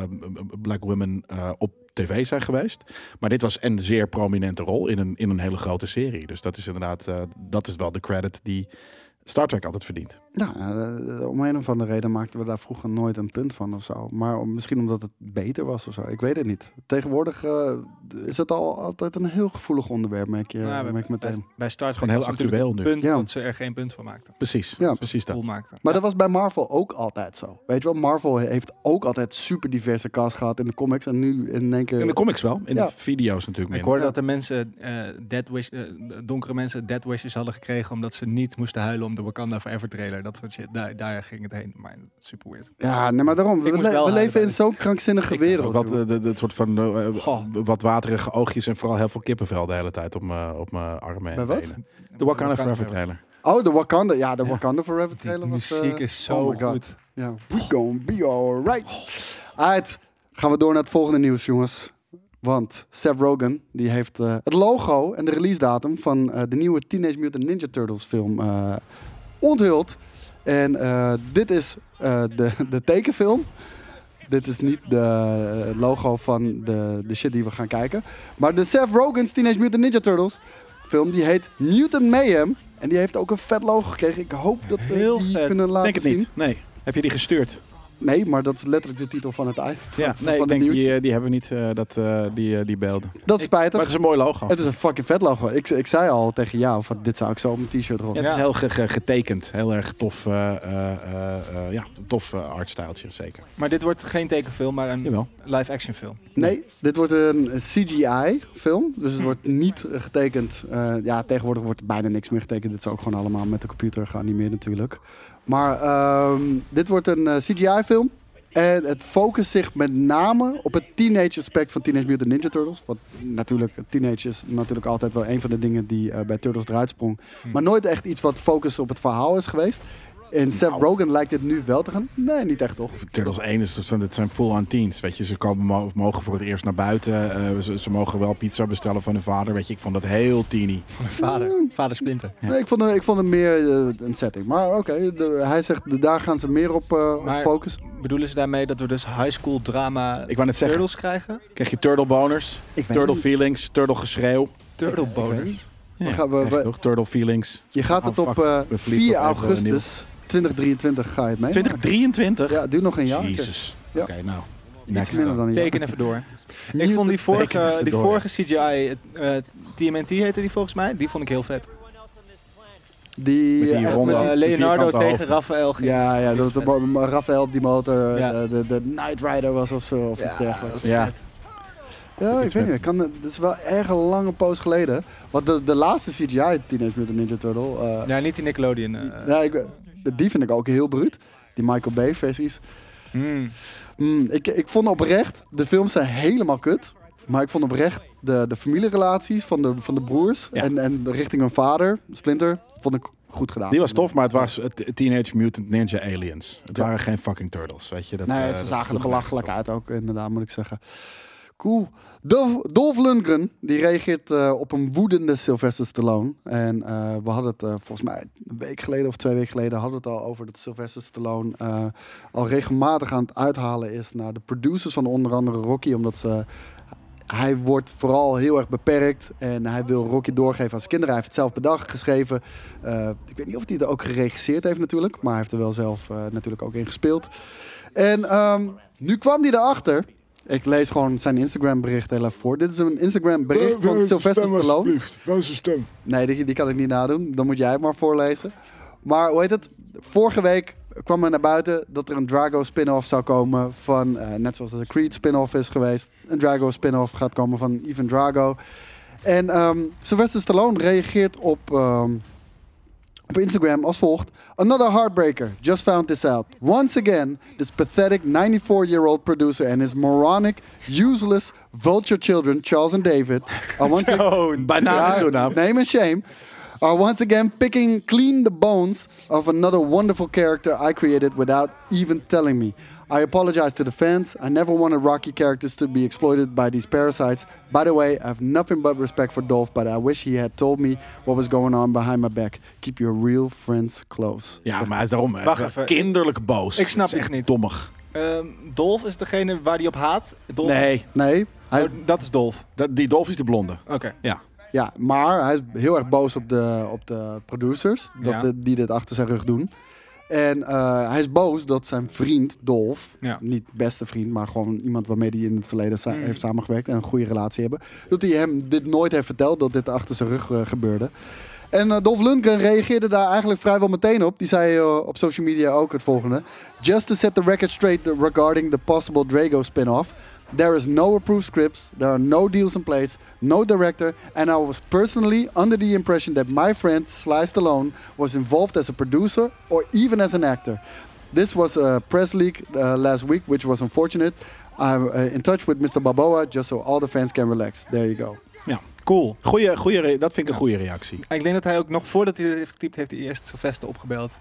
Speaker 2: Black women eh, op tv zijn geweest. Maar dit was een zeer prominente rol in een, in een hele grote serie. Dus dat is inderdaad, eh, dat is wel de credit die Star Trek altijd verdient.
Speaker 3: Nou, eh, eh, om een of andere reden maakten we daar vroeger nooit een punt van of zo. Maar om- misschien omdat het beter was of zo. Ik weet het niet. Tegenwoordig eh, is het al altijd een heel gevoelig onderwerp, merk, je,
Speaker 4: Nou, bij-
Speaker 3: merk ik meteen.
Speaker 4: Bij, bij Star Trek
Speaker 2: Gewoon heel
Speaker 4: was natuurlijk
Speaker 2: actueel
Speaker 4: het
Speaker 2: nu.
Speaker 4: Punt
Speaker 3: Ja.
Speaker 4: dat ze er geen punt van maakten.
Speaker 2: Precies,
Speaker 3: Ja.
Speaker 2: precies dat.
Speaker 4: Cool maakten.
Speaker 3: Maar dat was bij Marvel ook altijd zo. Weet je wel, Marvel he- heeft ook altijd super diverse cast gehad in de comics. En nu in één keer...
Speaker 2: In de comics wel, in
Speaker 3: Ja.
Speaker 2: de video's natuurlijk
Speaker 4: Ik
Speaker 2: minder.
Speaker 4: hoorde
Speaker 3: Ja.
Speaker 4: dat de mensen, eh, dead wish, eh, donkere mensen dead wishes hadden gekregen omdat ze niet moesten huilen om de Wakanda Forever trailer. Dat soort shit. Daar, daar ging het heen. Maar super weird.
Speaker 3: Ja, nee, maar daarom. We,
Speaker 4: moest
Speaker 3: le-
Speaker 4: wel
Speaker 3: we
Speaker 4: huilen
Speaker 3: leven in
Speaker 4: bij-
Speaker 3: zo'n krankzinnige wereld.
Speaker 2: Ook Wat,
Speaker 3: joh.
Speaker 2: eh, de- de- het soort van eh, eh,
Speaker 4: Goh.
Speaker 2: wat waterige oogjes en vooral heel veel kippenvel de hele tijd op mijn op mijn armen en
Speaker 3: Bij wat?
Speaker 2: benen. De Wakanda Forever trailer.
Speaker 3: Oh, de Wakanda. Ja, de
Speaker 2: Ja.
Speaker 3: Wakanda Forever
Speaker 4: Die
Speaker 3: trailer was...
Speaker 4: muziek
Speaker 3: eh,
Speaker 4: is zo
Speaker 3: oh my God.
Speaker 4: goed.
Speaker 3: Ja, we gonna be alright. Alright, gaan we door naar het volgende nieuws, jongens. Want Seth Rogen, die heeft eh, het logo en de releasedatum van eh, de nieuwe Teenage Mutant Ninja Turtles film eh, onthuld. En eh, dit is eh, de, de tekenfilm. Dit is niet de eh, logo van de, de shit die we gaan kijken. Maar de Seth Rogen's Teenage Mutant Ninja Turtles film, die heet Mutant Mayhem. En die heeft ook een vet logo gekregen. Ik hoop dat we
Speaker 4: Heel
Speaker 3: die
Speaker 4: vet.
Speaker 3: kunnen laten
Speaker 2: Denk het
Speaker 3: zien.
Speaker 2: niet. Nee. Heb je die gestuurd?
Speaker 3: Nee, maar dat is letterlijk de titel van het ei.
Speaker 2: Ja, nee,
Speaker 3: de
Speaker 2: ik denk
Speaker 3: nieuwtjes?
Speaker 2: die, eh, die hebben we niet, eh, dat, eh, die, eh, die beelden.
Speaker 3: Dat is
Speaker 2: Ik-
Speaker 3: spijtig.
Speaker 2: Maar het is een mooi logo.
Speaker 3: Het is een fucking vet logo. Ik, ik zei al tegen jou, van, dit zou ik zo op mijn t-shirt
Speaker 2: Ja,
Speaker 3: rollen.
Speaker 2: het is
Speaker 4: Ja.
Speaker 2: heel ge- ge- getekend. Heel erg tof, eh, eh, eh, eh, ja, een tof eh, artstijltje, zeker.
Speaker 4: Maar dit wordt geen tekenfilm, maar een
Speaker 2: Jawel.
Speaker 4: live action film.
Speaker 3: Nee, dit wordt een CGI-film. Dus het wordt niet eh, getekend. Eh, ja, tegenwoordig wordt er bijna niks meer getekend. Dit is ook gewoon allemaal met de computer geanimeerd natuurlijk. Maar ehm, dit wordt een CGI-film. En het focust zich met name op het teenage aspect van Teenage Mutant Ninja Turtles. Want natuurlijk, teenage is natuurlijk altijd wel een van de dingen die eh, bij Turtles eruit sprong. Maar nooit echt iets wat focus op het verhaal is geweest. En Seth Rogen lijkt dit nu wel te gaan. Nee, niet echt toch?
Speaker 2: Turtles 1 is, dat zijn- dat zijn full-on teens, weet je. Ze komen, mo- mogen voor het eerst naar buiten. eh, ze, ze mogen wel pizza bestellen van hun vader, weet je. Ik vond dat heel teeny.
Speaker 4: Van mijn vader. Vader Splinter.
Speaker 2: Ja.
Speaker 3: Nee, ik, vond hem, ik vond hem meer eh, een setting. Maar oké, de- hij zegt de- daar gaan ze meer op, eh, op
Speaker 4: Maar-
Speaker 3: focussen.
Speaker 4: Bedoelen ze daarmee dat we dus high school drama
Speaker 2: Ik wou net zeggen,
Speaker 4: turtles krijgen?
Speaker 2: krijg je turtle boners,
Speaker 3: Ik weet
Speaker 2: turtle
Speaker 3: niet.
Speaker 2: feelings, turtle geschreeuw.
Speaker 4: Turtle
Speaker 3: Ik weet
Speaker 4: bonus.
Speaker 3: niet. We gaan- we-
Speaker 2: echt
Speaker 3: we-
Speaker 2: toch? Turtle feelings.
Speaker 3: Je gaat
Speaker 2: Oh,
Speaker 3: het op
Speaker 2: fuck.
Speaker 3: eh,
Speaker 2: We verliezen
Speaker 3: 4
Speaker 2: nog even, eh,
Speaker 3: augustus 2023 ga je het mee.
Speaker 2: 2023?
Speaker 3: Ja, het duurt nog een jaar.
Speaker 2: Jezus.
Speaker 3: Ja.
Speaker 2: Oké, nou.
Speaker 3: Iets
Speaker 2: next
Speaker 3: minder
Speaker 2: dan.
Speaker 3: dan een jaar.
Speaker 4: Teken even door. Ik
Speaker 3: Mutant-
Speaker 4: vond die
Speaker 2: Teken
Speaker 4: vorige,
Speaker 2: even
Speaker 4: die
Speaker 2: door.
Speaker 4: vorige CGI, eh, eh, TMNT heette die volgens mij, die vond ik heel vet.
Speaker 3: die,
Speaker 2: Met die
Speaker 3: eh, echt
Speaker 2: ronde-
Speaker 3: met
Speaker 4: Eh,
Speaker 2: Oh, die
Speaker 4: Leonardo
Speaker 2: vierkante
Speaker 4: tegen
Speaker 2: hoofden.
Speaker 4: Raphaël
Speaker 3: die-
Speaker 4: ging.
Speaker 3: ja, ja, dat
Speaker 4: Vet.
Speaker 3: het de, Raphaël op die motor, eh,
Speaker 4: Ja.
Speaker 3: de, de, de Knight Rider was of zo, of iets dergelijks.
Speaker 4: dat is
Speaker 2: Ja.
Speaker 4: vet.
Speaker 3: Ja, ik
Speaker 2: Iets
Speaker 3: weet
Speaker 2: met-
Speaker 3: niet. Kan, dat is wel erg een lange poos geleden. Want de, de laatste CGI Teenage Mutant Ninja Turtle... eh,
Speaker 4: Ja, niet die Nickelodeon. eh.
Speaker 3: ja, ik, die vind ik ook heel bruut. Die Michael Bay versies.
Speaker 4: Hmm.
Speaker 3: Mm, ik, ik vond oprecht, de films zijn helemaal kut. Maar ik vond oprecht de, de familierelaties van de, van de broers
Speaker 2: Ja.
Speaker 3: en, en richting hun vader, Splinter, vond ik goed gedaan.
Speaker 2: Die was tof, maar het was eh, t- Teenage Mutant Ninja Aliens. Het
Speaker 3: Ja.
Speaker 2: waren geen fucking turtles, weet je. Dat,
Speaker 3: Nee,
Speaker 2: eh,
Speaker 3: ze
Speaker 2: dat
Speaker 3: zagen er
Speaker 2: sloeg
Speaker 3: belachelijk
Speaker 2: nergens
Speaker 3: uit ook, inderdaad, moet ik zeggen. Cool. Dolf, Dolph Lundgren, die reageert eh, op een woedende Sylvester Stallone. En eh, we hadden het eh, volgens mij een week geleden of twee weken geleden... hadden we het al over dat Sylvester Stallone eh, al regelmatig aan het uithalen is... naar de producers van onder andere Rocky, omdat ze... Hij wordt vooral heel erg beperkt en hij wil Rocky doorgeven aan zijn kinderen. Hij heeft het zelf bedacht, geschreven. Eh, ik weet niet of hij het ook geregisseerd heeft natuurlijk, maar hij heeft er wel zelf eh, natuurlijk ook in gespeeld. En ehm, nu kwam hij erachter. Ik lees gewoon zijn Instagram bericht heel even voor. Dit is een Instagram bericht
Speaker 2: Eh,
Speaker 3: van Sylvester Stallone.
Speaker 5: Waar is zijn stem?
Speaker 3: Nee, die, die kan ik niet nadoen. Dan moet jij het maar voorlezen. Maar hoe heet het? Vorige week kwam er naar buiten dat er een Drago spin-off zou komen van... eh, net zoals er een Creed spin-off is geweest. Een Drago spin-off gaat komen van Ivan Drago. En ehm Sylvester Stallone reageert op, ehm, op Instagram als volgt. Another heartbreaker. Just found this out. Once again, this pathetic 94-year-old producer and his moronic, useless vulture children, Charles and David, are once again...
Speaker 2: Bijna
Speaker 3: Ja,
Speaker 2: Oh, een naam.
Speaker 3: Name and shame. Are once again picking clean the bones of another wonderful character I created without even telling me. I apologize to the fans. I never wanted Rocky characters to be exploited by these parasites. By the way, I have nothing but respect for Dolph, but I wish he had told me what was going on behind my back. Keep your real friends close.
Speaker 2: Ja, maar daarom. hè.
Speaker 4: Wacht even.
Speaker 2: Kinderlijk boos.
Speaker 4: Ik snap
Speaker 2: Het is
Speaker 4: het
Speaker 2: echt
Speaker 4: niet.
Speaker 2: dommig.
Speaker 4: Ehm, Dolf is degene waar hij op haat. Dolf
Speaker 2: Nee,
Speaker 3: Nee, hij,
Speaker 4: Oh, dat is Dolf.
Speaker 2: dat, die Dolf is de blonde.
Speaker 4: Oké.
Speaker 2: Ja.
Speaker 3: ja, maar hij is heel erg boos op de, op de producers dat
Speaker 4: Ja.
Speaker 3: de- die dit achter zijn rug doen. En eh, hij is boos dat zijn vriend Dolf,
Speaker 4: Ja. Mm.
Speaker 3: niet beste vriend, maar gewoon iemand waarmee hij in het verleden sa- heeft samengewerkt en een goede relatie hebben, dat hij hem dit nooit heeft verteld dat dit achter zijn rug eh, gebeurde. En eh, Dolph Lundgren reageerde daar eigenlijk vrijwel meteen op. Die zei eh, op social media ook het volgende. Just to set the record straight regarding the possible Drago spin-off. There is no approved scripts, there are no deals in place, no director, and I was personally under the impression that my friend Sly Stallone was involved as a producer or even as an actor. This was a press leak uh, last week, which was unfortunate. I'm uh, in touch with Mr. Balboa just so all the fans can relax. There you go.
Speaker 2: ja.
Speaker 4: Cool.
Speaker 2: Goeie, goeie re- dat vind ik een goede reactie.
Speaker 4: Ik denk dat hij ook nog voordat hij dit heeft getypt, heeft hij eerst Sylvester opgebeld.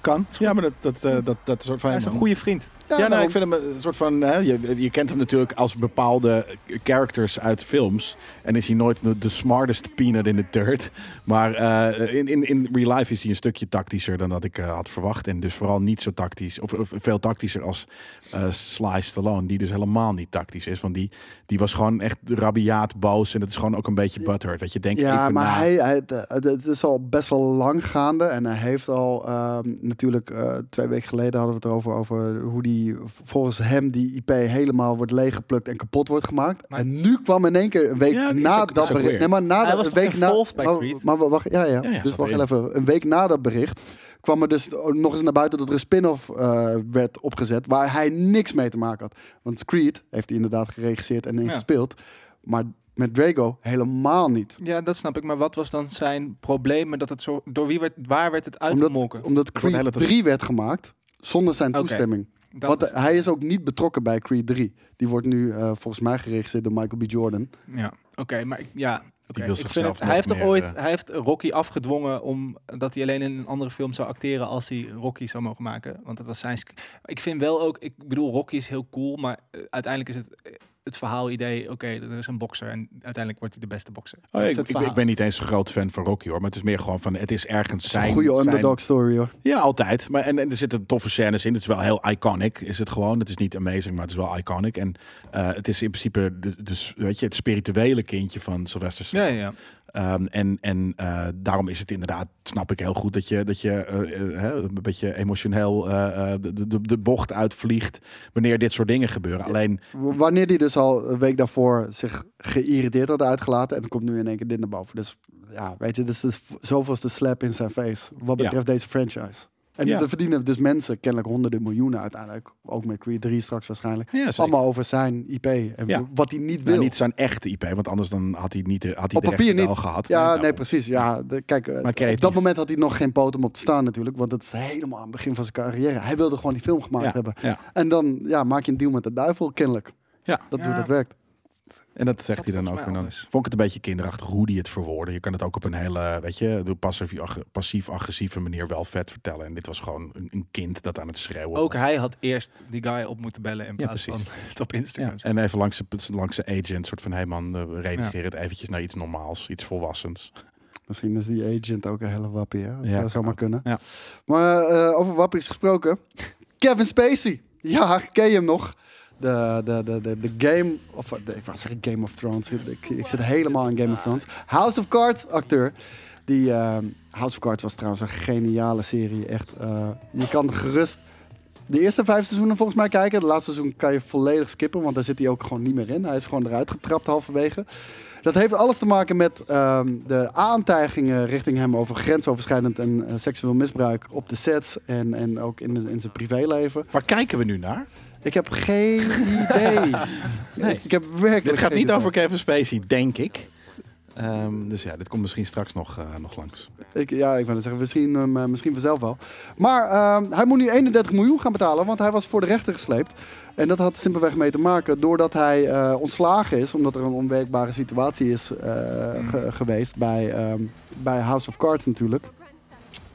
Speaker 2: Kan. Ja, maar dat, dat, eh, dat, dat soort van...
Speaker 4: Hij is een goede vriend.
Speaker 2: Ja, nou,
Speaker 3: daarom.
Speaker 2: ik vind hem een soort van... Hè, je, je kent hem natuurlijk als bepaalde characters uit films. En is hij nooit de, de smartest peanut in the dirt. Maar eh, in, in, in real life is hij een stukje tactischer dan dat ik eh, had verwacht. En dus vooral niet zo tactisch. Of, of veel tactischer als eh Sly Stallone. Die dus helemaal niet tactisch is. Want die, die was gewoon echt rabiaat boos. En dat is gewoon ook een beetje butthurt. Dat je denkt nou,
Speaker 3: Ja,
Speaker 2: even
Speaker 3: maar
Speaker 2: na.
Speaker 3: hij, hij- de- de- het is al best wel lang gaande. En hij heeft al ehm, natuurlijk, eh, twee weken geleden hadden we het erover, over hoe die v- volgens hem die IP helemaal wordt leeggeplukt en kapot wordt gemaakt.
Speaker 4: Maar-
Speaker 3: en nu kwam in één keer een week
Speaker 2: Ja, die is
Speaker 3: na
Speaker 2: ook- die is
Speaker 3: dat
Speaker 2: ook
Speaker 3: bericht.
Speaker 2: weird.
Speaker 3: Nee, maar na
Speaker 4: Hij
Speaker 3: de-
Speaker 4: was
Speaker 3: een
Speaker 4: toch
Speaker 3: week na.
Speaker 4: involved bij
Speaker 3: maar,
Speaker 4: Creed?
Speaker 3: maar wa- wacht, ja, ja.
Speaker 2: ja,
Speaker 3: dus
Speaker 2: zat
Speaker 3: wacht
Speaker 2: erin.
Speaker 3: even. Een week na dat bericht kwam er dus nog eens naar buiten dat er een spin-off eh, werd opgezet waar hij niks mee te maken had. Want Creed heeft hij inderdaad geregisseerd en
Speaker 4: Ja.
Speaker 3: ingespeeld. Maar met Drago helemaal niet.
Speaker 4: Ja, dat snap ik. Maar wat was dan zijn probleem? met Dat het zo, door wie werd, waar werd het
Speaker 3: Omdat,
Speaker 4: uitgemolken?
Speaker 3: omdat
Speaker 2: wordt de hele
Speaker 3: Creed 3 werd gemaakt zonder zijn
Speaker 4: Oké.
Speaker 3: toestemming.
Speaker 4: Dat
Speaker 3: Want eh,
Speaker 4: is-
Speaker 3: hij is ook niet betrokken bij Creed 3. Die wordt nu eh, volgens mij geregisseerd door Michael B. Jordan.
Speaker 4: Ja, oké, maar ik- ja. oké.
Speaker 2: wil
Speaker 4: Ik
Speaker 2: zichzelf
Speaker 4: vind het-
Speaker 2: nog
Speaker 4: hij heeft toch
Speaker 2: meer,
Speaker 4: ooit
Speaker 2: eh,
Speaker 4: hij heeft Rocky afgedwongen om dat hij alleen in een andere film zou acteren als hij Rocky zou mogen maken. Want dat was zijn. sc- Ik vind wel ook, ik bedoel, Rocky is heel cool, maar eh, uiteindelijk is het eh, het verhaalidee. Oké, er is een bokser en uiteindelijk wordt hij de beste bokser.
Speaker 2: Oh,
Speaker 4: Dat is
Speaker 2: ik,
Speaker 4: het
Speaker 2: ik,
Speaker 4: verhaal.
Speaker 2: ik ben niet eens een groot fan van Rocky hoor. Maar het is meer gewoon van... Het is ergens zijn...
Speaker 3: Een goede
Speaker 2: zijn-
Speaker 3: underdog story hoor.
Speaker 2: Ja, altijd. Maar, en, en er zitten toffe scènes in. Het is wel heel iconic, is het gewoon. Het is niet amazing, maar het is wel iconic. En eh, het is in principe de, de, weet je, het spirituele kindje van Sylvester Stallone.
Speaker 4: Ja, ja, ja.
Speaker 2: Ehm, en en eh, daarom is het inderdaad, snap ik heel goed, dat je, dat je eh, eh, hè, een beetje emotioneel eh, eh, de, de, de bocht uitvliegt wanneer dit soort dingen gebeuren. Alleen,
Speaker 3: W- Wanneer die dus al een week daarvoor zich geïrriteerd had uitgelaten. En dan komt nu in één keer dit naar boven. Dus ja, weet je, dit is de v- zoveelste slap in zijn face. Wat
Speaker 2: Ja.
Speaker 3: betreft deze franchise. En
Speaker 2: Ja.
Speaker 3: er verdienen dus mensen kennelijk honderden miljoenen uiteindelijk. Ook met Creed 3 straks waarschijnlijk.
Speaker 2: Ja, zeker.
Speaker 3: Allemaal over zijn IP. En
Speaker 2: Ja.
Speaker 3: wat hij niet wil.
Speaker 2: eh, nou, niet zijn echte IP, want anders dan had hij, niet, de- had hij
Speaker 3: Op
Speaker 2: de
Speaker 3: papier
Speaker 2: rechten
Speaker 3: niet.
Speaker 2: wel gehad.
Speaker 3: Ja, nee,
Speaker 2: daarom.
Speaker 3: precies. Ja, de- kijk, eh,
Speaker 2: creatief.
Speaker 3: op dat moment had hij nog geen poot om op te staan natuurlijk. Want dat is helemaal aan het begin van zijn carrière. Hij wilde gewoon die film gemaakt
Speaker 2: Ja,
Speaker 3: hebben.
Speaker 2: ja.
Speaker 3: En dan ja, maak je een deal met de duivel, kennelijk.
Speaker 2: Ja.
Speaker 3: Dat is
Speaker 4: Ja.
Speaker 3: hoe dat werkt.
Speaker 2: En dat
Speaker 4: zat
Speaker 2: zegt hij dan
Speaker 4: volgens
Speaker 2: ook.
Speaker 4: mij
Speaker 2: En dan
Speaker 4: anders.
Speaker 2: vond ik het een beetje kinderachtig hoe die het verwoordde. Je kan het ook op een hele, weet je, door passief, passief-agressieve manier wel vet vertellen. En dit was gewoon een, een kind dat aan het schreeuwen
Speaker 4: Ook
Speaker 2: was.
Speaker 4: hij had eerst die guy op moeten bellen in plaats van
Speaker 2: precies.
Speaker 4: het op Instagram.
Speaker 2: Ja, en even langs de, langs de agent, soort van, hey man, eh, we redigeren het eventjes naar iets normaals, iets volwassens.
Speaker 3: Misschien is die agent ook een hele wappie, hè? Dat
Speaker 2: Ja,
Speaker 3: zou
Speaker 2: kan
Speaker 3: zomaar
Speaker 2: ook.
Speaker 3: kunnen.
Speaker 2: Ja.
Speaker 3: Maar eh, over wappies gesproken. Kevin Spacey. Ja, ken je hem nog? De, de, de, de, de Game of... de- ik wou zeggen Game of Thrones. Ik, ik zit helemaal in Game of Thrones. House of Cards acteur. Die eh, House of Cards was trouwens een geniale serie. Echt, eh, je kan gerust de eerste vijf seizoenen volgens mij kijken. De laatste seizoen kan je volledig skippen, want daar zit hij ook gewoon niet meer in. Hij is gewoon eruit getrapt halverwege. Dat heeft alles te maken met ehm, de aantijgingen richting hem over grensoverschrijdend en eh, seksueel misbruik op de sets en, en ook in, in zijn privéleven.
Speaker 2: Waar kijken we nu naar?
Speaker 3: Ik heb geen idee. nee. Ik heb werkelijk
Speaker 2: Dit gaat
Speaker 3: geen
Speaker 2: niet
Speaker 3: idee.
Speaker 2: over Kevin Spacey, denk ik. Ehm, dus ja, dit komt misschien straks nog, eh, nog langs.
Speaker 3: Ik, ja, ik wil het zeggen, misschien, hem, eh, misschien vanzelf wel. Maar ehm, hij moet nu 31 miljoen gaan betalen, want hij was voor de rechter gesleept. En dat had simpelweg mee te maken doordat hij eh, ontslagen is, omdat er een onwerkbare situatie is eh, ge- geweest bij, ehm, bij House of Cards natuurlijk.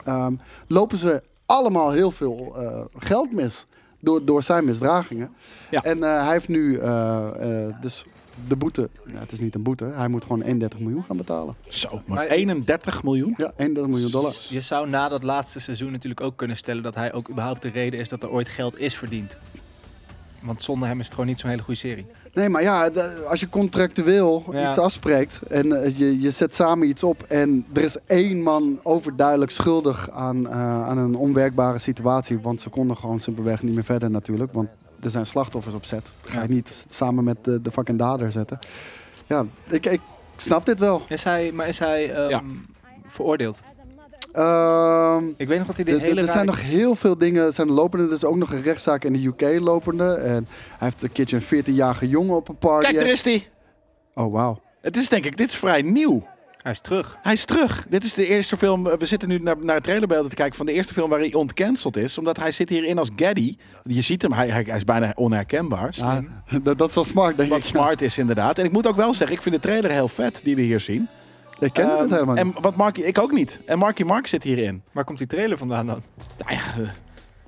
Speaker 3: Ehm, lopen ze allemaal heel veel eh, geld mis door, door zijn misdragingen.
Speaker 2: Ja.
Speaker 3: En eh, hij heeft nu eh, eh, dus de boete, nou, het is niet een boete, hij moet gewoon 31 miljoen gaan betalen.
Speaker 2: Zo, maar
Speaker 4: Maar-
Speaker 2: 31 miljoen?
Speaker 3: Ja, 31 miljoen dollar.
Speaker 4: Je zou na dat laatste seizoen natuurlijk ook kunnen stellen dat hij ook überhaupt de reden is dat er ooit geld is verdiend. Want zonder hem is het gewoon niet zo'n hele goede serie.
Speaker 3: Nee, maar ja, de- als je contractueel
Speaker 4: Ja.
Speaker 3: iets afspreekt en eh, je, je zet samen iets op en er is één man overduidelijk schuldig aan, eh, aan een onwerkbare situatie, want ze konden gewoon simpelweg niet meer verder natuurlijk, want er zijn slachtoffers op set. Ga je niet s- samen met de, de fucking dader zetten. Ja, ik, ik snap dit wel.
Speaker 4: Is hij, maar is hij ehm,
Speaker 2: Ja.
Speaker 4: veroordeeld?
Speaker 3: Ehm,
Speaker 4: Ik weet nog dat hij
Speaker 3: Er-
Speaker 4: dit
Speaker 3: er-
Speaker 4: hele
Speaker 3: er zijn
Speaker 4: raar-
Speaker 3: nog heel veel dingen er zijn lopende. Er is ook nog een rechtszaak in de UK lopende. En hij heeft een keertje een 14-jarige jongen op een party.
Speaker 2: Kijk, er is die.
Speaker 3: Oh, wauw.
Speaker 2: Het is denk ik, dit is vrij nieuw.
Speaker 4: Hij is terug.
Speaker 2: Hij is terug. Dit is de eerste film. eh, We zitten nu naar, naar trailerbeelden te kijken van de eerste film waar hij ontcanceld is. Omdat hij zit hierin als Gaddy. Je ziet hem, hij, hij hij is bijna onherkenbaar.
Speaker 3: Ja, Ah, dat, dat is wel smart, denk
Speaker 2: Wat
Speaker 3: ik.
Speaker 2: smart is inderdaad. En ik moet ook wel zeggen, ik vind de trailer heel vet die we hier zien.
Speaker 3: Ik ken het
Speaker 2: Ehm,
Speaker 3: helemaal niet.
Speaker 2: En wat Marky, ik ook niet. En Marky Mark zit hierin.
Speaker 4: Waar komt die trailer vandaan dan?
Speaker 2: Nou ja, eh,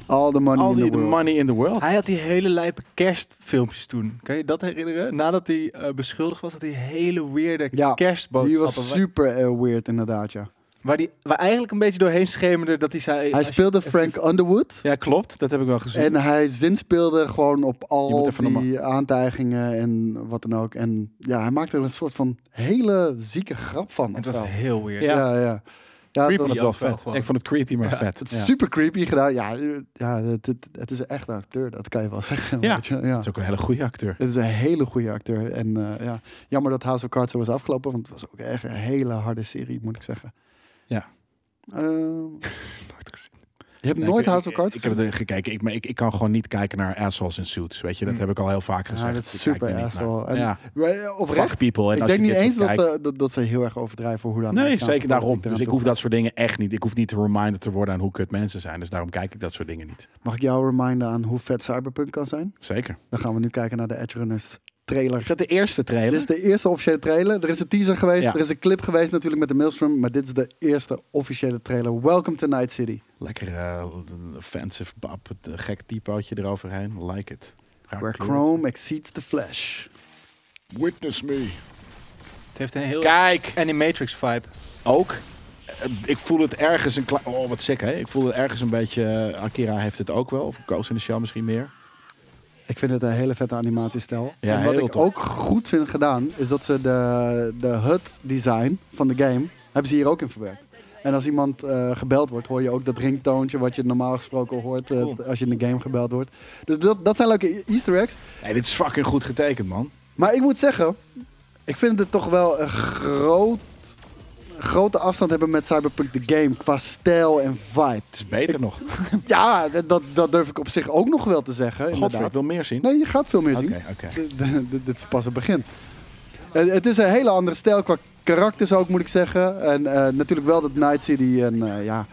Speaker 3: All the money
Speaker 2: al
Speaker 3: in the
Speaker 2: die the
Speaker 3: world.
Speaker 2: money in the world.
Speaker 4: Hij had die hele lijpe kerstfilmpjes toen. Kan je dat herinneren? Nadat hij eh, beschuldigd was, dat hij hele weirde
Speaker 3: Ja, Die
Speaker 4: kerstboodschappen...
Speaker 3: was super eh, weird inderdaad, ja.
Speaker 4: waar, die, waar eigenlijk een beetje doorheen schemerde dat hij zei...
Speaker 3: Hij
Speaker 4: als je-
Speaker 3: speelde Frank Underwood.
Speaker 2: Ja, klopt. Dat heb ik wel gezien.
Speaker 3: En hij zinspeelde gewoon op
Speaker 2: Je moet
Speaker 3: al
Speaker 2: even
Speaker 3: die aantijgingen en wat dan ook. En ja, hij maakte er een soort van hele zieke grap van.
Speaker 4: Het
Speaker 3: of
Speaker 4: was
Speaker 3: zo.
Speaker 4: heel weird.
Speaker 2: ja.
Speaker 3: ja, ja. ja. dat-
Speaker 2: creepy, ik vond het wel
Speaker 4: ook wel
Speaker 2: vet.
Speaker 4: gewoon.
Speaker 2: ik vond het creepy, maar vet.
Speaker 3: Het is
Speaker 2: Ja.
Speaker 3: super creepy gedaan. Ja, eh, ja het, het, het is echt een acteur, dat kan je wel zeggen.
Speaker 2: Ja.
Speaker 3: weet je, ja.
Speaker 2: Dat is ook een hele goede acteur.
Speaker 3: Het is een hele goede acteur. En eh, ja, jammer dat House of Cards zo was afgelopen, want het was ook echt een hele harde serie, moet ik zeggen.
Speaker 2: Ja.
Speaker 3: Ehm, Je hebt nooit House of Cards
Speaker 2: Ik, ik heb er gekeken. Ik, maar ik, ik kan gewoon niet kijken naar assholes in suits. Weet je, dat
Speaker 4: Mm.
Speaker 2: heb ik al heel vaak
Speaker 3: Ja,
Speaker 2: gezegd.
Speaker 3: Ah,
Speaker 2: dus
Speaker 3: dat is
Speaker 2: Ik kijk er
Speaker 3: super
Speaker 2: niet
Speaker 3: asshole.
Speaker 2: naar.
Speaker 3: En-
Speaker 2: Ja,
Speaker 3: gezien? Eh,
Speaker 2: fuck
Speaker 3: Oprecht.
Speaker 2: people. En
Speaker 3: Ik
Speaker 2: als je
Speaker 3: denk niet
Speaker 2: dit
Speaker 3: eens
Speaker 2: soort
Speaker 3: dat eh,
Speaker 2: kijkt-
Speaker 3: ze, dat, dat ze heel erg overdrijven hoe dan.
Speaker 2: Nee, zeker daarom. Dus ik hoef dat soort dingen echt niet. Ik hoef niet reminded te worden aan hoe kut mensen zijn. Dus daarom kijk ik dat soort dingen niet.
Speaker 3: Mag ik jou reminden aan hoe vet Cyberpunk kan zijn?
Speaker 2: Zeker.
Speaker 3: Dan gaan we nu kijken naar de Edge Runners trailer.
Speaker 2: Is dat Dus de eerste trailer?
Speaker 3: Dit is de eerste officiële trailer. Er is een teaser geweest,
Speaker 2: Ja.
Speaker 3: er is een clip geweest natuurlijk met de Maelstrom, maar dit is de eerste officiële trailer. Welcome to Night City.
Speaker 2: Lekker eh, offensive bab. het, eh, Gek typootje eroverheen. Like it. Raar
Speaker 3: Where
Speaker 2: kleur.
Speaker 3: Chrome exceeds the Flash.
Speaker 2: Witness me.
Speaker 4: Het heeft een heel
Speaker 2: Kijk,
Speaker 4: Animatrix-vibe.
Speaker 2: ook. Eh, Ik voel het ergens een klein... Oh, wat sick, hè? Ik voel het ergens een beetje... eh, Akira heeft het ook wel. Of Ghost in the Shell misschien meer.
Speaker 3: Ik vind het een hele vette animatiestijl.
Speaker 2: Ja,
Speaker 3: en wat
Speaker 2: heel
Speaker 3: ik
Speaker 2: tof.
Speaker 3: ook goed vind gedaan, is dat ze de, de HUD design van de game, hebben ze hier ook in verwerkt. En als iemand eh, gebeld wordt, hoor je ook dat ringtoontje wat je normaal gesproken hoort eh,
Speaker 4: Cool.
Speaker 3: als je in de game gebeld wordt. Dus dat, dat zijn leuke easter eggs.
Speaker 2: Hey, dit is fucking goed getekend, man.
Speaker 3: Maar ik moet zeggen, ik vind het toch wel een groot, grote afstand hebben met Cyberpunk the Game qua stijl en vibe.
Speaker 2: Het is beter nog.
Speaker 3: Ja, dat- dat, dat durf ik op zich ook nog wel te zeggen.
Speaker 2: Godver, ik
Speaker 3: Inderdaad.
Speaker 2: wil meer zien.
Speaker 3: Nee, je gaat veel meer
Speaker 2: Oké,
Speaker 3: zien.
Speaker 2: oké.
Speaker 3: D- d- d- Dit is pas het begin. Het, het is een hele andere stijl qua karakters ook, moet ik zeggen. En eh, natuurlijk wel dat Night City een, eh, ja,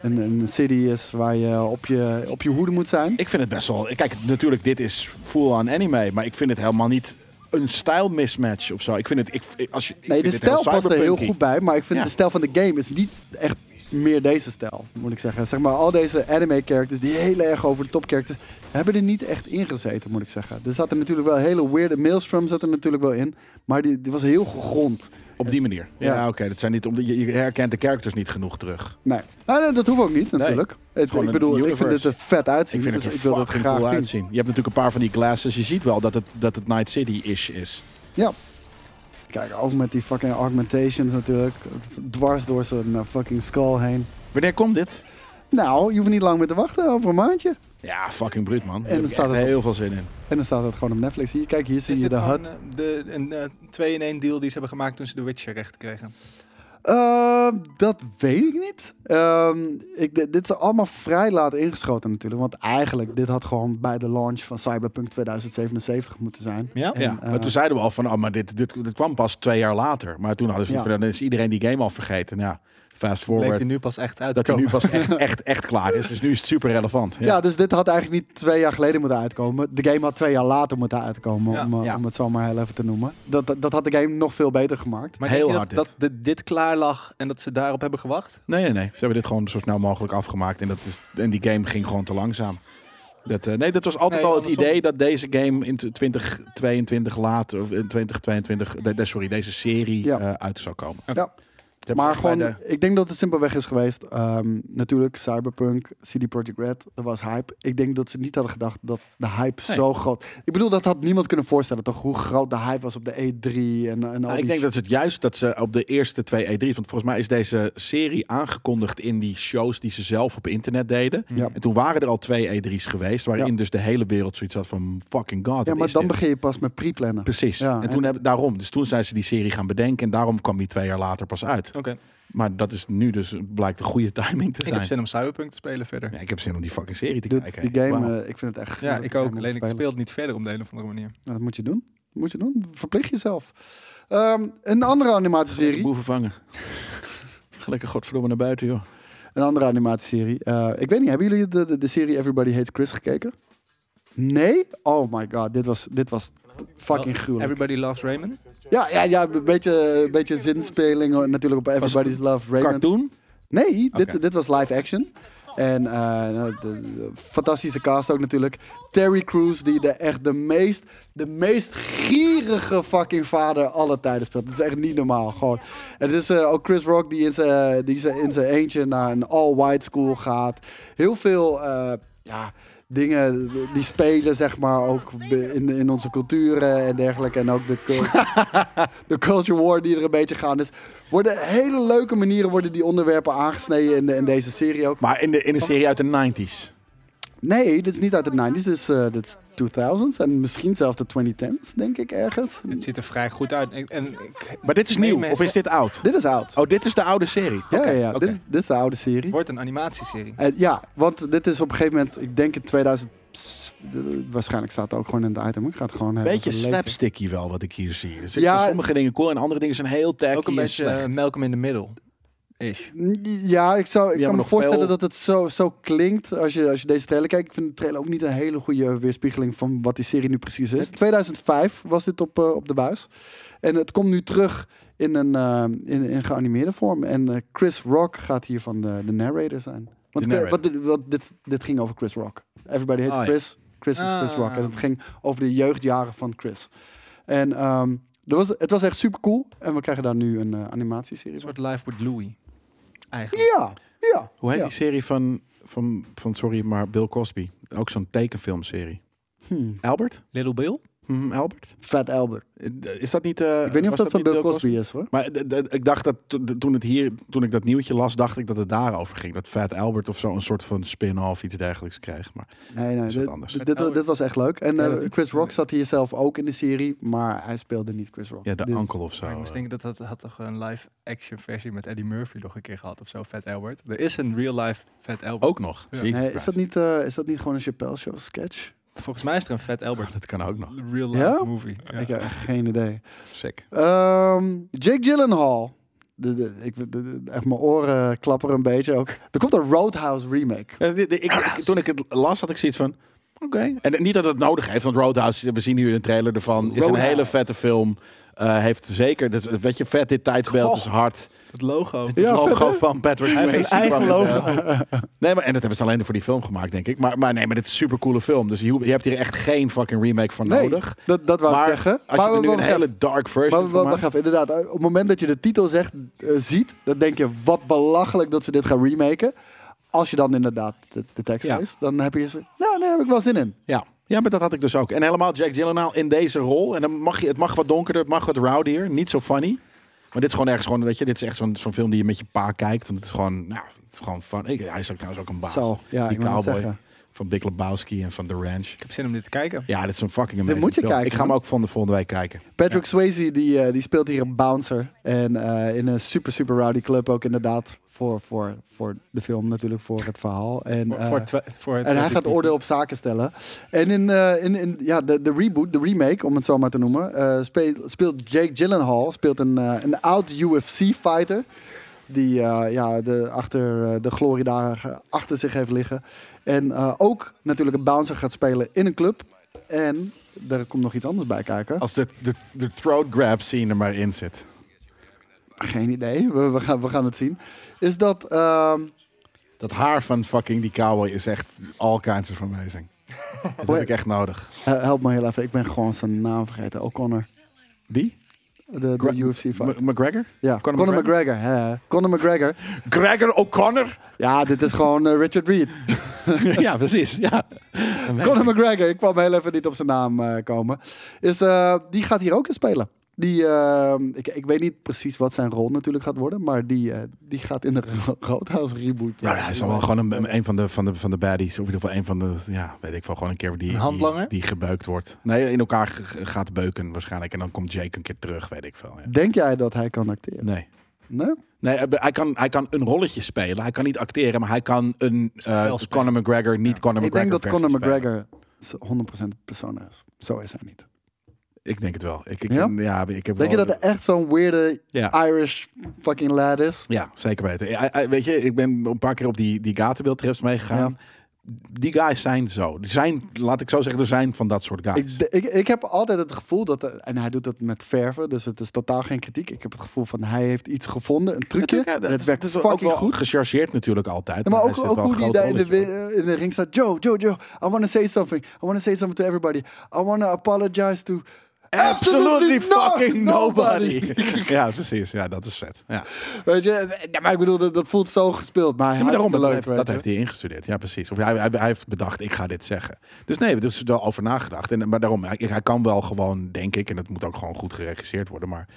Speaker 3: een, een city is waar je op je, op je hoede moet zijn.
Speaker 2: Ik vind het best wel. Kijk, natuurlijk, dit is full aan anime, maar ik vind het helemaal niet een stijl mismatch of zo. Ik vind het. Ik, ik- als je, ik
Speaker 3: Nee,
Speaker 2: vind
Speaker 3: de
Speaker 2: dit heel
Speaker 3: stijl past er heel
Speaker 2: cyberpunky.
Speaker 3: goed bij, maar ik vind
Speaker 2: Ja.
Speaker 3: de stijl van de game is niet echt meer deze stijl, moet ik zeggen. Zeg maar, al deze anime-characters, die heel erg over de top characters, hebben er niet echt in gezeten, moet ik zeggen. Er zaten natuurlijk wel hele weirde Maelstrom zat er natuurlijk wel in, maar die, die was heel gegrond.
Speaker 2: Op die manier. Ja,
Speaker 3: Ja.
Speaker 2: oké. dat zijn niet. Omdat je, je herkent de characters niet genoeg terug.
Speaker 3: Nee. Nou, nee, dat hoeft ook niet, natuurlijk. Het,
Speaker 2: Gewoon
Speaker 3: ik bedoel,
Speaker 2: een
Speaker 3: ik vind
Speaker 2: universe.
Speaker 3: het er vet uitzien,
Speaker 2: Ik vind
Speaker 3: dus
Speaker 2: het
Speaker 3: ik
Speaker 2: er
Speaker 3: wil dat
Speaker 2: fucking
Speaker 3: graag
Speaker 2: cool
Speaker 3: zien.
Speaker 2: uitzien. Je hebt natuurlijk een paar van die glasses. Je ziet wel dat het, dat het Night City-ish is.
Speaker 3: Ja. Kijk, ook met die fucking augmentations natuurlijk, dwars door zijn eh, fucking skull heen.
Speaker 2: Wanneer komt dit?
Speaker 3: Nou, je hoeft niet lang meer te wachten, over een maandje.
Speaker 2: Ja, fucking bruut, man.
Speaker 3: er
Speaker 2: En er
Speaker 3: staat
Speaker 2: staat
Speaker 3: het op.
Speaker 2: heel veel zin in.
Speaker 3: En dan staat dat gewoon op Netflix. Hier, kijk, hier zie
Speaker 4: Is
Speaker 3: je
Speaker 4: dit
Speaker 3: de
Speaker 4: gewoon,
Speaker 3: hut.
Speaker 4: eh, de, een 2-in-1 deal die ze hebben gemaakt toen ze de Witcher recht kregen?
Speaker 3: Ehm, dat weet ik niet. Ehm, ik, dit- dit is allemaal vrij laat ingeschoten natuurlijk. Want eigenlijk, dit had gewoon bij de launch van Cyberpunk 2077 moeten zijn.
Speaker 4: Ja?
Speaker 3: En,
Speaker 2: ja, maar
Speaker 3: eh,
Speaker 2: toen zeiden we al van, oh, maar dit, dit, dit kwam pas twee jaar later. Maar toen hadden ze
Speaker 3: Ja.
Speaker 2: van, dan is iedereen die game al vergeten. Nou, fast
Speaker 4: Bleek
Speaker 2: forward,
Speaker 4: hij nu pas echt uit te
Speaker 2: dat hij nu
Speaker 4: komen.
Speaker 2: pas echt, echt, echt klaar is. Dus nu is het super relevant.
Speaker 3: Ja. dus dit had eigenlijk niet twee jaar geleden moeten uitkomen. De game had twee jaar later moeten uitkomen,
Speaker 4: Ja.
Speaker 3: om, eh,
Speaker 2: Ja.
Speaker 3: om het zo maar heel even te noemen. Dat, dat, dat had de game nog veel beter gemaakt.
Speaker 4: Maar
Speaker 2: Heel
Speaker 4: denk je
Speaker 2: hard
Speaker 4: dat, dat dit, dit klaar lag en dat ze daarop hebben gewacht?
Speaker 2: Nee, nee, nee. Ze hebben dit gewoon zo snel mogelijk afgemaakt. En, dat is, en die game ging gewoon te langzaam. Dat, eh, nee, dat was altijd
Speaker 4: Nee,
Speaker 2: al het
Speaker 4: andersom.
Speaker 2: idee dat deze game in 2022 later, of in 2022, de- de- sorry, deze serie
Speaker 3: Ja.
Speaker 2: eh, uit zou komen.
Speaker 4: Oké.
Speaker 3: Ja.
Speaker 2: Dat hebben
Speaker 3: Maar
Speaker 2: we bij
Speaker 3: gewoon, ik denk dat het simpelweg is geweest. ehm, natuurlijk, Cyberpunk, CD Projekt Red, er was hype. Ik denk dat ze niet hadden gedacht dat de hype
Speaker 2: Nee.
Speaker 3: zo groot... Ik bedoel, dat had niemand kunnen voorstellen, toch? Hoe groot de hype was op de E3 en, en al
Speaker 2: Nou, ik
Speaker 3: die
Speaker 2: denk dat ze het juist dat ze op de eerste twee E3's, want volgens mij is deze serie aangekondigd in die shows die ze zelf op internet deden.
Speaker 3: Ja.
Speaker 2: En toen waren er al twee E3's geweest, waarin dus de hele wereld zoiets had van fucking god.
Speaker 3: Ja,
Speaker 2: wat
Speaker 3: maar
Speaker 2: is
Speaker 3: dan
Speaker 2: dit?
Speaker 3: begin je pas met pre-plannen.
Speaker 2: Precies.
Speaker 3: Ja,
Speaker 2: en
Speaker 3: en-
Speaker 2: toen hebben, daarom, dus toen zijn ze die serie gaan bedenken en daarom kwam die twee jaar later pas uit.
Speaker 4: Oké.
Speaker 2: Maar dat is nu dus blijkt de goede timing te
Speaker 4: Ik
Speaker 2: zijn.
Speaker 4: heb zin om Cyberpunk te spelen verder.
Speaker 2: ja, ik heb zin om die fucking serie te
Speaker 3: Dude,
Speaker 2: kijken.
Speaker 3: die game,
Speaker 2: Wauw.
Speaker 3: eh, ik vind het echt...
Speaker 4: Ja, ik ook. Alleen ik
Speaker 3: speel.
Speaker 4: speel het niet verder op de een of andere manier.
Speaker 3: Nou, dat moet je doen. Dat moet je doen. Verplicht jezelf. Ehm, een andere
Speaker 2: De
Speaker 3: animatieserie.
Speaker 2: boeven vangen. Ga Lekker godverdomme naar buiten, joh.
Speaker 3: Een andere animatieserie. Eh, ik weet niet, hebben jullie de, de, de serie Everybody Hates Chris gekeken? Nee? Oh my god, dit was, dit was fucking gruwelijk.
Speaker 4: Everybody Loves Raymond.
Speaker 3: Ja, ja, ja, een beetje, een beetje zinspeling hoor, natuurlijk op
Speaker 2: het
Speaker 3: Everybody's Love. Raymond.
Speaker 2: Cartoon?
Speaker 3: Nee, dit,
Speaker 2: Oké.
Speaker 3: dit was live action. En eh, nou, de- de fantastische cast ook natuurlijk. Terry Crews, die de, echt de meest, de meest gierige fucking vader alle tijden speelt. Dat is echt niet normaal. Gewoon. En het is eh, ook Chris Rock die in zijn die zijn- in zijn eentje naar een all-white school gaat. Heel veel eh, ja, dingen die spelen, zeg maar, ook be- in, in onze culturen en dergelijke. En ook de, cul- de culture war die er een beetje gaande is. Worden hele leuke manieren worden die onderwerpen aangesneden in, de- in deze serie ook.
Speaker 2: Maar in de, in de serie uit de 90s.
Speaker 3: Nee, dit is niet uit de 90s, dit is, eh, dit is 2000s en misschien zelfs de 2010s, denk ik ergens.
Speaker 4: Het ziet er vrij goed uit. En, en ik-
Speaker 2: Maar dit is
Speaker 4: Nee,
Speaker 2: nieuw,
Speaker 4: maar-
Speaker 2: of is dit oud?
Speaker 3: Dit is oud.
Speaker 2: Oh, dit is de oude serie.
Speaker 3: ja,
Speaker 2: Oké,
Speaker 3: ja, ja.
Speaker 2: oké.
Speaker 3: Dit, is, dit is de oude serie.
Speaker 4: het wordt een animatieserie.
Speaker 3: Eh, ja, want dit is op een gegeven moment, ik denk in 2000. pss, eh, waarschijnlijk staat het ook gewoon in het item. Ik ga het gewoon eh, even
Speaker 2: Beetje
Speaker 3: lezen.
Speaker 2: slapsticky wel wat ik hier zie. Dus ik
Speaker 3: Ja.
Speaker 2: vind sommige dingen cool en andere dingen zijn heel tacky
Speaker 4: Ook een beetje
Speaker 2: en
Speaker 4: melk
Speaker 3: ehm,
Speaker 2: slecht.
Speaker 4: Malcolm in the Middle. Ish.
Speaker 3: Ja, ik, zou,
Speaker 2: Ja,
Speaker 3: ik
Speaker 2: maar
Speaker 3: kan me
Speaker 2: nog
Speaker 3: voorstellen
Speaker 2: veel-
Speaker 3: dat het zo, zo klinkt als je, als je deze trailer kijkt. Ik vind de trailer ook niet een hele goede weerspiegeling van wat die serie nu precies is. 2005 was dit op, eh, op de buis. En het komt nu terug in een eh, in, in geanimeerde vorm. En eh, Chris Rock gaat hiervan de, de narrator zijn. Want,
Speaker 2: De narrator.
Speaker 3: want dit- want dit, dit ging over Chris Rock. Everybody hates
Speaker 2: Oh, ja.
Speaker 3: Chris. Chris is Chris
Speaker 4: Ah.
Speaker 3: Rock. En het ging over de jeugdjaren van Chris. En ehm, er was, het was echt super cool. En we krijgen daar nu een eh, animatieserie
Speaker 4: Een
Speaker 3: van.
Speaker 4: soort Life with Louis. Eigenlijk.
Speaker 3: Ja, ja.
Speaker 2: Hoe heet
Speaker 3: ja.
Speaker 2: die serie van, van, van, sorry, maar Bill Cosby? Ook zo'n tekenfilmserie.
Speaker 3: Hmm.
Speaker 2: Albert?
Speaker 4: Little Bill.
Speaker 2: Hm, Albert?
Speaker 3: Fat Albert.
Speaker 2: Is dat niet... eh,
Speaker 3: Ik weet niet of
Speaker 2: was
Speaker 3: dat, van
Speaker 2: niet
Speaker 3: Bill Cosby is hoor.
Speaker 2: Maar d- d- ik dacht dat to- d- toen, het hier, toen ik dat nieuwtje las, dacht ik dat het daarover ging. Dat Fat Albert of zo een soort van spin-off iets dergelijks kreeg. Maar
Speaker 3: Nee, nee.
Speaker 2: is wat
Speaker 3: Dit,
Speaker 2: anders.
Speaker 3: dit- dit, dit was echt leuk. En
Speaker 4: Ja,
Speaker 3: eh,
Speaker 4: dat niet.
Speaker 3: Chris Rock zat hier zelf ook in de serie, maar hij speelde niet Chris Rock.
Speaker 2: ja, de
Speaker 3: Dit-
Speaker 2: uncle of zo. eh.
Speaker 4: Maar ik moest denken dat dat had toch een live action versie met Eddie Murphy nog een keer gehad of zo. Fat Albert. Er is een real life Fat Albert.
Speaker 2: Ook nog.
Speaker 4: Ja.
Speaker 2: Jesus
Speaker 3: Nee, is
Speaker 2: Christ.
Speaker 3: dat niet, eh, is dat niet gewoon een Chappelle Show sketch?
Speaker 4: Volgens mij is er een Fat Albert.
Speaker 2: Dat kan ook nog.
Speaker 4: Real life
Speaker 3: Ja?
Speaker 4: movie. Ah, Ja.
Speaker 3: Ik heb echt geen idee.
Speaker 2: Sick.
Speaker 3: Ehm, Jake Gyllenhaal. De, de, ik, de- de- echt mijn oren klapperen een beetje ook. Er komt een Roadhouse remake.
Speaker 2: toen ik het las, had ik zoiets van... Oké. En niet dat het nodig heeft, want Roadhouse, we zien nu een trailer ervan. Is een
Speaker 3: Roadhouse.
Speaker 2: hele vette film. Eh, heeft zeker, dat is- weet je, vet dit tijdsbeeld
Speaker 4: Goh.
Speaker 2: is hard.
Speaker 4: Het logo.
Speaker 2: Ja,
Speaker 3: vet,
Speaker 2: logo
Speaker 3: hè?
Speaker 2: van Patrick Hij
Speaker 4: heeft een eigen
Speaker 2: Nee, maar en dat hebben ze alleen voor die film gemaakt, denk ik. Maar, maar nee, maar dit is een supercoole film. Dus je, ho- je hebt hier echt geen fucking remake van
Speaker 3: Nee,
Speaker 2: nodig.
Speaker 3: dat, dat wou
Speaker 2: maar
Speaker 3: ik zeggen.
Speaker 2: als je er nu
Speaker 3: we-
Speaker 2: een
Speaker 3: we-
Speaker 2: hele dark version
Speaker 3: Maar
Speaker 2: van
Speaker 3: wacht
Speaker 2: maakt...
Speaker 3: even, inderdaad. eh, Op het moment dat je de titel zegt, eh, ziet, dan denk je wat belachelijk dat ze dit gaan remaken. Als je dan inderdaad de, de tekst
Speaker 2: Ja.
Speaker 3: leest, dan heb je zo, nou, daar heb ik wel zin in.
Speaker 2: Ja. ja, maar dat had ik dus ook. En helemaal Jack Gyllenhaal in deze rol. En dan mag je, het mag wat donkerder, het mag wat rowdier. Niet zo funny. Maar dit is gewoon ergens gewoon, weet je, dit is echt zo'n zo'n film die je met je pa kijkt. Want het is gewoon, nou, het is gewoon fun. Ik, hij is ook trouwens ook een baas.
Speaker 3: Zo, ja,
Speaker 2: die
Speaker 3: ik wou net
Speaker 2: cowboy.
Speaker 3: zeggen.
Speaker 2: Van Big Lebowski en van The Ranch.
Speaker 4: Ik heb zin om dit te kijken.
Speaker 2: Ja, dit is een fucking amazing
Speaker 3: moet je
Speaker 2: film.
Speaker 3: kijken,
Speaker 2: Ik ga hem
Speaker 3: man.
Speaker 2: ook van de volgende week kijken.
Speaker 3: Patrick Swayze die, eh, die speelt hier een bouncer. En eh, in een super, super rowdy club ook inderdaad. Voor, voor, voor de film natuurlijk, voor het verhaal. En,
Speaker 4: Voor,
Speaker 3: eh,
Speaker 4: voor twa- voor het
Speaker 3: en hij
Speaker 4: publiek.
Speaker 3: gaat oordeel op zaken stellen. En in, eh, in, in ja, de, de reboot, de remake, om het zo maar te noemen, eh, speelt, speelt Jake Gyllenhaal, speelt een, eh, een oud UFC-fighter. Die eh, ja, de, achter eh, de gloriedagen achter zich heeft liggen. En eh, ook natuurlijk een bouncer gaat spelen in een club. En daar komt nog iets anders bij kijken.
Speaker 2: Als de, de, de throat grab scene er maar in zit.
Speaker 3: Geen idee, we, we, gaan, we gaan het zien. Is dat. ehm,
Speaker 2: Dat haar van fucking die cowboy is echt all kinds of amazing. Dat heb ik echt nodig.
Speaker 3: eh, help me heel even, ik ben gewoon zijn naam vergeten. O'Connor,
Speaker 2: Wie?
Speaker 3: de, de
Speaker 2: Gra-
Speaker 3: UFC fighter.
Speaker 2: M- McGregor?
Speaker 3: Ja, Conor,
Speaker 2: Conor
Speaker 3: McGregor. hè. Conor McGregor.
Speaker 2: Gregor O'Connor?
Speaker 3: Ja, dit is gewoon eh, Richard Reed.
Speaker 2: ja, precies. Ja.
Speaker 3: Conor McGregor, ik kwam heel even niet op zijn naam eh, komen. Is, eh, die gaat hier ook in spelen. Die, eh, ik, ik weet niet precies wat zijn rol natuurlijk gaat worden, maar die, eh, die gaat in de Ro- Roadhouse reboot.
Speaker 2: Ja, hij is wel gewoon een, een- een van, de, van, de, van de baddies. Of in ieder geval een van de, ja, weet ik wel, gewoon een keer die,
Speaker 4: Een
Speaker 2: die,
Speaker 4: handlanger?
Speaker 2: die gebeukt wordt. Nee, in elkaar ge- ge- gaat beuken waarschijnlijk. En dan komt Jake een keer terug, weet ik veel. Ja.
Speaker 3: Denk jij dat hij kan acteren?
Speaker 2: Nee.
Speaker 3: Nee?
Speaker 2: Nee, eh, hij- hij kan, hij kan een rolletje spelen. Hij kan niet acteren, maar hij kan een eh
Speaker 4: Zelf spelen.
Speaker 2: Conor McGregor, niet
Speaker 4: Ja.
Speaker 2: Conor
Speaker 3: Ik
Speaker 2: McGregor.
Speaker 3: denk dat
Speaker 2: versie
Speaker 3: Conor
Speaker 2: spelen.
Speaker 3: McGregor z- 100% persona is. Zo is hij niet.
Speaker 2: Ik denk het wel. Ik, ik,
Speaker 3: Ja?
Speaker 2: ja? ik heb
Speaker 3: Denk je
Speaker 2: wel-
Speaker 3: dat hij echt zo'n weirde
Speaker 2: Ja.
Speaker 3: Irish fucking lad is?
Speaker 2: ja, zeker weten. Ja, ja, weet je, ik ben een paar keer op die, die Gatenbeeld-trips meegegaan. Die guys zijn zo. Er zijn, laat ik zo zeggen, er zijn van dat soort
Speaker 3: Ik,
Speaker 2: guys.
Speaker 3: ik, ik heb altijd het gevoel dat, er- en hij doet dat met verven, dus het is totaal geen kritiek. Ik heb het gevoel van hij heeft iets gevonden, een trucje.
Speaker 2: Natuurlijk, ja,
Speaker 3: en het
Speaker 2: is-
Speaker 3: werkt
Speaker 2: is
Speaker 3: fucking
Speaker 2: ook wel
Speaker 3: goed.
Speaker 2: gechargeerd natuurlijk altijd.
Speaker 3: Ja, maar
Speaker 2: hij
Speaker 3: ook,
Speaker 2: zit
Speaker 3: ook
Speaker 2: wel
Speaker 3: hoe
Speaker 2: een
Speaker 3: die
Speaker 2: groot
Speaker 3: daar in de,
Speaker 2: rolletje op.
Speaker 3: wi- eh, in de ring staat. Joe, Joe, Joe, I want to say something. I want to say something to everybody. I want to apologize to...
Speaker 2: Absolutely
Speaker 3: no-
Speaker 2: fucking nobody. ja, precies. Ja, dat is vet. Ja.
Speaker 3: Weet je, ja, maar ik bedoel, dat, dat voelt zo gespeeld. Maar hij
Speaker 2: Ja, maar daarom,
Speaker 3: leuk,
Speaker 2: dat, heeft,
Speaker 3: weet
Speaker 2: dat
Speaker 3: je.
Speaker 2: heeft hij ingestudeerd. Ja, precies. Of hij, hij, hij heeft bedacht, ik ga dit zeggen. Dus nee, er is wel over nagedacht. En, maar daarom, hij, hij kan wel gewoon, denk ik, en het moet ook gewoon goed geregisseerd worden, maar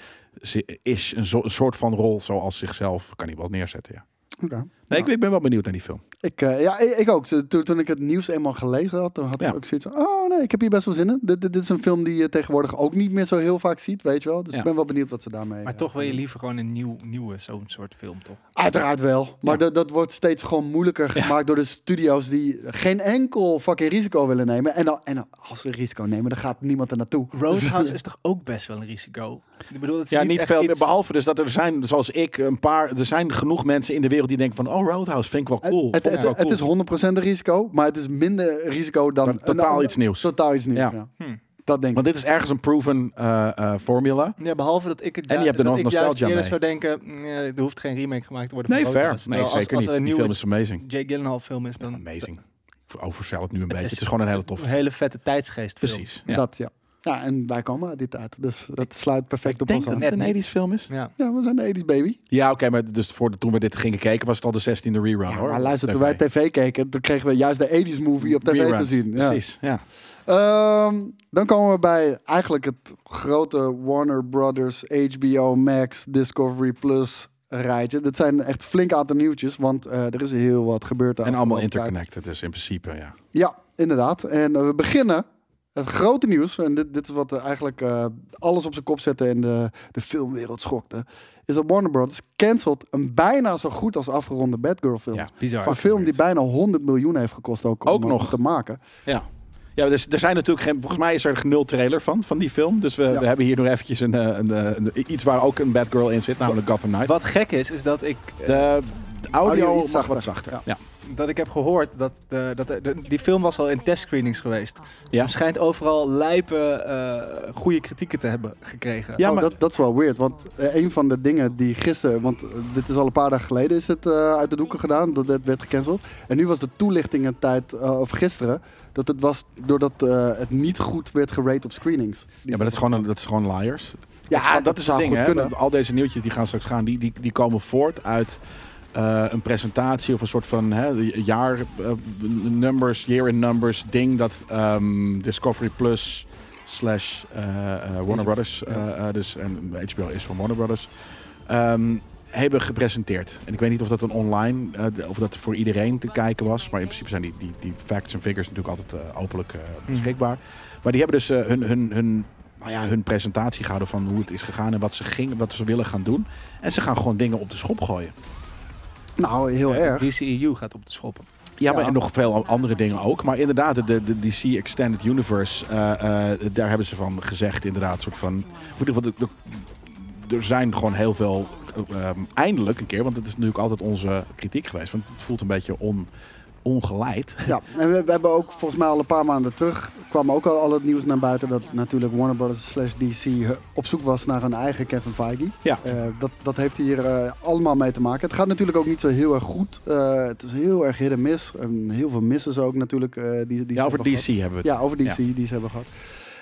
Speaker 2: ze- is een, zo- een soort van rol zoals zichzelf, kan hij wel neerzetten, ja.
Speaker 3: Oké.
Speaker 2: Nee, ik, ik ben wel benieuwd naar die film.
Speaker 3: Ik, eh, ja, ik, ik ook. Toen, toen ik het nieuws eenmaal gelezen had, toen had ik
Speaker 2: Ja.
Speaker 3: ook zoiets van... Oh nee, ik heb hier best wel zin in. Dit, dit, dit is een film die je tegenwoordig ook niet meer zo heel vaak ziet, weet je wel. Dus
Speaker 2: Ja.
Speaker 3: ik ben wel benieuwd wat ze daarmee...
Speaker 4: Maar
Speaker 3: eh,
Speaker 4: toch wil je liever gewoon een nieuw, nieuwe zo'n soort film, toch?
Speaker 3: Uiteraard wel. Maar dat, dat wordt steeds gewoon moeilijker gemaakt door de studio's die geen enkel fucking risico willen nemen. En, dan, en dan, als ze risico nemen, dan gaat niemand er naartoe.
Speaker 4: Roadhouse is toch ook best wel een risico? Ik bedoel, het is
Speaker 2: Ja, niet
Speaker 4: echt
Speaker 2: veel meer.
Speaker 4: iets-
Speaker 2: Behalve dus dat er zijn, zoals ik, een paar, er zijn genoeg mensen in de wereld die denken van, oh, Roadhouse vind ik wel cool.
Speaker 3: het,
Speaker 2: vond ik
Speaker 3: het,
Speaker 2: wel
Speaker 3: het
Speaker 2: cool.
Speaker 3: is 100% een risico, maar het is minder risico dan...
Speaker 2: Maar totaal
Speaker 3: een-
Speaker 2: iets nieuws.
Speaker 3: Totaal iets nieuws, ja.
Speaker 2: Ja.
Speaker 4: Hm.
Speaker 3: Dat denk ik.
Speaker 2: Want dit is ergens een proven eh, eh, formula.
Speaker 4: Ja, behalve dat ik het
Speaker 2: En je hebt er
Speaker 4: dat
Speaker 2: nog
Speaker 4: ik
Speaker 2: nostalgia
Speaker 4: juist eerder
Speaker 2: mee.
Speaker 4: zou denken, nee, er hoeft geen remake gemaakt te worden
Speaker 2: Nee,
Speaker 4: van
Speaker 2: fair.
Speaker 4: Roadhouse.
Speaker 2: Nee,
Speaker 4: Terwijl als-
Speaker 2: zeker
Speaker 4: als
Speaker 2: niet.
Speaker 4: er een
Speaker 2: Die
Speaker 4: nieuwe
Speaker 2: film is amazing.
Speaker 4: Jake Gyllenhaal film is, dan
Speaker 2: Amazing. Ik overstel het nu een beetje.
Speaker 4: is-
Speaker 2: het is gewoon een hele toffe
Speaker 4: een hele vette tijdsgeest film.
Speaker 2: Precies. Ja.
Speaker 3: Dat, ja. Ja, en wij komen uit die tijd. Dus dat sluit perfect
Speaker 2: ik
Speaker 3: op
Speaker 2: denk
Speaker 3: ons
Speaker 2: dat
Speaker 3: aan.
Speaker 2: het een
Speaker 4: Net niet.
Speaker 2: 80s film is.
Speaker 4: Ja.
Speaker 3: Ja, we zijn de 80s baby.
Speaker 2: Ja, oké, maar dus voor de, toen we dit gingen kijken was het al de 16e rerun.
Speaker 3: Ja,
Speaker 2: hoor.
Speaker 3: maar luister, toen wij tv keken, toen kregen we juist de 80s movie op tv te
Speaker 2: Reruns,
Speaker 3: zien. Ja.
Speaker 2: Precies, ja.
Speaker 3: Ehm, dan komen we bij eigenlijk het grote Warner Brothers, HBO Max, Discovery Plus rijtje. Dat zijn echt flink aantal nieuwtjes, want eh, er is heel wat gebeurd. de
Speaker 2: En allemaal
Speaker 3: afgelopen tijd.
Speaker 2: interconnected, dus in principe, ja.
Speaker 3: Ja, inderdaad. En eh, we beginnen. Het grote nieuws, en dit, dit is wat eh, eigenlijk eh, alles op zijn kop zette en de, de filmwereld schokte, is dat Warner Brothers cancelt een bijna zo goed als afgeronde Batgirl film.
Speaker 2: Ja,
Speaker 4: Bizar.
Speaker 3: een film die bijna 100 miljoen heeft gekost ook,
Speaker 2: Ook
Speaker 3: om eh,
Speaker 2: nog.
Speaker 3: te maken.
Speaker 2: Ja. Ja, dus er zijn natuurlijk geen. Volgens mij is er nul trailer van, van die film. Dus we,
Speaker 3: Ja.
Speaker 2: we hebben hier nog eventjes een, eh, een, eh, een- iets waar ook een bad girl in zit, namelijk Gotham Knight.
Speaker 4: Wat gek is, is dat ik, eh,
Speaker 2: De, de audio,
Speaker 3: Audio
Speaker 2: mag
Speaker 3: iets
Speaker 2: wat
Speaker 3: zachter.
Speaker 2: zachter.
Speaker 3: Ja.
Speaker 2: Ja.
Speaker 4: dat ik heb gehoord dat, eh, dat er- de- die film was al in testscreenings geweest.
Speaker 2: Ja.
Speaker 4: Er schijnt overal lijpen eh, goede kritieken te hebben gekregen.
Speaker 2: Ja,
Speaker 3: Oh,
Speaker 2: maar-
Speaker 3: dat, dat is wel weird, want eh, een van de dingen die gisteren, want eh, dit is al een paar dagen geleden, is het eh, uit de doeken gedaan, dat het werd gecanceld. En nu was de toelichting een tijd, eh, of gisteren, dat het was doordat eh, het niet goed werd gerate op screenings.
Speaker 2: ja, maar dat is gewoon, een- dat is gewoon liars.
Speaker 3: Ja,
Speaker 2: dat, dat is het
Speaker 3: zou
Speaker 2: ding.
Speaker 3: goed
Speaker 2: Hè?
Speaker 3: kunnen.
Speaker 2: Dat Al deze nieuwtjes die gaan straks gaan, die, die, die komen voort uit eh, een presentatie of een soort van hè, jaar eh, numbers, year in numbers ding dat ehm, Discovery Plus slash eh, eh, Warner Brothers, eh, eh, dus en HBO is van Warner Brothers. ehm, hebben gepresenteerd. En ik weet niet of dat een online, eh, de- of dat voor iedereen te kijken was. Maar in principe zijn die, die, die facts en figures natuurlijk altijd eh, openlijk eh, beschikbaar. Maar die hebben dus eh, hun, hun, hun, nou ja, hun presentatie gehouden van hoe het is gegaan en wat ze, gingen, wat ze willen gaan doen. En ze gaan gewoon dingen op de schop gooien.
Speaker 3: Nou, heel
Speaker 4: Eh,
Speaker 3: erg.
Speaker 4: DCEU gaat op de schoppen.
Speaker 2: Ja,
Speaker 3: Ja.
Speaker 2: maar en nog veel andere dingen ook. Maar inderdaad, de, de DC Extended Universe, eh, eh, daar hebben ze van gezegd inderdaad. Soort van, in ieder geval, de- de- er zijn gewoon heel veel, eh, ehm, eindelijk een keer, want dat is natuurlijk altijd onze kritiek geweest. Want het voelt een beetje on, ongeleid.
Speaker 3: Ja, en we, we hebben ook volgens mij al een paar maanden terug kwam ook al, al het nieuws naar buiten dat natuurlijk Warner Brothers slash DC op zoek was naar hun eigen Kevin Feige.
Speaker 2: Ja.
Speaker 3: Eh, dat, dat heeft hier eh, allemaal mee te maken. Het gaat natuurlijk ook niet zo heel erg goed. Eh, het is heel erg hit en miss. En heel veel missen ze ook natuurlijk. eh, die, die ze
Speaker 2: Ja, over
Speaker 3: hebben
Speaker 2: DC hebben we het.
Speaker 3: Ja, over DC die ze hebben gehad.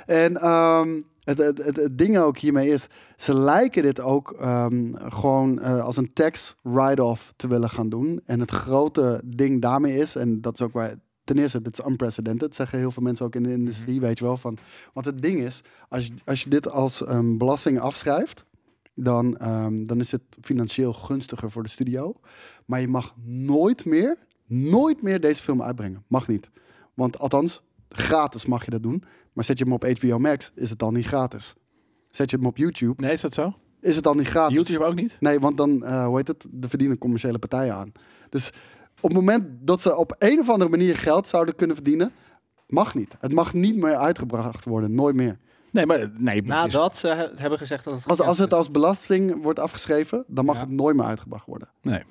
Speaker 3: En ehm, het, het, het, het ding ook hiermee is, ze lijken dit ook ehm, gewoon eh, als een tax write-off te willen gaan doen. En het grote ding daarmee is, en dat is ook waar, ten eerste, dit is unprecedented, zeggen heel veel mensen ook in
Speaker 2: Mhm.
Speaker 3: de industrie, weet je wel. Van, want het ding is, als, je- als je dit als ehm, belasting afschrijft, dan, ehm, dan is het financieel gunstiger voor de studio. Maar je mag nooit meer, nooit meer deze film uitbrengen. Mag niet. Want althans, gratis mag je dat doen. Maar zet je hem op HBO Max, is het dan niet gratis. Zet je hem op YouTube,
Speaker 2: Nee, is dat zo?
Speaker 3: is het dan niet gratis.
Speaker 2: YouTube ook niet?
Speaker 3: Nee, want dan, eh, hoe heet het, de verdienen commerciële partijen aan. Dus op het moment dat ze op een of andere manier geld zouden kunnen verdienen, mag niet. Het mag niet meer uitgebracht worden, nooit meer.
Speaker 2: Nee, maar nee, is-
Speaker 4: Nadat ze he- hebben gezegd dat het
Speaker 3: Als, als het
Speaker 4: gecanceld
Speaker 3: als belasting wordt afgeschreven, dan mag
Speaker 4: Ja.
Speaker 3: het nooit meer uitgebracht worden.
Speaker 2: nee.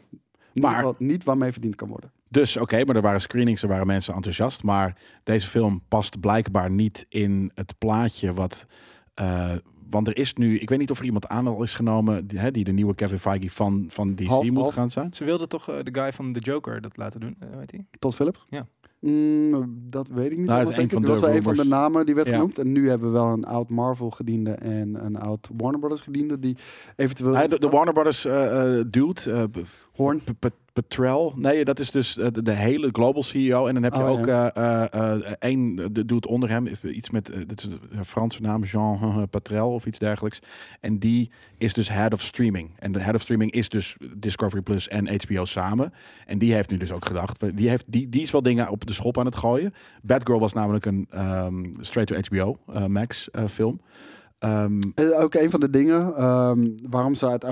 Speaker 2: Maar-
Speaker 3: Maar niet, niet waarmee verdiend kan worden.
Speaker 2: Dus oké, maar er waren screenings, er waren mensen enthousiast. Maar deze film past blijkbaar niet in het plaatje wat. eh, want er is nu, ik weet niet of er iemand aan al is genomen die, hè, die de nieuwe Kevin Feige van, van DC
Speaker 3: Half,
Speaker 2: moet
Speaker 3: half.
Speaker 2: gaan zijn.
Speaker 4: is. Ze wilden toch eh, de guy van The Joker dat laten doen, eh, weet hij?
Speaker 3: Tot Philips?
Speaker 4: Ja.
Speaker 3: Mm, dat weet ik niet.
Speaker 2: Nou, het
Speaker 3: Nou,
Speaker 2: is
Speaker 3: dat
Speaker 2: een van de
Speaker 3: was wel een van de
Speaker 2: rumors.
Speaker 3: namen die werd
Speaker 2: Ja.
Speaker 3: genoemd. En nu hebben we wel een oud Marvel gediende en een oud Warner Brothers gediende die eventueel...
Speaker 2: Hè, de, de Warner Brothers eh, eh, dude, eh, P-
Speaker 3: Horn.
Speaker 2: P- P- Petrel. Nee, dat is dus eh, de, de hele global CEO. En dan heb je
Speaker 3: Oh,
Speaker 2: ook eh, eh, eh, één eh, de dude onder hem, is iets met eh, dit is een Franse naam, Jean eh, Petrel of iets dergelijks. En die is dus head of streaming. En de head of streaming is dus Discovery Plus en HBO samen. En die heeft nu dus ook gedacht. Die, heeft, die, die is wel dingen op de schop aan het gooien. Batgirl was namelijk een ehm, straight to HBO eh, Max eh, film. Ehm,
Speaker 3: Eh, ook een van de dingen ehm, waarom ze uit.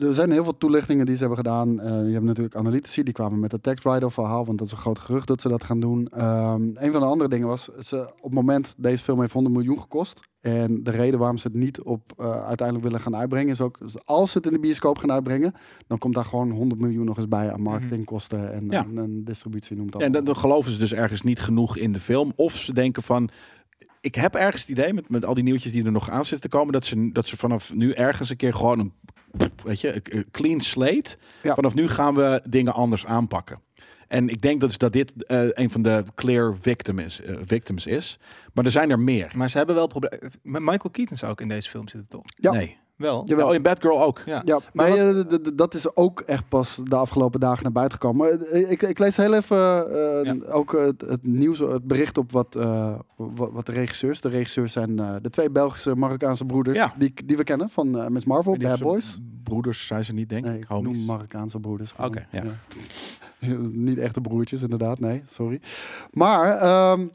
Speaker 3: Er zijn heel veel toelichtingen die ze hebben gedaan. Eh, je hebt natuurlijk analytici, die kwamen met het tax write-off verhaal, want dat is een groot gerucht dat ze dat gaan doen. Ehm, een van de andere dingen was, ze, op het moment, deze film heeft 100 miljoen gekost. En de reden waarom ze het niet op eh, uiteindelijk willen gaan uitbrengen, is ook, dus als ze het in de bioscoop gaan uitbrengen, dan komt daar gewoon 100 miljoen nog eens bij aan marketingkosten en,
Speaker 2: Mhm. Ja.
Speaker 3: en, en distributie, noemt dat.
Speaker 2: En dan, dan geloven ze dus ergens niet genoeg in de film. Of ze denken van. Ik heb ergens het idee, met, met al die nieuwtjes die er nog aan zitten te komen, dat ze, dat ze vanaf nu ergens een keer gewoon een, weet je, een clean slate.
Speaker 3: Ja.
Speaker 2: Vanaf nu gaan we dingen anders aanpakken. En ik denk dus dat dit eh, een van de clear victim is, eh, victims is. Maar er zijn er meer.
Speaker 4: Maar ze hebben wel problemen. Michael Keaton zou ook in deze film zitten, toch?
Speaker 3: Ja.
Speaker 2: Nee.
Speaker 4: Wel.
Speaker 3: Jawel.
Speaker 2: Oh, in Batgirl ook.
Speaker 4: Ja.
Speaker 3: Ja,
Speaker 4: Maar
Speaker 3: maar dat is ook echt pas de afgelopen dagen naar buiten gekomen. Maar, eh, Ik, ik lees heel even eh,
Speaker 4: Ja.
Speaker 3: ook het, het nieuws, het bericht op wat, eh, wat, wat de regisseurs. De regisseurs zijn eh, de twee Belgische Marokkaanse broeders
Speaker 2: Ja.
Speaker 3: die, die we kennen van eh, Miss Marvel,
Speaker 2: Ik weet
Speaker 3: Bad
Speaker 2: niet of ze
Speaker 3: Boys.
Speaker 2: Broeders zijn ze niet, denk
Speaker 3: Nee,
Speaker 2: ik.
Speaker 3: ik
Speaker 2: Homies.
Speaker 3: noem Marokkaanse broeders. gewoon.
Speaker 2: Oké, ja.
Speaker 3: Ja. Niet echte broertjes, inderdaad. Nee, sorry. Maar ehm,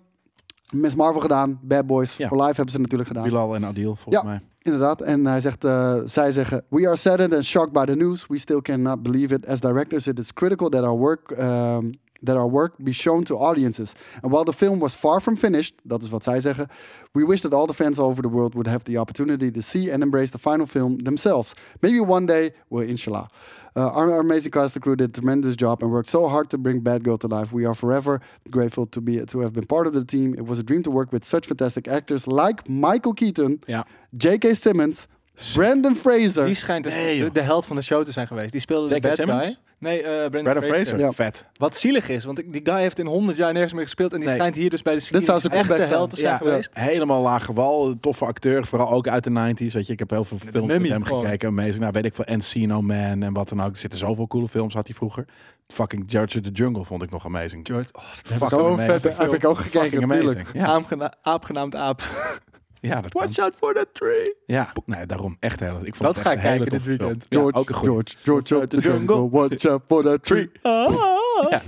Speaker 3: Miss Marvel gedaan, Bad Boys
Speaker 2: Ja.
Speaker 3: for Life hebben ze natuurlijk gedaan.
Speaker 2: Bilal en Adil, volgens
Speaker 3: Ja.
Speaker 2: mij.
Speaker 3: Inderdaad, en hij zegt, eh, zij zeggen... We are saddened and shocked by the news. We still cannot believe it. As directors, it is critical that our work... ehm, that our work be shown to audiences. And while the film was far from finished, dat is wat zij zeggen, we wish that all the fans all over the world would have the opportunity to see and embrace the final film themselves. Maybe one day, well, inshallah. Uh, our, our amazing cast and crew did a tremendous job and worked so hard to bring Bad Girl to life. We are forever grateful to be to have been part of the team. It was a dream to work with such fantastic actors like Michael Keaton,
Speaker 2: Ja.
Speaker 3: J.K. Simmons, Brandon Fraser.
Speaker 4: Die schijnt dus
Speaker 2: Nee, joh.
Speaker 4: de, de held van de show te zijn geweest. Die speelde de
Speaker 2: J.K.
Speaker 4: bad
Speaker 2: Simmons?
Speaker 4: guy. Nee, eh Brandon,
Speaker 2: Brandon
Speaker 4: Fraser.
Speaker 2: Fraser,
Speaker 3: Ja.
Speaker 2: vet.
Speaker 4: Wat zielig is, want die guy heeft in 100 jaar nergens meer gespeeld. En die
Speaker 2: Nee.
Speaker 4: schijnt hier dus bij de Screenings
Speaker 3: zou zijn
Speaker 4: echt de
Speaker 3: comeback
Speaker 4: held te zijn
Speaker 2: Ja,
Speaker 4: geweest.
Speaker 2: helemaal lage wal. Toffe acteur, vooral ook uit de 90s. Weet je, ik heb heel veel films met
Speaker 4: Mummy
Speaker 2: hem
Speaker 4: gewoon.
Speaker 2: gekeken. Amazing. Nou, weet ik veel. Encino Man en wat dan ook. Er zitten zoveel coole films, had hij vroeger. Fucking George of the Jungle vond ik nog amazing.
Speaker 4: George, oh, dat
Speaker 2: Fucking
Speaker 4: is zo'n
Speaker 2: amazing.
Speaker 4: vette
Speaker 3: heb
Speaker 4: film.
Speaker 3: ik ook
Speaker 2: Fucking
Speaker 3: gekeken, natuurlijk.
Speaker 2: amazing. Ja.
Speaker 4: Aamgena- aap genaamd aap.
Speaker 2: Ja, dat kan.
Speaker 4: Watch out for the tree.
Speaker 2: Ja, nee, daarom echt heel. Ik vond
Speaker 4: Dat
Speaker 2: het
Speaker 4: ga
Speaker 2: echt
Speaker 4: ik
Speaker 2: een hele
Speaker 4: kijken
Speaker 2: toffe
Speaker 4: dit
Speaker 2: film.
Speaker 4: weekend.
Speaker 2: Ja,
Speaker 3: George,
Speaker 2: ook een goeie.
Speaker 3: George, George of the jungle, watch out for the tree.
Speaker 4: Ja.
Speaker 3: En,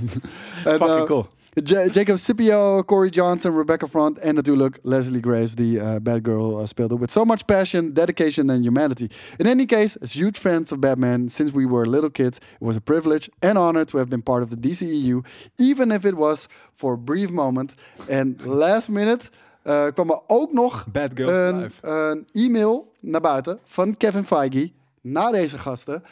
Speaker 2: Fucking
Speaker 3: eh,
Speaker 2: cool.
Speaker 3: Ja- Jacob Scipio, Corey Johnson, Rebecca Front en natuurlijk Leslie Grace, die eh, Bad Girl eh, speelde. With so much passion, dedication and humanity. In any case, as huge fans of Batman since we were little kids, it was a privilege and honor to have been part of the DCEU, even if it was for a brief moment. En last minute eh, kwam er ook nog
Speaker 4: Bad Girl
Speaker 3: een,
Speaker 4: Live.
Speaker 3: een e-mail naar buiten van Kevin Feige naar deze gasten.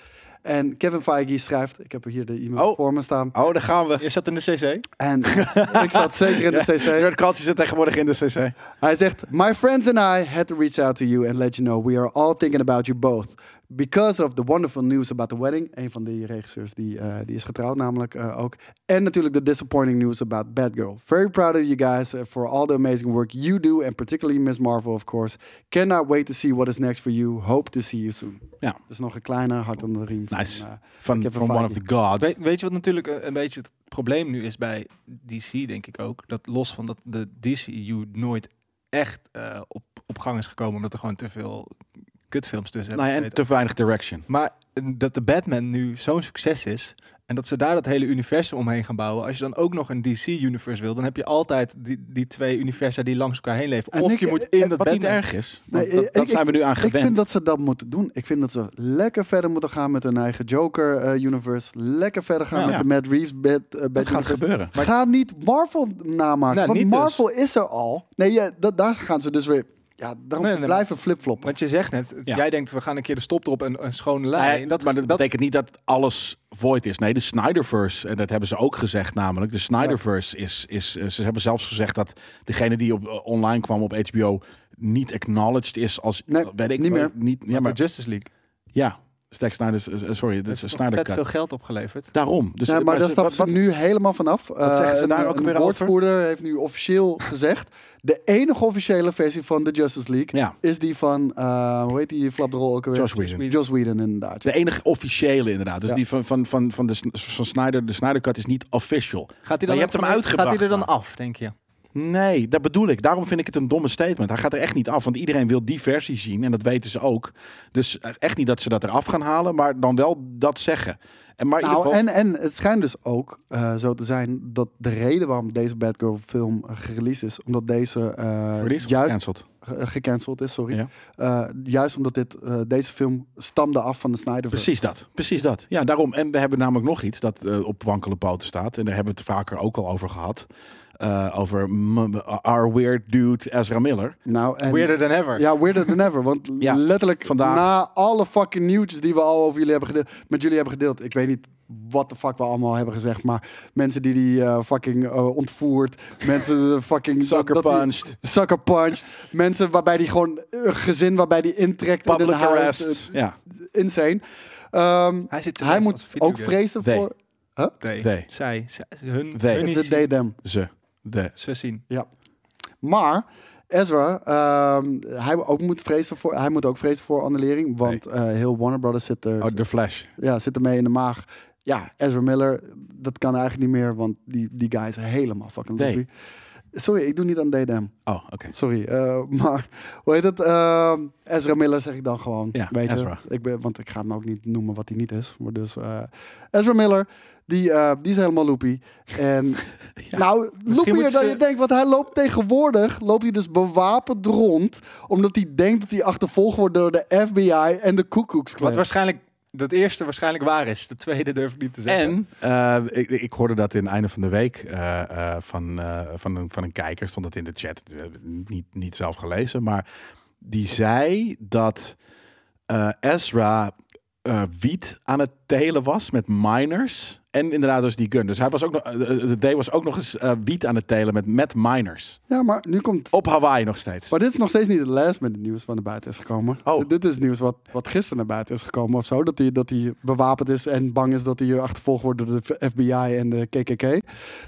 Speaker 3: En Kevin Feige schrijft, ik heb hier de e-mail
Speaker 2: Oh.
Speaker 3: voor me staan.
Speaker 2: Oh, daar gaan we.
Speaker 4: Je zat in de CC.
Speaker 3: En ik zat zeker in de CC.
Speaker 2: Nerd Culture zit tegenwoordig in de CC.
Speaker 3: Hij zegt: My friends and I had to reach out to you and let you know we are all thinking about you both. Because of the wonderful news about the wedding. Een van die regisseurs die, eh, die is getrouwd, namelijk eh, ook. En natuurlijk the disappointing news about Batgirl. Very proud of you guys eh, for all the amazing work you do. And particularly Miss Marvel, of course. Cannot wait to see what is next for you. Hope to see you soon.
Speaker 2: Ja,
Speaker 3: Dus nog een kleine hart onder de riem. van,
Speaker 2: nice.
Speaker 3: eh,
Speaker 2: Van
Speaker 3: Kevin
Speaker 2: from One of
Speaker 3: Feige.
Speaker 2: the Gods.
Speaker 4: Weet, weet je wat natuurlijk eh, een een beetje het probleem nu is bij DC, denk ik ook? Dat los van dat de DCU nooit echt eh, op, op gang is gekomen, omdat er gewoon te veel kutfilms tussen
Speaker 2: Nou ja, en
Speaker 4: gezeten.
Speaker 2: te weinig direction.
Speaker 4: Maar eh, dat de Batman nu zo'n succes is. En dat ze daar dat hele universum omheen gaan bouwen. Als je dan ook nog een DC-universe wil, dan heb je altijd die, die twee universa die langs elkaar heen leven.
Speaker 3: En
Speaker 4: of
Speaker 3: ik-
Speaker 4: je moet
Speaker 3: eh,
Speaker 4: in dat
Speaker 2: Wat niet
Speaker 4: Batman.
Speaker 2: erg is. want
Speaker 3: Nee,
Speaker 2: dat dat
Speaker 3: ik-
Speaker 2: zijn we nu aan
Speaker 3: Ik vind
Speaker 2: gewend.
Speaker 3: dat ze dat moeten doen. Ik vind dat ze lekker verder moeten gaan met hun eigen Joker-universe. lekker verder gaan
Speaker 2: Ja.
Speaker 3: met
Speaker 2: Ja.
Speaker 3: de Matt Reeves bed, eh, bed
Speaker 2: Dat gaat
Speaker 3: universe.
Speaker 2: gebeuren.
Speaker 3: Maar Ga niet Marvel namaken.
Speaker 4: Nou,
Speaker 3: want
Speaker 4: niet dus.
Speaker 3: Marvel is er al. Nee, ja, dat, daar gaan ze dus weer... Ja, daarom
Speaker 4: Nee,
Speaker 3: ze
Speaker 4: nee,
Speaker 3: blijven flipfloppen.
Speaker 4: Want je zegt net,
Speaker 2: Ja.
Speaker 4: jij denkt we gaan een keer de stop erop en een schone lijn.
Speaker 2: Nee,
Speaker 4: dat,
Speaker 2: maar dat, betekent niet dat alles void is. Nee, de Snyderverse, en dat hebben ze ook gezegd namelijk. De Snyderverse is, is... eh, Ze hebben zelfs gezegd dat degene die op, eh, online kwam op HBO... niet acknowledged is als... eh,
Speaker 3: Nee,
Speaker 2: weet ik,
Speaker 3: niet meer.
Speaker 2: Niet, ja, maar,
Speaker 4: de Justice League.
Speaker 2: ja, Zack Snyder's... eh, Sorry, dat is een
Speaker 4: Heeft nog
Speaker 2: Snyder
Speaker 4: vet veel
Speaker 2: Cut.
Speaker 4: geld opgeleverd.
Speaker 2: Daarom. Dus,
Speaker 3: Ja, maar, daar
Speaker 2: ze-
Speaker 3: stappen
Speaker 2: wat-
Speaker 3: ze
Speaker 2: wat-
Speaker 3: nu helemaal vanaf. Eh,
Speaker 2: zeggen ze
Speaker 3: een-
Speaker 2: daar ook
Speaker 3: een
Speaker 2: weer over?
Speaker 3: woordvoerder heeft nu officieel gezegd... de enige officiële versie van de Justice League...
Speaker 2: Ja,
Speaker 3: is die van, eh, hoe heet die flapdrol ook alweer?
Speaker 2: Josh Whedon.
Speaker 3: Joss Whedon, inderdaad.
Speaker 2: De enige officiële inderdaad. Dus
Speaker 3: Ja.
Speaker 2: die van, van, van, van, de, Sn- van Snyder, de Snyder Cut is niet official.
Speaker 4: Gaat hij
Speaker 2: Maar
Speaker 4: dan
Speaker 2: je
Speaker 4: ook
Speaker 2: hebt hem
Speaker 4: van- Gaat
Speaker 2: uitgebracht,
Speaker 4: hij er dan
Speaker 2: maar.
Speaker 4: af, denk je?
Speaker 2: Nee, dat bedoel ik. Daarom vind ik het een domme statement. Hij gaat er echt niet af, want iedereen wil die versie zien en dat weten ze ook. Dus eh, echt niet dat ze dat eraf gaan halen, maar dan wel dat zeggen. En maar in
Speaker 3: Nou,
Speaker 2: ieder geval,
Speaker 3: en, en het schijnt dus ook eh, zo te zijn dat de reden waarom deze Batgirl film eh, gereleased is, omdat deze eh,
Speaker 2: Release of
Speaker 3: juist
Speaker 2: gecanceld.
Speaker 3: ge- eh, gecanceld is, sorry.
Speaker 2: Ja.
Speaker 3: Eh, juist omdat dit, eh, deze film stamde af van de Snyderverse.
Speaker 2: Precies dat, precies dat. Ja, daarom. En we hebben namelijk nog iets dat eh, op wankele poten staat. En daar hebben we het vaker ook al over gehad. Eh, over m- our weird dude Ezra Miller.
Speaker 3: Nou, en,
Speaker 4: Weirder than ever.
Speaker 3: Ja, weirder than ever. Want
Speaker 2: Ja,
Speaker 3: letterlijk
Speaker 2: vandaag.
Speaker 3: na alle fucking nieuwtjes die we al over jullie hebben gedeeld, met jullie hebben gedeeld. Ik weet niet wat de fuck we allemaal hebben gezegd, maar mensen die die eh, fucking eh, ontvoert, mensen eh, fucking
Speaker 2: Sucker
Speaker 3: dat- dat die-
Speaker 2: punched.
Speaker 3: Sucker punched. Mensen waarbij die gewoon een gezin waarbij die intrekt in
Speaker 2: Public
Speaker 3: een huis. eh,
Speaker 2: arrest. Ja,
Speaker 3: Insane. Ehm,
Speaker 4: Hij zit te
Speaker 3: hij
Speaker 4: zeggen
Speaker 3: moet
Speaker 4: als videogame.
Speaker 3: ook vrezen
Speaker 2: They.
Speaker 3: voor
Speaker 4: They.
Speaker 2: They.
Speaker 4: Zij. zij- hun.
Speaker 2: They.
Speaker 4: hun
Speaker 3: het
Speaker 4: niet
Speaker 3: is
Speaker 4: zien.
Speaker 3: they them.
Speaker 2: ze. De,
Speaker 4: Ze zien.
Speaker 3: Maar Ezra, ehm, hij ook moet vrezen voor, hij moet ook vrezen voor annulering, want eh, heel Warner Brothers zit er,
Speaker 2: oh, de Flash.
Speaker 3: ja, zit er mee in de maag. Ja, Ezra Miller, dat kan eigenlijk niet meer, want die, die guy is helemaal fucking
Speaker 2: They.
Speaker 3: loopy. Sorry, ik doe niet aan they them.
Speaker 2: Oh, oké.
Speaker 3: Sorry, eh, maar hoe heet het? Ehm, Ezra Miller zeg ik dan gewoon.
Speaker 2: Ja,
Speaker 3: weet
Speaker 2: Ezra.
Speaker 3: Je? Ik ben, want ik ga hem ook niet noemen wat hij niet is. Maar dus eh, Ezra Miller, die, eh, die is helemaal loopy. En nou, loopier
Speaker 4: moeten
Speaker 3: dan
Speaker 4: ze-
Speaker 3: je denkt. Want hij loopt tegenwoordig, loopt hij dus bewapend rond. Omdat hij denkt dat hij achtervolgd wordt door de FBI en de Ku Klux Klan.
Speaker 4: Wat waarschijnlijk... Dat eerste waarschijnlijk waar is. De tweede durf ik niet te zeggen.
Speaker 2: En eh, ik, ik hoorde dat in het einde van de week eh, eh, van, eh, van, een, van een kijker, stond dat in de chat, dus, eh, niet, niet zelf gelezen, maar die zei dat eh, Ezra eh, wiet aan het telen was met miners en inderdaad dus die gun. Dus hij was ook nog, eh, de D was ook nog eens eh, wiet aan het telen met, met miners.
Speaker 3: Ja, maar nu komt...
Speaker 2: Op Hawaii nog steeds.
Speaker 3: Maar dit is nog steeds niet het last minute nieuws van naar buiten is gekomen.
Speaker 2: Oh.
Speaker 3: Dit is nieuws wat, wat gisteren naar buiten is gekomen of zo. Dat hij, dat hij bewapend is en bang is dat hij achtervolgd wordt door de FBI en de KKK.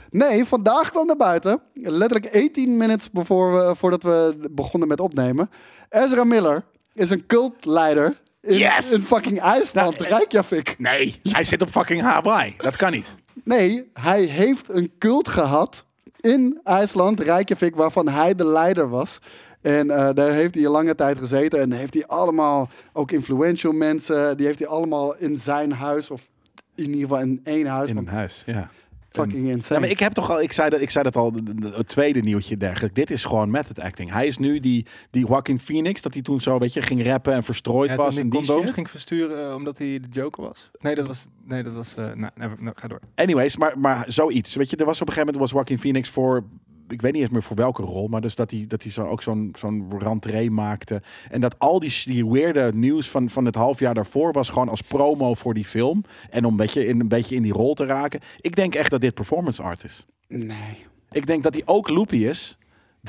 Speaker 3: Nee, vandaag kwam naar buiten. Letterlijk 18 minutes before we, voordat we begonnen met opnemen. Ezra Miller is een cultleider in,
Speaker 2: Yes!
Speaker 3: in fucking IJsland.
Speaker 2: Nou,
Speaker 3: Reykjavik.
Speaker 2: Nee, hij zit op fucking Hawaii. Dat kan niet.
Speaker 3: Nee, hij heeft een cult gehad in IJsland, Reykjavik, waarvan hij de leider was. En eh, daar heeft hij een lange tijd gezeten. En heeft hij allemaal, ook influential mensen, die heeft hij allemaal in zijn huis, of in ieder geval in één huis.
Speaker 2: in
Speaker 3: want
Speaker 2: een huis. Ja.
Speaker 3: fucking insane.
Speaker 2: Ja, maar ik heb toch al, ik zei dat, ik zei dat al, d- d- het tweede nieuwtje dergelijk. Dit is gewoon method acting. Hij is nu die, die Joaquin Phoenix, dat hij toen zo, weet je, ging rappen en verstrooid
Speaker 4: Ja,
Speaker 2: was.
Speaker 4: toen
Speaker 2: En,
Speaker 4: die
Speaker 2: die
Speaker 4: condooms
Speaker 2: shit.
Speaker 4: ging versturen eh, omdat hij de joker was. Nee, dat was... Nee, dat was... eh, nou, never- nou, ga door.
Speaker 2: Anyways, maar, maar zoiets. Weet je, er was op een gegeven moment was Joaquin Phoenix voor. Ik weet niet eens meer voor welke rol, maar dus dat hij, dat hij zo, ook zo'n zo'n rentree maakte. En dat al die, sh- die weirde nieuws van, van het half jaar daarvoor was gewoon als promo voor die film. En om een beetje, in, een beetje in die rol te raken. Ik denk echt dat dit performance art is.
Speaker 3: Nee.
Speaker 2: Ik denk dat hij ook loopy is.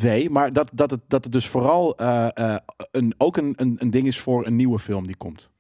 Speaker 2: Nee, maar dat, dat, het, dat het dus vooral eh, eh, een, ook een, een, een ding is voor een nieuwe film die komt.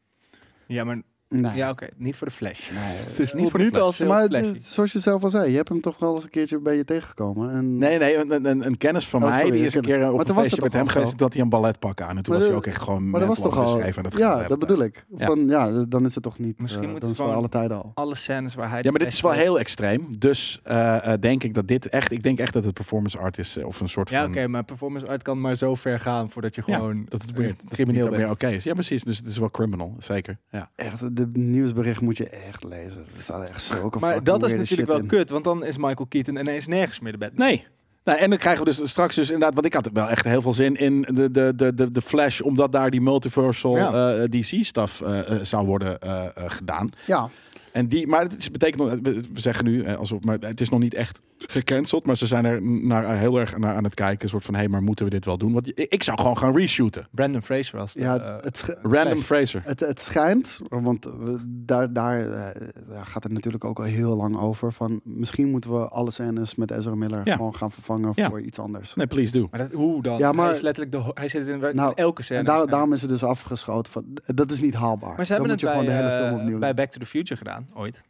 Speaker 4: Ja, maar...
Speaker 3: nee.
Speaker 4: Ja, oké. Niet voor de Flash.
Speaker 3: het
Speaker 4: is niet voor de Flash. heel
Speaker 3: Maar
Speaker 4: flashy.
Speaker 3: d- zoals je zelf al zei, je hebt hem toch wel eens een keertje bij je tegengekomen. En
Speaker 2: Nee, nee, een, een- een, een kennis van
Speaker 3: Oh,
Speaker 2: mij,
Speaker 3: sorry,
Speaker 2: die is een
Speaker 3: ik ken-
Speaker 2: keer op
Speaker 3: maar
Speaker 2: een
Speaker 3: toen was
Speaker 2: feestje
Speaker 3: dat
Speaker 2: met hem
Speaker 3: toch al
Speaker 2: geweest,
Speaker 3: zo?
Speaker 2: dat hij een balletpak aan. En toen
Speaker 3: Maar
Speaker 2: was hij
Speaker 3: dat-
Speaker 2: ook echt gewoon
Speaker 3: Maar dat was toch al. ja, dat bedoel ik.
Speaker 2: Ja.
Speaker 3: Van, ja, dan is het toch niet.
Speaker 4: Misschien
Speaker 3: Misschien dat
Speaker 4: moeten we
Speaker 3: is voor
Speaker 4: gewoon-
Speaker 3: alle tijden al.
Speaker 4: Alle scènes waar hij...
Speaker 2: Ja,
Speaker 4: de
Speaker 2: maar dit is wel
Speaker 4: Flash was.
Speaker 2: heel extreem. Dus eh, eh, denk ik dat dit echt... Ik denk echt dat het performance art is. eh, of een soort
Speaker 4: Ja,
Speaker 2: van...
Speaker 4: oké, maar performance art kan maar zo ver gaan voordat je
Speaker 2: Ja,
Speaker 4: gewoon...
Speaker 2: dat het
Speaker 4: eh,
Speaker 2: weer dat het niet
Speaker 4: crimineel
Speaker 2: dan
Speaker 4: bent.
Speaker 2: meer oké is. Ja, precies. Dus het is wel criminal. Zeker. Ja.
Speaker 3: Echt, de nieuwsbericht moet je echt lezen. Er staat echt zulke
Speaker 4: Maar
Speaker 3: fucking
Speaker 4: dat is
Speaker 3: weirde
Speaker 4: natuurlijk
Speaker 3: shit
Speaker 4: wel
Speaker 3: in.
Speaker 4: kut, want dan is Michael Keaton ineens nergens meer de bed.
Speaker 2: Nee. Nou, en dan krijgen we dus straks dus inderdaad... Want ik had wel echt heel veel zin in de, de, de, de, de Flash... omdat daar die multiversal eh,
Speaker 4: Ja.
Speaker 2: DC-stuff zou worden eh, eh, gedaan.
Speaker 3: Ja,
Speaker 2: En die, maar het is, betekent, nog- we we zeggen nu eh, alsof, maar het is nog niet echt gecanceld, maar ze zijn er naar, eh, heel erg naar aan het kijken, een soort van, hé, maar moeten we dit wel doen? Want ik, ik zou gewoon gaan reshooten.
Speaker 4: Brandon Fraser was de,
Speaker 3: ja
Speaker 4: eh,
Speaker 3: het, sch-
Speaker 2: Random Fraser.
Speaker 3: het, het schijnt, want we- daar, daar, eh, daar gaat het natuurlijk ook al heel lang over. Van misschien moeten we alle scènes met Ezra Miller
Speaker 2: Ja.
Speaker 3: gewoon gaan vervangen
Speaker 2: Ja.
Speaker 3: voor iets anders.
Speaker 2: Nee, please do.
Speaker 4: maar dat, hoe dan?
Speaker 3: Ja, maar-
Speaker 4: hij is letterlijk de, ho- hij zit in, in
Speaker 3: Nou,
Speaker 4: elke scène.
Speaker 3: en daar- daarom is het dus afgeschoten. Van, dat is niet haalbaar.
Speaker 4: maar ze
Speaker 3: dan
Speaker 4: hebben
Speaker 3: moet
Speaker 4: het
Speaker 3: je
Speaker 4: bij,
Speaker 3: gewoon de hele film
Speaker 4: eh,
Speaker 3: opnieuw
Speaker 4: bij
Speaker 3: doen.
Speaker 4: Back to the Future gedaan, ooit.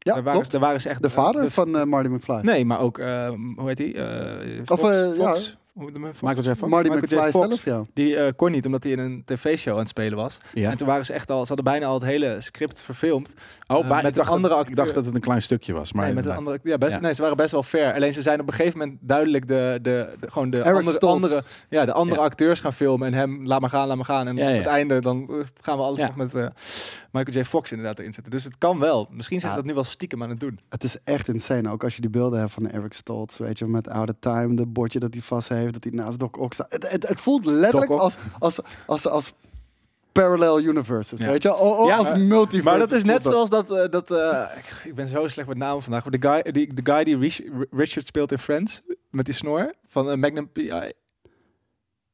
Speaker 3: Ja,
Speaker 4: daar waren
Speaker 3: klopt.
Speaker 4: ze, daar waren ze echt
Speaker 3: De
Speaker 4: eh,
Speaker 3: vader
Speaker 4: de-
Speaker 3: van eh, Marty McFly.
Speaker 4: Nee, maar ook, eh, hoe heet hij? Eh Fox,
Speaker 3: Of, eh, ja.
Speaker 4: Fox? Hoe heet hem, eh, Fox?
Speaker 2: Michael J. Fox?
Speaker 3: Marty
Speaker 4: Michael J.
Speaker 3: McFly
Speaker 4: Fox.
Speaker 3: zelf, ja.
Speaker 4: Die eh, kon niet, omdat hij in een tv-show aan het spelen was.
Speaker 2: Ja.
Speaker 4: En toen waren ze echt al, ze hadden bijna al het hele script verfilmd.
Speaker 2: Oh, bij,
Speaker 4: eh, met
Speaker 2: ik,
Speaker 4: een
Speaker 2: dacht
Speaker 4: andere
Speaker 2: dat, ik dacht
Speaker 4: acteur.
Speaker 2: dat het een klein stukje was, maar
Speaker 4: nee, met een
Speaker 2: inderdaad.
Speaker 4: andere, ja, best,
Speaker 2: Ja.
Speaker 4: Nee, ze waren best wel fair. Alleen ze zijn op een gegeven moment duidelijk de, de, de- gewoon de
Speaker 3: Eric
Speaker 4: andere,
Speaker 3: Stoltz.
Speaker 4: andere, ja, de andere
Speaker 2: Ja.
Speaker 4: acteurs gaan filmen en hem laat maar gaan, laat maar gaan. En
Speaker 2: Ja,
Speaker 4: op
Speaker 2: ja.
Speaker 4: het einde dan eh, gaan we alles
Speaker 2: Ja.
Speaker 4: nog met eh, Michael J. Fox inderdaad erin zetten. Dus het kan wel. Misschien zijn ze
Speaker 3: Ja.
Speaker 4: dat nu wel stiekem aan het doen.
Speaker 3: Het is echt insane. Ook als je die beelden hebt van Eric Stoltz, weet je, met Out of Time, de bordje dat hij vast heeft, dat hij naast Doc Ock staat. Het, het, het voelt letterlijk
Speaker 2: Doc Ock.
Speaker 3: als, als, als, als parallel universes,
Speaker 2: Ja.
Speaker 3: weet je? Oh, oh,
Speaker 2: Ja,
Speaker 3: als
Speaker 2: maar-
Speaker 3: multiverse.
Speaker 4: Maar dat is net
Speaker 3: voelt dat.
Speaker 4: zoals dat... eh, dat eh, ik- ik ben zo slecht met namen vandaag. Maar de guy die, de guy die Rich- Richard speelt in Friends, met die snor van eh, Magnum P.I.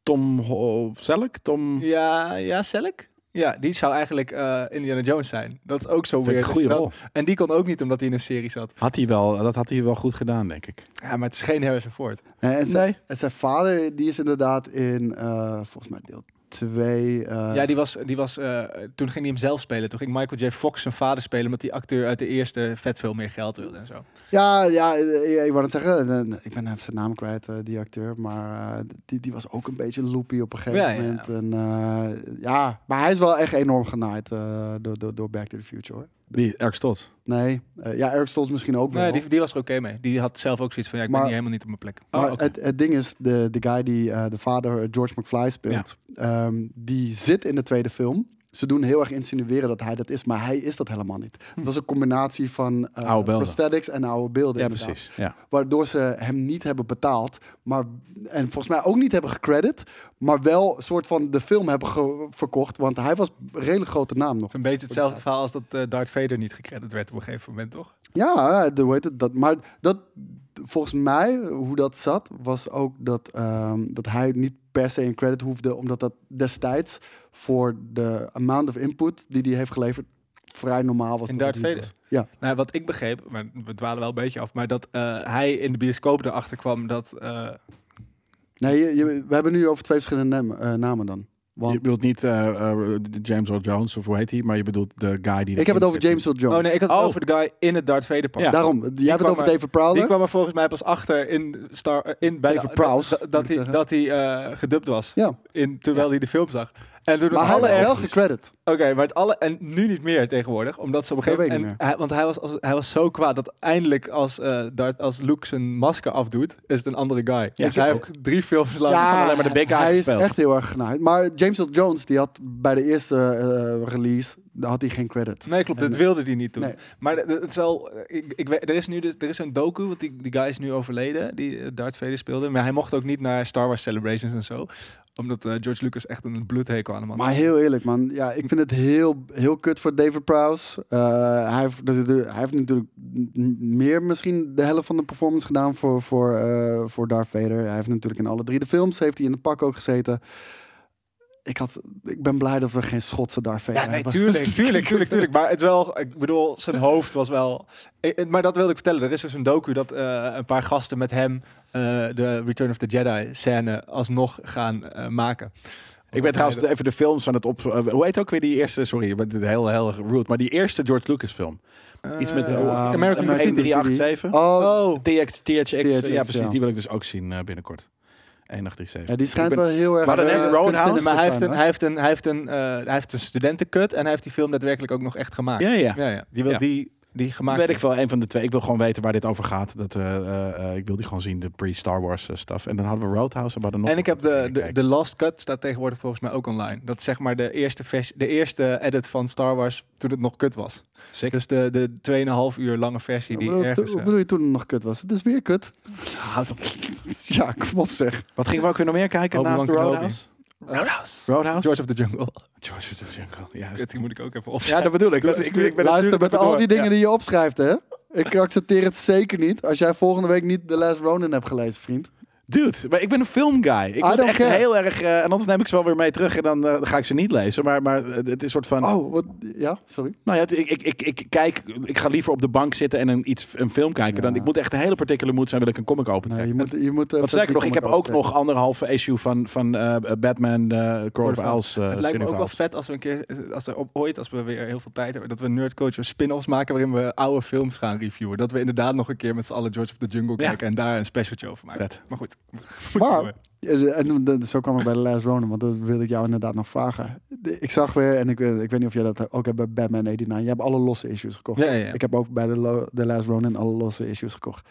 Speaker 2: Tom Ho- Selleck? Tom...
Speaker 4: Ja, ja, Selleck? Ja, die zou eigenlijk eh, Indiana Jones zijn. Dat is ook zo
Speaker 2: Vind ik
Speaker 4: weer.
Speaker 2: een goede rol.
Speaker 4: En die kon ook niet omdat hij in een serie zat.
Speaker 2: Had hij wel, dat had hij wel goed gedaan, denk ik.
Speaker 4: Ja, maar het is geen Harrison Ford.
Speaker 3: Nee, en, zijn,
Speaker 2: Nee.
Speaker 3: en zijn vader, die is inderdaad in, eh, volgens mij deel eh, 2.
Speaker 4: ja, die was, die was, eh, toen ging hij hem zelf spelen. Toen ging Michael J. Fox zijn vader spelen, omdat die acteur uit de eerste vet veel meer geld wilde en zo.
Speaker 3: ja, ja, eh, eh, ik wou het zeggen, eh, ik ben even zijn naam kwijt, eh, die acteur, maar eh, die, die was ook een beetje loopy op een gegeven
Speaker 4: Ja, ja, ja.
Speaker 3: moment. En, eh, ja, maar hij is wel echt enorm genaaid eh, door, door, door Back to the Future, hoor.
Speaker 2: Die, Eric Stoltz.
Speaker 3: Nee. Eh, ja, Eric Stoltz misschien ook wel.
Speaker 4: Nee, die, die was er oké mee. Die had zelf ook zoiets van, ja, ik
Speaker 3: Maar-
Speaker 4: ben hier helemaal niet op mijn plek.
Speaker 3: maar
Speaker 2: Oh, oké.
Speaker 3: het, het ding is, de, de guy die eh, de vader eh, George McFly speelt, ehm, die zit in de tweede film. Ze doen heel erg insinueren dat hij dat is, maar hij is dat helemaal niet. Het was een combinatie van eh,
Speaker 2: Hm. Oude beelden.
Speaker 3: prosthetics en oude beelden.
Speaker 2: Ja,
Speaker 3: inderdaad.
Speaker 2: precies. Ja.
Speaker 3: Waardoor ze hem niet hebben betaald, maar, en volgens mij ook niet hebben gecredit, maar wel een soort van de film hebben ge- verkocht, want hij was een redelijk grote naam nog.
Speaker 4: Het is een beetje hetzelfde verhaal als dat eh, Darth Vader niet gecredit werd op een gegeven moment, toch?
Speaker 3: Ja, de, hoe heet het? Dat, maar dat, volgens mij, hoe dat zat, was ook dat, ehm, dat hij niet per se een credit hoefde, omdat dat destijds voor de amount of input die hij heeft geleverd vrij normaal was.
Speaker 4: In
Speaker 3: dat het
Speaker 4: Darth
Speaker 3: niet
Speaker 4: Vader?
Speaker 3: was. Ja.
Speaker 4: Nou, wat ik begreep, maar we dwalen wel een beetje af, maar dat eh, hij in de bioscoop erachter kwam dat... eh,
Speaker 3: Nee, je, je- we hebben nu over twee verschillende namen, eh, namen dan. Want
Speaker 2: Je bedoelt niet eh, eh, James Earl Jones of hoe heet hij, maar je bedoelt de guy die...
Speaker 3: ik heb het over James Earl Jones.
Speaker 4: oh nee, ik had het
Speaker 2: Oh.
Speaker 4: over de guy in het Darth Vader pak.
Speaker 2: Ja.
Speaker 3: Daarom, jij hebt het
Speaker 4: kwam
Speaker 3: over
Speaker 4: er-
Speaker 3: David Prowler.
Speaker 4: Die kwam er volgens mij pas achter in Star, eh, in, bij
Speaker 3: David
Speaker 4: de,
Speaker 3: Prowse,
Speaker 4: dat- dat
Speaker 3: moet ik
Speaker 4: hij,
Speaker 3: zeggen.
Speaker 4: dat hij eh, gedubt was.
Speaker 3: Ja.
Speaker 4: In, terwijl hij de film zag. En toen
Speaker 3: Maar
Speaker 4: hij
Speaker 3: hadden
Speaker 4: was-
Speaker 3: er wel
Speaker 2: Belgisch.
Speaker 3: gecredit.
Speaker 4: Oké, maar het alle en nu niet meer tegenwoordig, omdat ze op een
Speaker 3: Dat
Speaker 4: gegeven
Speaker 3: weet ik
Speaker 4: moment,
Speaker 3: niet
Speaker 4: hij, want hij was, als, hij was zo kwaad dat eindelijk als, eh Darth, als Luke zijn masker afdoet, is het een andere guy.
Speaker 2: Ja,
Speaker 4: dus hij
Speaker 2: ook.
Speaker 4: heeft drie films lang.
Speaker 2: Ja. gewoon alleen maar de big guy
Speaker 3: Hij is
Speaker 2: gespeeld.
Speaker 3: echt heel erg genaaid. Maar James L. Jones, die had bij de eerste eh, release, daar had hij geen credit.
Speaker 4: Nee, klopt. Dat
Speaker 3: En-
Speaker 4: wilde hij niet doen.
Speaker 3: Nee.
Speaker 4: Maar de- de- het is wel. eh, Ik, ik, weet- er is nu dus. Er is een docu. Want die, die guy is nu overleden. Die eh, Darth Vader speelde. Maar hij mocht ook niet naar Star Wars Celebrations en zo. Omdat eh, George Lucas echt een bloedhekel aan hem had.
Speaker 3: Maar heel eerlijk, man. Ja, ik vind het heel, heel kut voor David Prowse. Eh, hij, heeft, de- de- hij heeft natuurlijk m- meer misschien de helft van de performance gedaan voor, voor, eh, voor Darth Vader. Hij heeft natuurlijk in alle drie de films heeft hij in de pak ook gezeten. Ik, had, ik ben blij dat we geen Schotse Darth Vader
Speaker 4: Ja, nee,
Speaker 3: hebben.
Speaker 4: tuurlijk, tuurlijk, tuurlijk, tuurlijk. Maar het wel, ik bedoel, zijn hoofd was wel. Ik- ik- maar dat wilde ik vertellen. Er is dus een docu dat eh, een paar gasten met hem eh, de Return of the Jedi scène alsnog gaan eh, maken.
Speaker 2: Ik ben trouwens even de films aan het op. eh, hoe heet ook weer die eerste? Sorry, ik ben dit heel, heel erg rude. Maar die eerste George Lucas film. Iets met
Speaker 4: Eh,
Speaker 2: eh,
Speaker 3: American
Speaker 2: American
Speaker 3: Graffiti.
Speaker 2: 1387.
Speaker 3: Oh,
Speaker 4: Oh,
Speaker 2: TX, THX,
Speaker 3: THX,
Speaker 2: eh, ja precies.
Speaker 3: ja.
Speaker 2: Die wil ik dus ook zien eh, binnenkort. 1837.
Speaker 3: ja, die schijnt
Speaker 2: Ik ben-
Speaker 3: wel heel erg...
Speaker 2: Maar dan
Speaker 3: eh,
Speaker 2: heeft
Speaker 3: kunstzinnig
Speaker 2: Roadhouse-
Speaker 3: te
Speaker 4: maar hij
Speaker 3: zijn,
Speaker 4: heeft, een,
Speaker 3: hè?
Speaker 4: hij, heeft een, hij, heeft een, eh, hij heeft een studentencut en hij heeft die film daadwerkelijk ook nog echt gemaakt.
Speaker 2: Ja, ja.
Speaker 4: ja, Die wil
Speaker 2: Ja.
Speaker 4: die, die gemaakt.
Speaker 2: Weet ik wel, een van de twee. Ik wil gewoon weten waar dit over gaat. Dat, eh, eh, eh, ik wil die gewoon zien, de pre-Star Wars eh, stuff. En dan hadden we Roadhouse en we hadden nog
Speaker 4: en ik
Speaker 2: wat
Speaker 4: heb de,
Speaker 2: om te
Speaker 4: de,
Speaker 2: kijken.
Speaker 4: de Last Cut staat tegenwoordig volgens mij ook online. Dat is zeg maar de eerste, vers, de eerste edit van Star Wars toen het nog kut was.
Speaker 2: Sick.
Speaker 4: Dus de, de 2,5 uur lange versie
Speaker 3: Wat
Speaker 4: die
Speaker 3: bedoel,
Speaker 4: ergens...
Speaker 3: wat
Speaker 4: eh,
Speaker 3: bedoel je toen het nog kut was? Het is weer kut.
Speaker 2: Houd op.
Speaker 3: Ja, kom op zeg.
Speaker 2: Ah, Wat gingen we ook weer nog meer kijken
Speaker 4: Obi-Wan
Speaker 2: naast de
Speaker 4: Kenobi.
Speaker 2: Roadhouse?
Speaker 4: Roadhouse.
Speaker 2: Roadhouse?
Speaker 4: George of the Jungle.
Speaker 2: George of the Jungle, juist.
Speaker 4: Kut, die moet ik ook even op.
Speaker 2: Ja, dat bedoel ik. Dat-
Speaker 4: Dat is
Speaker 2: ik, ik ben
Speaker 3: Luister, met al die dingen
Speaker 2: Ja.
Speaker 3: die je opschrijft, hè? Ik accepteer het zeker niet als jij volgende week niet The Last Ronin hebt gelezen, vriend.
Speaker 2: Dude, maar ik ben een filmguy. Ik word
Speaker 3: don't
Speaker 2: echt
Speaker 3: care.
Speaker 2: heel erg... eh, en anders neem ik ze wel weer mee terug en dan eh, dan ga ik ze niet lezen. Maar, maar eh, het is soort van...
Speaker 3: Oh, wat? Ja, sorry.
Speaker 2: Nou ja, ik, ik, ik, ik kijk... Ik ga liever op de bank zitten en een, iets, een film kijken. Dan,
Speaker 3: Ja.
Speaker 2: ik moet echt een hele particular mood zijn, wil ik een comic open
Speaker 3: Nee, je
Speaker 2: trekken.
Speaker 3: moet, je moet even
Speaker 2: Want sterker
Speaker 3: die
Speaker 2: nog, ik heb
Speaker 3: comic
Speaker 2: ook nog anderhalve issue van, van eh, Batman, eh Court of
Speaker 4: of
Speaker 2: Owls. eh,
Speaker 4: het lijkt me
Speaker 2: Cine of
Speaker 4: ook wel
Speaker 2: Owls.
Speaker 4: vet als we een keer, als er op, ooit, als we weer heel veel tijd hebben, dat we Nerd Culture spin-offs maken waarin we oude films gaan reviewen. Dat we inderdaad nog een keer met z'n allen George of the Jungle
Speaker 2: Ja.
Speaker 4: kijken en daar een specialtje over maken.
Speaker 2: Vet.
Speaker 4: Maar goed.
Speaker 3: Maar-
Speaker 4: we-
Speaker 3: Eh, En toen- de- zo kwam ik bij The Last Ronin, want dat wilde ik jou inderdaad nog vragen. De- Ik zag weer, en ik, weet- ik weet niet of jij dat ook hebt bij Batman 89. Je hebt alle losse issues gekocht.
Speaker 4: Ja, ja, ja.
Speaker 3: Ik heb ook bij The, Lo- The Last Ronin alle losse issues gekocht.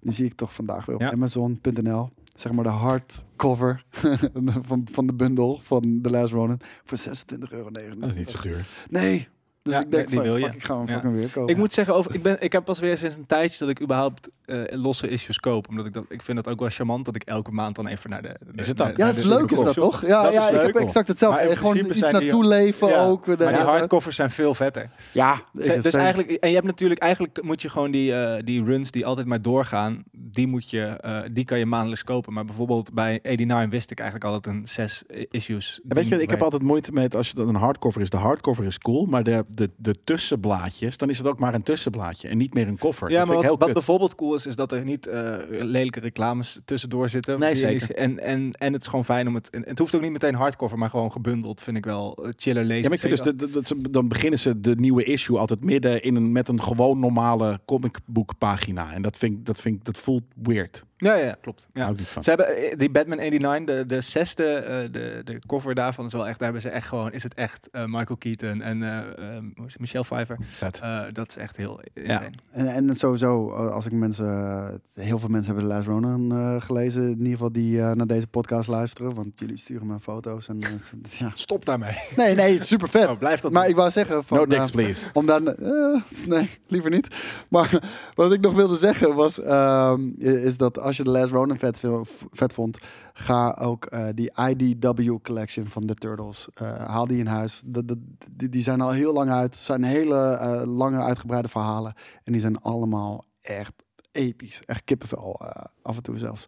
Speaker 3: Nu zie ik toch vandaag weer op
Speaker 4: Ja.
Speaker 3: Amazon.nl, zeg maar de hardcover van, van de bundel van The Last Ronin, voor 26,99 euro.
Speaker 2: Dat is niet zo duur.
Speaker 3: Nee. Dus
Speaker 4: Ja,
Speaker 3: ik denk,
Speaker 4: die
Speaker 3: van,
Speaker 4: wil je.
Speaker 3: fuck, ik ga hem
Speaker 4: Ja.
Speaker 3: fucking weer kopen.
Speaker 4: Ik moet zeggen, over, ik, ben, ik heb pas weer sinds een tijdje dat ik überhaupt eh, losse issues koop. Omdat ik dat, ik vind dat ook wel charmant dat ik elke maand dan even naar de. de-
Speaker 2: Is het
Speaker 4: naar-
Speaker 2: dan?
Speaker 3: ja,
Speaker 4: naar
Speaker 3: dat is
Speaker 4: de-
Speaker 3: leuk, is dat toch? Ja,
Speaker 2: Dat is
Speaker 3: ja ik
Speaker 2: leuk,
Speaker 3: heb
Speaker 2: hoor.
Speaker 3: exactly hetzelfde.
Speaker 4: Maar in
Speaker 3: gewoon
Speaker 4: principe
Speaker 3: iets
Speaker 4: zijn die-
Speaker 3: naartoe leven
Speaker 4: Ja,
Speaker 3: ook.
Speaker 4: Maar
Speaker 3: De-
Speaker 4: die hardcovers zijn veel vetter.
Speaker 3: Ja,
Speaker 4: Ze- Dus
Speaker 3: zeker.
Speaker 4: eigenlijk, en je hebt natuurlijk, eigenlijk moet je gewoon die, eh, die runs die altijd maar doorgaan, die, moet je, eh, die kan je maandelijks kopen. Maar bijvoorbeeld bij 89 wist ik eigenlijk al dat een zes i- issues.
Speaker 2: En weet je,
Speaker 4: ding
Speaker 2: ik heb
Speaker 4: werd.
Speaker 2: altijd moeite met als je dan een hardcover is. De hardcover is cool, maar de, de, de tussenblaadjes, dan is het ook maar een tussenblaadje en niet meer een koffer.
Speaker 4: Ja,
Speaker 2: dat vind
Speaker 4: maar wat,
Speaker 2: ik heel
Speaker 4: wat
Speaker 2: kut.
Speaker 4: bijvoorbeeld cool is, is dat er niet eh, lelijke reclames tussendoor zitten.
Speaker 2: Nee,
Speaker 4: Die-
Speaker 2: zeker.
Speaker 4: En, en, en het is gewoon fijn om het... En het hoeft ook niet meteen hardcover, maar gewoon gebundeld vind ik wel eh, chiller lezen.
Speaker 2: Ja, maar ik vind dus,
Speaker 4: Zeker-
Speaker 2: dat- dat- dat ze- dan beginnen ze de nieuwe issue altijd midden in een, met een gewoon normale comicboekpagina. En dat, vind, ik- dat, vind, ik- dat voelt weird.
Speaker 4: ja, ja, ja, klopt.
Speaker 2: Ja.
Speaker 4: Ja.
Speaker 2: Hou ik niet van.
Speaker 4: Ze hebben eh, die Batman 89, de, de zesde, eh, de, de cover daarvan is wel echt, daar hebben ze echt gewoon, is het echt eh, Michael Keaton en eh, ehm, hoe is het, Michelle Pfeiffer.
Speaker 2: Vet.
Speaker 4: Eh, dat is echt heel...
Speaker 2: Ja.
Speaker 4: insane.
Speaker 3: En, en sowieso, eh, als ik mensen... eh, Heel veel mensen hebben The Last Ronin eh, gelezen. In ieder geval die eh, naar deze podcast luisteren. Want jullie sturen me foto's. En, eh, ja.
Speaker 4: Stop daarmee.
Speaker 3: Nee, nee, super vet.
Speaker 2: Nou,
Speaker 4: Oh, blijf dat
Speaker 3: maar
Speaker 4: doen.
Speaker 3: ik wou zeggen... Van,
Speaker 2: No
Speaker 3: eh,
Speaker 2: dicks, please.
Speaker 3: Om dan, eh, nee, liever niet. Maar wat ik nog wilde zeggen was, ehm, is dat als je de Last Ronin vet, vil- vet vond, ga ook eh, die IDW collection van de Turtles, eh, haal die in huis. Dat- dat- die, die zijn al heel lang uit, zijn hele eh, lange uitgebreide verhalen en die zijn allemaal echt episch. Echt kippenvel, eh, af en toe zelfs.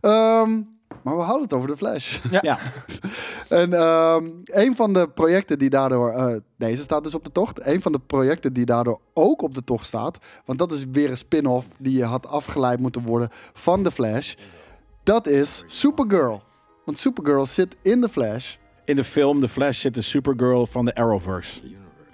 Speaker 3: Ehm, maar we hadden het over de Flash.
Speaker 4: Ja.
Speaker 2: Ja.
Speaker 3: en ehm, een van de projecten die daardoor... eh, deze staat dus op de tocht. Een van de projecten die daardoor ook op de tocht staat... want dat is weer een spin-off die je had afgeleid moeten worden van de Flash. Dat is Supergirl. Want Supergirl zit in de Flash.
Speaker 2: In de film The Flash zit de Supergirl van de Arrowverse.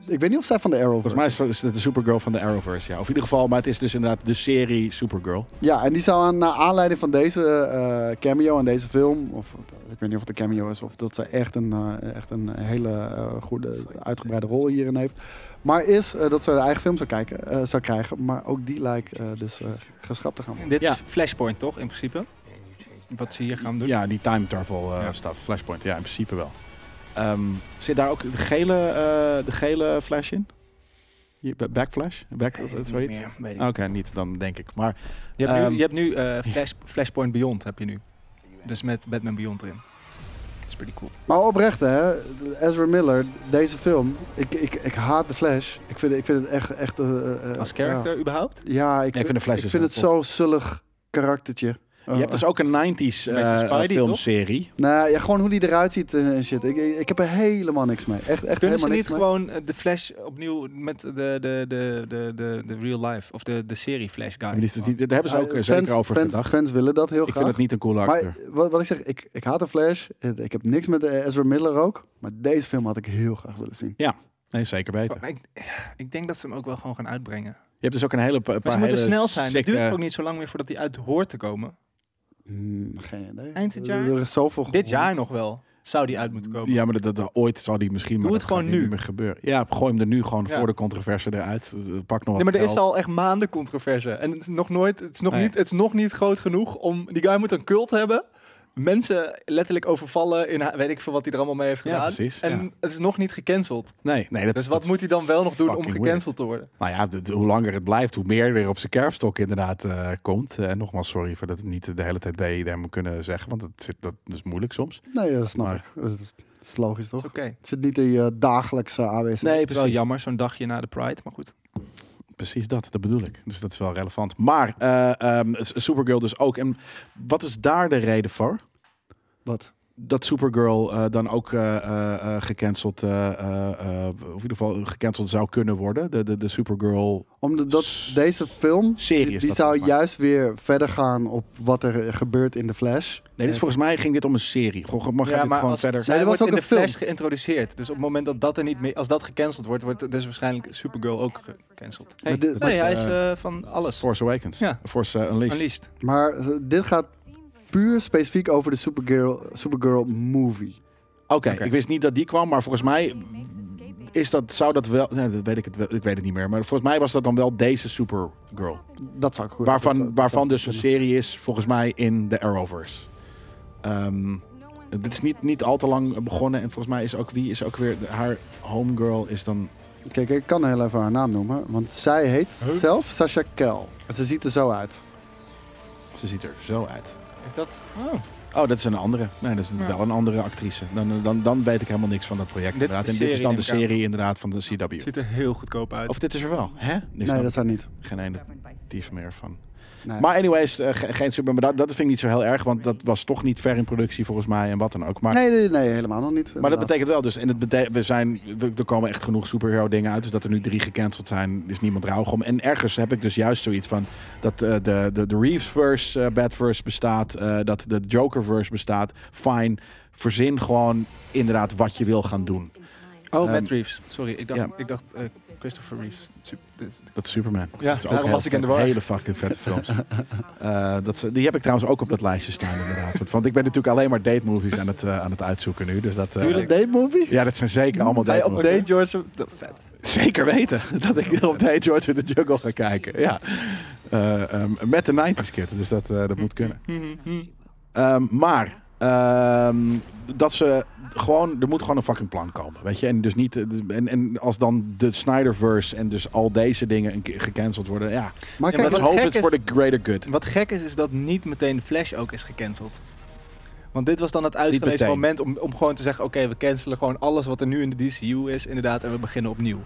Speaker 3: Ik weet niet of zij van de Arrowverse.
Speaker 2: Volgens mij is het- is het de Supergirl van de Arrowverse, ja. Of in ieder geval, maar het is dus inderdaad de serie Supergirl.
Speaker 3: Ja, en die zou aan naar aanleiding van deze eh, cameo en deze film, of ik weet niet of het een cameo is of dat zij echt een, eh, echt een hele eh, goede uitgebreide rol hierin heeft, maar is eh, dat ze haar eigen film zou, kijken, eh, zou krijgen, maar ook die lijkt eh, dus eh, geschrapt te gaan worden.
Speaker 4: Dit
Speaker 2: Ja.
Speaker 4: is Flashpoint, toch, in principe? Wat ze hier gaan doen.
Speaker 2: Ja, die time travel eh
Speaker 4: Ja.
Speaker 2: stuff, Flashpoint. Ja, in principe wel. Ehm, zit daar ook de gele, eh, de gele flash in? Hier, ba- Backflash? Back,
Speaker 4: Weet ik niet
Speaker 2: zoiets?
Speaker 4: meer, weet ik
Speaker 2: Oké, niet, dan denk ik. Maar
Speaker 4: niet. Je hebt
Speaker 2: Ehm,
Speaker 4: nu, je hebt nu eh, Flash, Flashpoint Beyond, heb je nu. Dus met Batman Beyond erin. Dat is pretty cool.
Speaker 3: Maar oprecht hè, Ezra Miller, deze film, ik, ik, ik haat de Flash. Ik vind, ik vind het echt... echt eh, eh,
Speaker 4: Als
Speaker 3: ja.
Speaker 4: character überhaupt?
Speaker 3: Ja, ik, vind,
Speaker 2: vind de Flash
Speaker 3: ik
Speaker 2: is
Speaker 3: vind
Speaker 2: wel
Speaker 3: het zo zullig karaktertje. Eh,
Speaker 2: je hebt dus ook een 90s eh,
Speaker 4: Oh. Beetje Spidey,
Speaker 2: filmserie.
Speaker 3: Nou ja, gewoon hoe die eruit ziet eh, en shit. Ik, ik, ik heb er helemaal niks mee. Echt, echt
Speaker 4: Kunnen ze
Speaker 3: helemaal
Speaker 4: niet
Speaker 3: niks mee.
Speaker 4: gewoon eh, de Flash opnieuw met de, de, de, de, de, de real life of de, de serie Flash guy?
Speaker 2: Maar die is dus niet- Daar hebben ze
Speaker 3: Ja,
Speaker 2: ook eh,
Speaker 3: Ah, fans-
Speaker 2: zeker over
Speaker 3: fans,
Speaker 2: gedacht.
Speaker 3: Fans willen dat heel
Speaker 2: Ik vind
Speaker 3: graag.
Speaker 2: het niet een coole acteur.
Speaker 3: maar wat, wat ik zeg, ik, ik haat de Flash. Eh, Ik heb niks met eh, Ezra Miller ook. Maar deze film had ik heel graag willen zien.
Speaker 2: Nee, zeker
Speaker 3: Oh.
Speaker 2: weten.
Speaker 4: Oh, Maar ik, ik denk dat ze hem ook wel gewoon gaan uitbrengen.
Speaker 2: Je hebt dus ook een hele pa-
Speaker 4: Maar
Speaker 2: paar
Speaker 4: ze moeten
Speaker 2: hele eh,
Speaker 4: snel zijn. Het
Speaker 2: sikke-
Speaker 4: duurt ook niet zo lang meer voordat hij uit hoort te komen.
Speaker 3: Hmm, geen idee.
Speaker 4: Eind dit jaar?
Speaker 3: Er is zoveel
Speaker 4: Dit
Speaker 3: gehoord.
Speaker 4: jaar nog wel zou die uit moeten komen.
Speaker 2: Ja, maar dat, dat- dat- ooit zal die misschien maar
Speaker 4: het
Speaker 2: dat
Speaker 4: gewoon
Speaker 2: gaat nu
Speaker 4: nu.
Speaker 2: niet meer gebeuren. Ja, gooi hem er nu gewoon
Speaker 4: Ja.
Speaker 2: voor de controverse eruit. Eh, Pak nog wat
Speaker 4: Nee, maar er is
Speaker 2: geld.
Speaker 4: al echt maanden controverse. En het is nog nooit, het is nog,
Speaker 2: Nee.
Speaker 4: niet, het is nog niet groot genoeg om. Die guy moet een cult hebben. Mensen letterlijk overvallen in ha- weet ik veel wat hij er allemaal mee heeft
Speaker 2: Ja,
Speaker 4: gedaan.
Speaker 2: precies,
Speaker 4: en
Speaker 2: ja.
Speaker 4: het is nog niet gecanceld.
Speaker 2: Nee, nee dat,
Speaker 4: Dus wat
Speaker 2: dat-
Speaker 4: moet hij dan wel nog doen om
Speaker 2: fucking
Speaker 4: gecanceld te worden?
Speaker 2: Nou ja, dit- hoe langer het blijft, hoe meer weer op zijn kerfstok inderdaad eh, komt. En nogmaals, sorry voor dat het niet de hele tijd BDM kunnen zeggen, want dat, zit, dat is moeilijk soms.
Speaker 3: Nee, dat snap
Speaker 2: Maar-
Speaker 3: ik. Dat is- dat is logisch, toch?
Speaker 4: Oké.
Speaker 3: Het zit niet in je dagelijkse aanwezigheid.
Speaker 4: Het is wel jammer, zo'n dagje na de Pride. Maar goed.
Speaker 2: Precies dat, dat bedoel ik. Dus dat is wel relevant. Maar eh, ehm, S- Supergirl dus ook. En wat is daar de reden voor?
Speaker 3: Wat?
Speaker 2: Dat Supergirl eh, dan ook eh, eh, eh, gecanceld, eh, eh, eh, of in ieder geval gecanceld zou kunnen worden. De, de, de Supergirl
Speaker 3: Omdat dat, deze film,
Speaker 2: Serie
Speaker 3: die,
Speaker 2: is
Speaker 3: die
Speaker 2: dat
Speaker 3: zou
Speaker 2: volgens mij.
Speaker 3: juist weer verder gaan op wat er gebeurt in de Flash. Eh,
Speaker 2: Nee, dit is volgens mij ging dit om een serie. Gewoon, mag
Speaker 4: ja,
Speaker 2: dit
Speaker 4: maar
Speaker 2: gewoon
Speaker 4: als,
Speaker 2: verder.
Speaker 4: zij
Speaker 3: Nee, er was
Speaker 4: wordt in
Speaker 3: ook
Speaker 4: de
Speaker 3: een film.
Speaker 4: Flash geïntroduceerd. Dus op het moment dat dat er niet meer, als dat gecanceld wordt, wordt dus waarschijnlijk Supergirl ook gecanceld.
Speaker 2: Hey,
Speaker 3: Maar dit-
Speaker 2: dat
Speaker 4: Nee,
Speaker 2: was,
Speaker 4: hij is
Speaker 2: eh,
Speaker 4: eh, van alles.
Speaker 2: Force Awakens.
Speaker 4: Ja.
Speaker 2: Force eh, Unleashed.
Speaker 4: Unleashed.
Speaker 3: Maar eh, dit gaat puur specifiek over de Supergirl, Supergirl movie.
Speaker 2: Oké,
Speaker 4: Oké.
Speaker 2: ik wist niet dat die kwam, maar volgens mij is dat, zou dat wel. Nee, dat weet ik, het, wel- ik weet het niet meer. Maar volgens mij was dat dan wel deze Supergirl.
Speaker 3: Dat zou ik goed dat zou-
Speaker 2: Waarvan,
Speaker 3: dat
Speaker 2: waarvan
Speaker 3: zou
Speaker 2: dus een serie is, volgens mij, in de Arrowverse. Ehm, dit is niet, niet al te lang begonnen. En volgens mij is ook wie is ook weer. de- haar homegirl is dan.
Speaker 3: kunnen. Kijk, ik kan heel even haar naam noemen. Want zij heet zelf Sasha Kel. En ze ziet er zo uit.
Speaker 2: Ze ziet er zo uit.
Speaker 4: Is dat? Oh.
Speaker 2: Oh, dat is een andere. Nee, dat is
Speaker 4: Ja.
Speaker 2: wel een andere actrice. Dan, dan, dan weet ik helemaal niks van dat project.
Speaker 4: Dit is de
Speaker 2: inderdaad. en dit is
Speaker 4: serie,
Speaker 2: dan de
Speaker 4: neem ik aan.
Speaker 2: serie inderdaad van de CW.
Speaker 4: Ziet er heel goedkoop uit.
Speaker 2: Of dit is er wel, hè? Nee,
Speaker 3: nee, dat zijn niet.
Speaker 2: geen ene dief meer van.
Speaker 3: Nee.
Speaker 2: Maar anyways, eh, ge- geen super. Maar dat, dat vind ik niet zo heel erg, want dat was toch niet ver in productie volgens mij en wat dan ook. Maar,
Speaker 3: nee, nee, nee, helemaal nog niet. Nou,
Speaker 2: maar dat
Speaker 3: inderdaad.
Speaker 2: betekent wel dus. En het bete- we zijn, we- er komen echt genoeg superhero dingen uit. Dus dat er nu drie gecanceld zijn, is niemand rauw om. En ergens heb ik dus juist zoiets van dat eh, de, de, de Reeves-verse, eh, Batverse bestaat, eh, dat de Joker-verse bestaat. Fine, verzin gewoon inderdaad wat je wil gaan doen.
Speaker 4: Oh,
Speaker 2: Ehm,
Speaker 4: Matt Reeves. Sorry, ik dacht,
Speaker 2: ja.
Speaker 4: ik dacht eh, Christopher Reeves. Sup- dit is-
Speaker 2: Dat is Superman.
Speaker 4: Ja,
Speaker 2: dat is
Speaker 4: daarom
Speaker 2: heel
Speaker 4: was ik in de
Speaker 2: vet.
Speaker 4: war.
Speaker 2: Hele fucking vette films. Eh, dat, ze- die heb ik trouwens ook op dat lijstje staan inderdaad. Want- Want ik ben natuurlijk alleen maar date movies aan het, eh, aan het uitzoeken nu. Dus dat, eh,
Speaker 4: Doe je
Speaker 3: Een date movie?
Speaker 2: ja, dat zijn zeker allemaal
Speaker 4: Ga je
Speaker 2: date
Speaker 4: op
Speaker 2: movies.
Speaker 4: date, George? Dat- Vet.
Speaker 2: Zeker weten dat ik op date George with the Jungle ga kijken. Ja. Eh, ehm, met de 90s kid, dus dat, eh, dat moet kunnen.
Speaker 4: Mhm,
Speaker 2: Ehm, maar ehm, dat ze gewoon, er moet gewoon een fucking plan komen, weet je. En dus niet, eh, en, en als dan de Snyderverse en dus al deze dingen een keer gecanceld worden, ja.
Speaker 3: Maar
Speaker 4: Ja,
Speaker 3: kijk,
Speaker 4: maar
Speaker 2: Let's
Speaker 4: wat
Speaker 3: wat-
Speaker 2: hope
Speaker 4: gek
Speaker 2: it's
Speaker 4: is-
Speaker 2: for the greater good.
Speaker 4: Wat gek is, is dat niet meteen de Flash ook is gecanceld. Want dit was dan het
Speaker 2: Niet
Speaker 4: uitgelezen
Speaker 2: meteen.
Speaker 4: moment om, om gewoon te zeggen... oké, we cancelen gewoon alles wat er nu in de DCU is, inderdaad... en we beginnen opnieuw.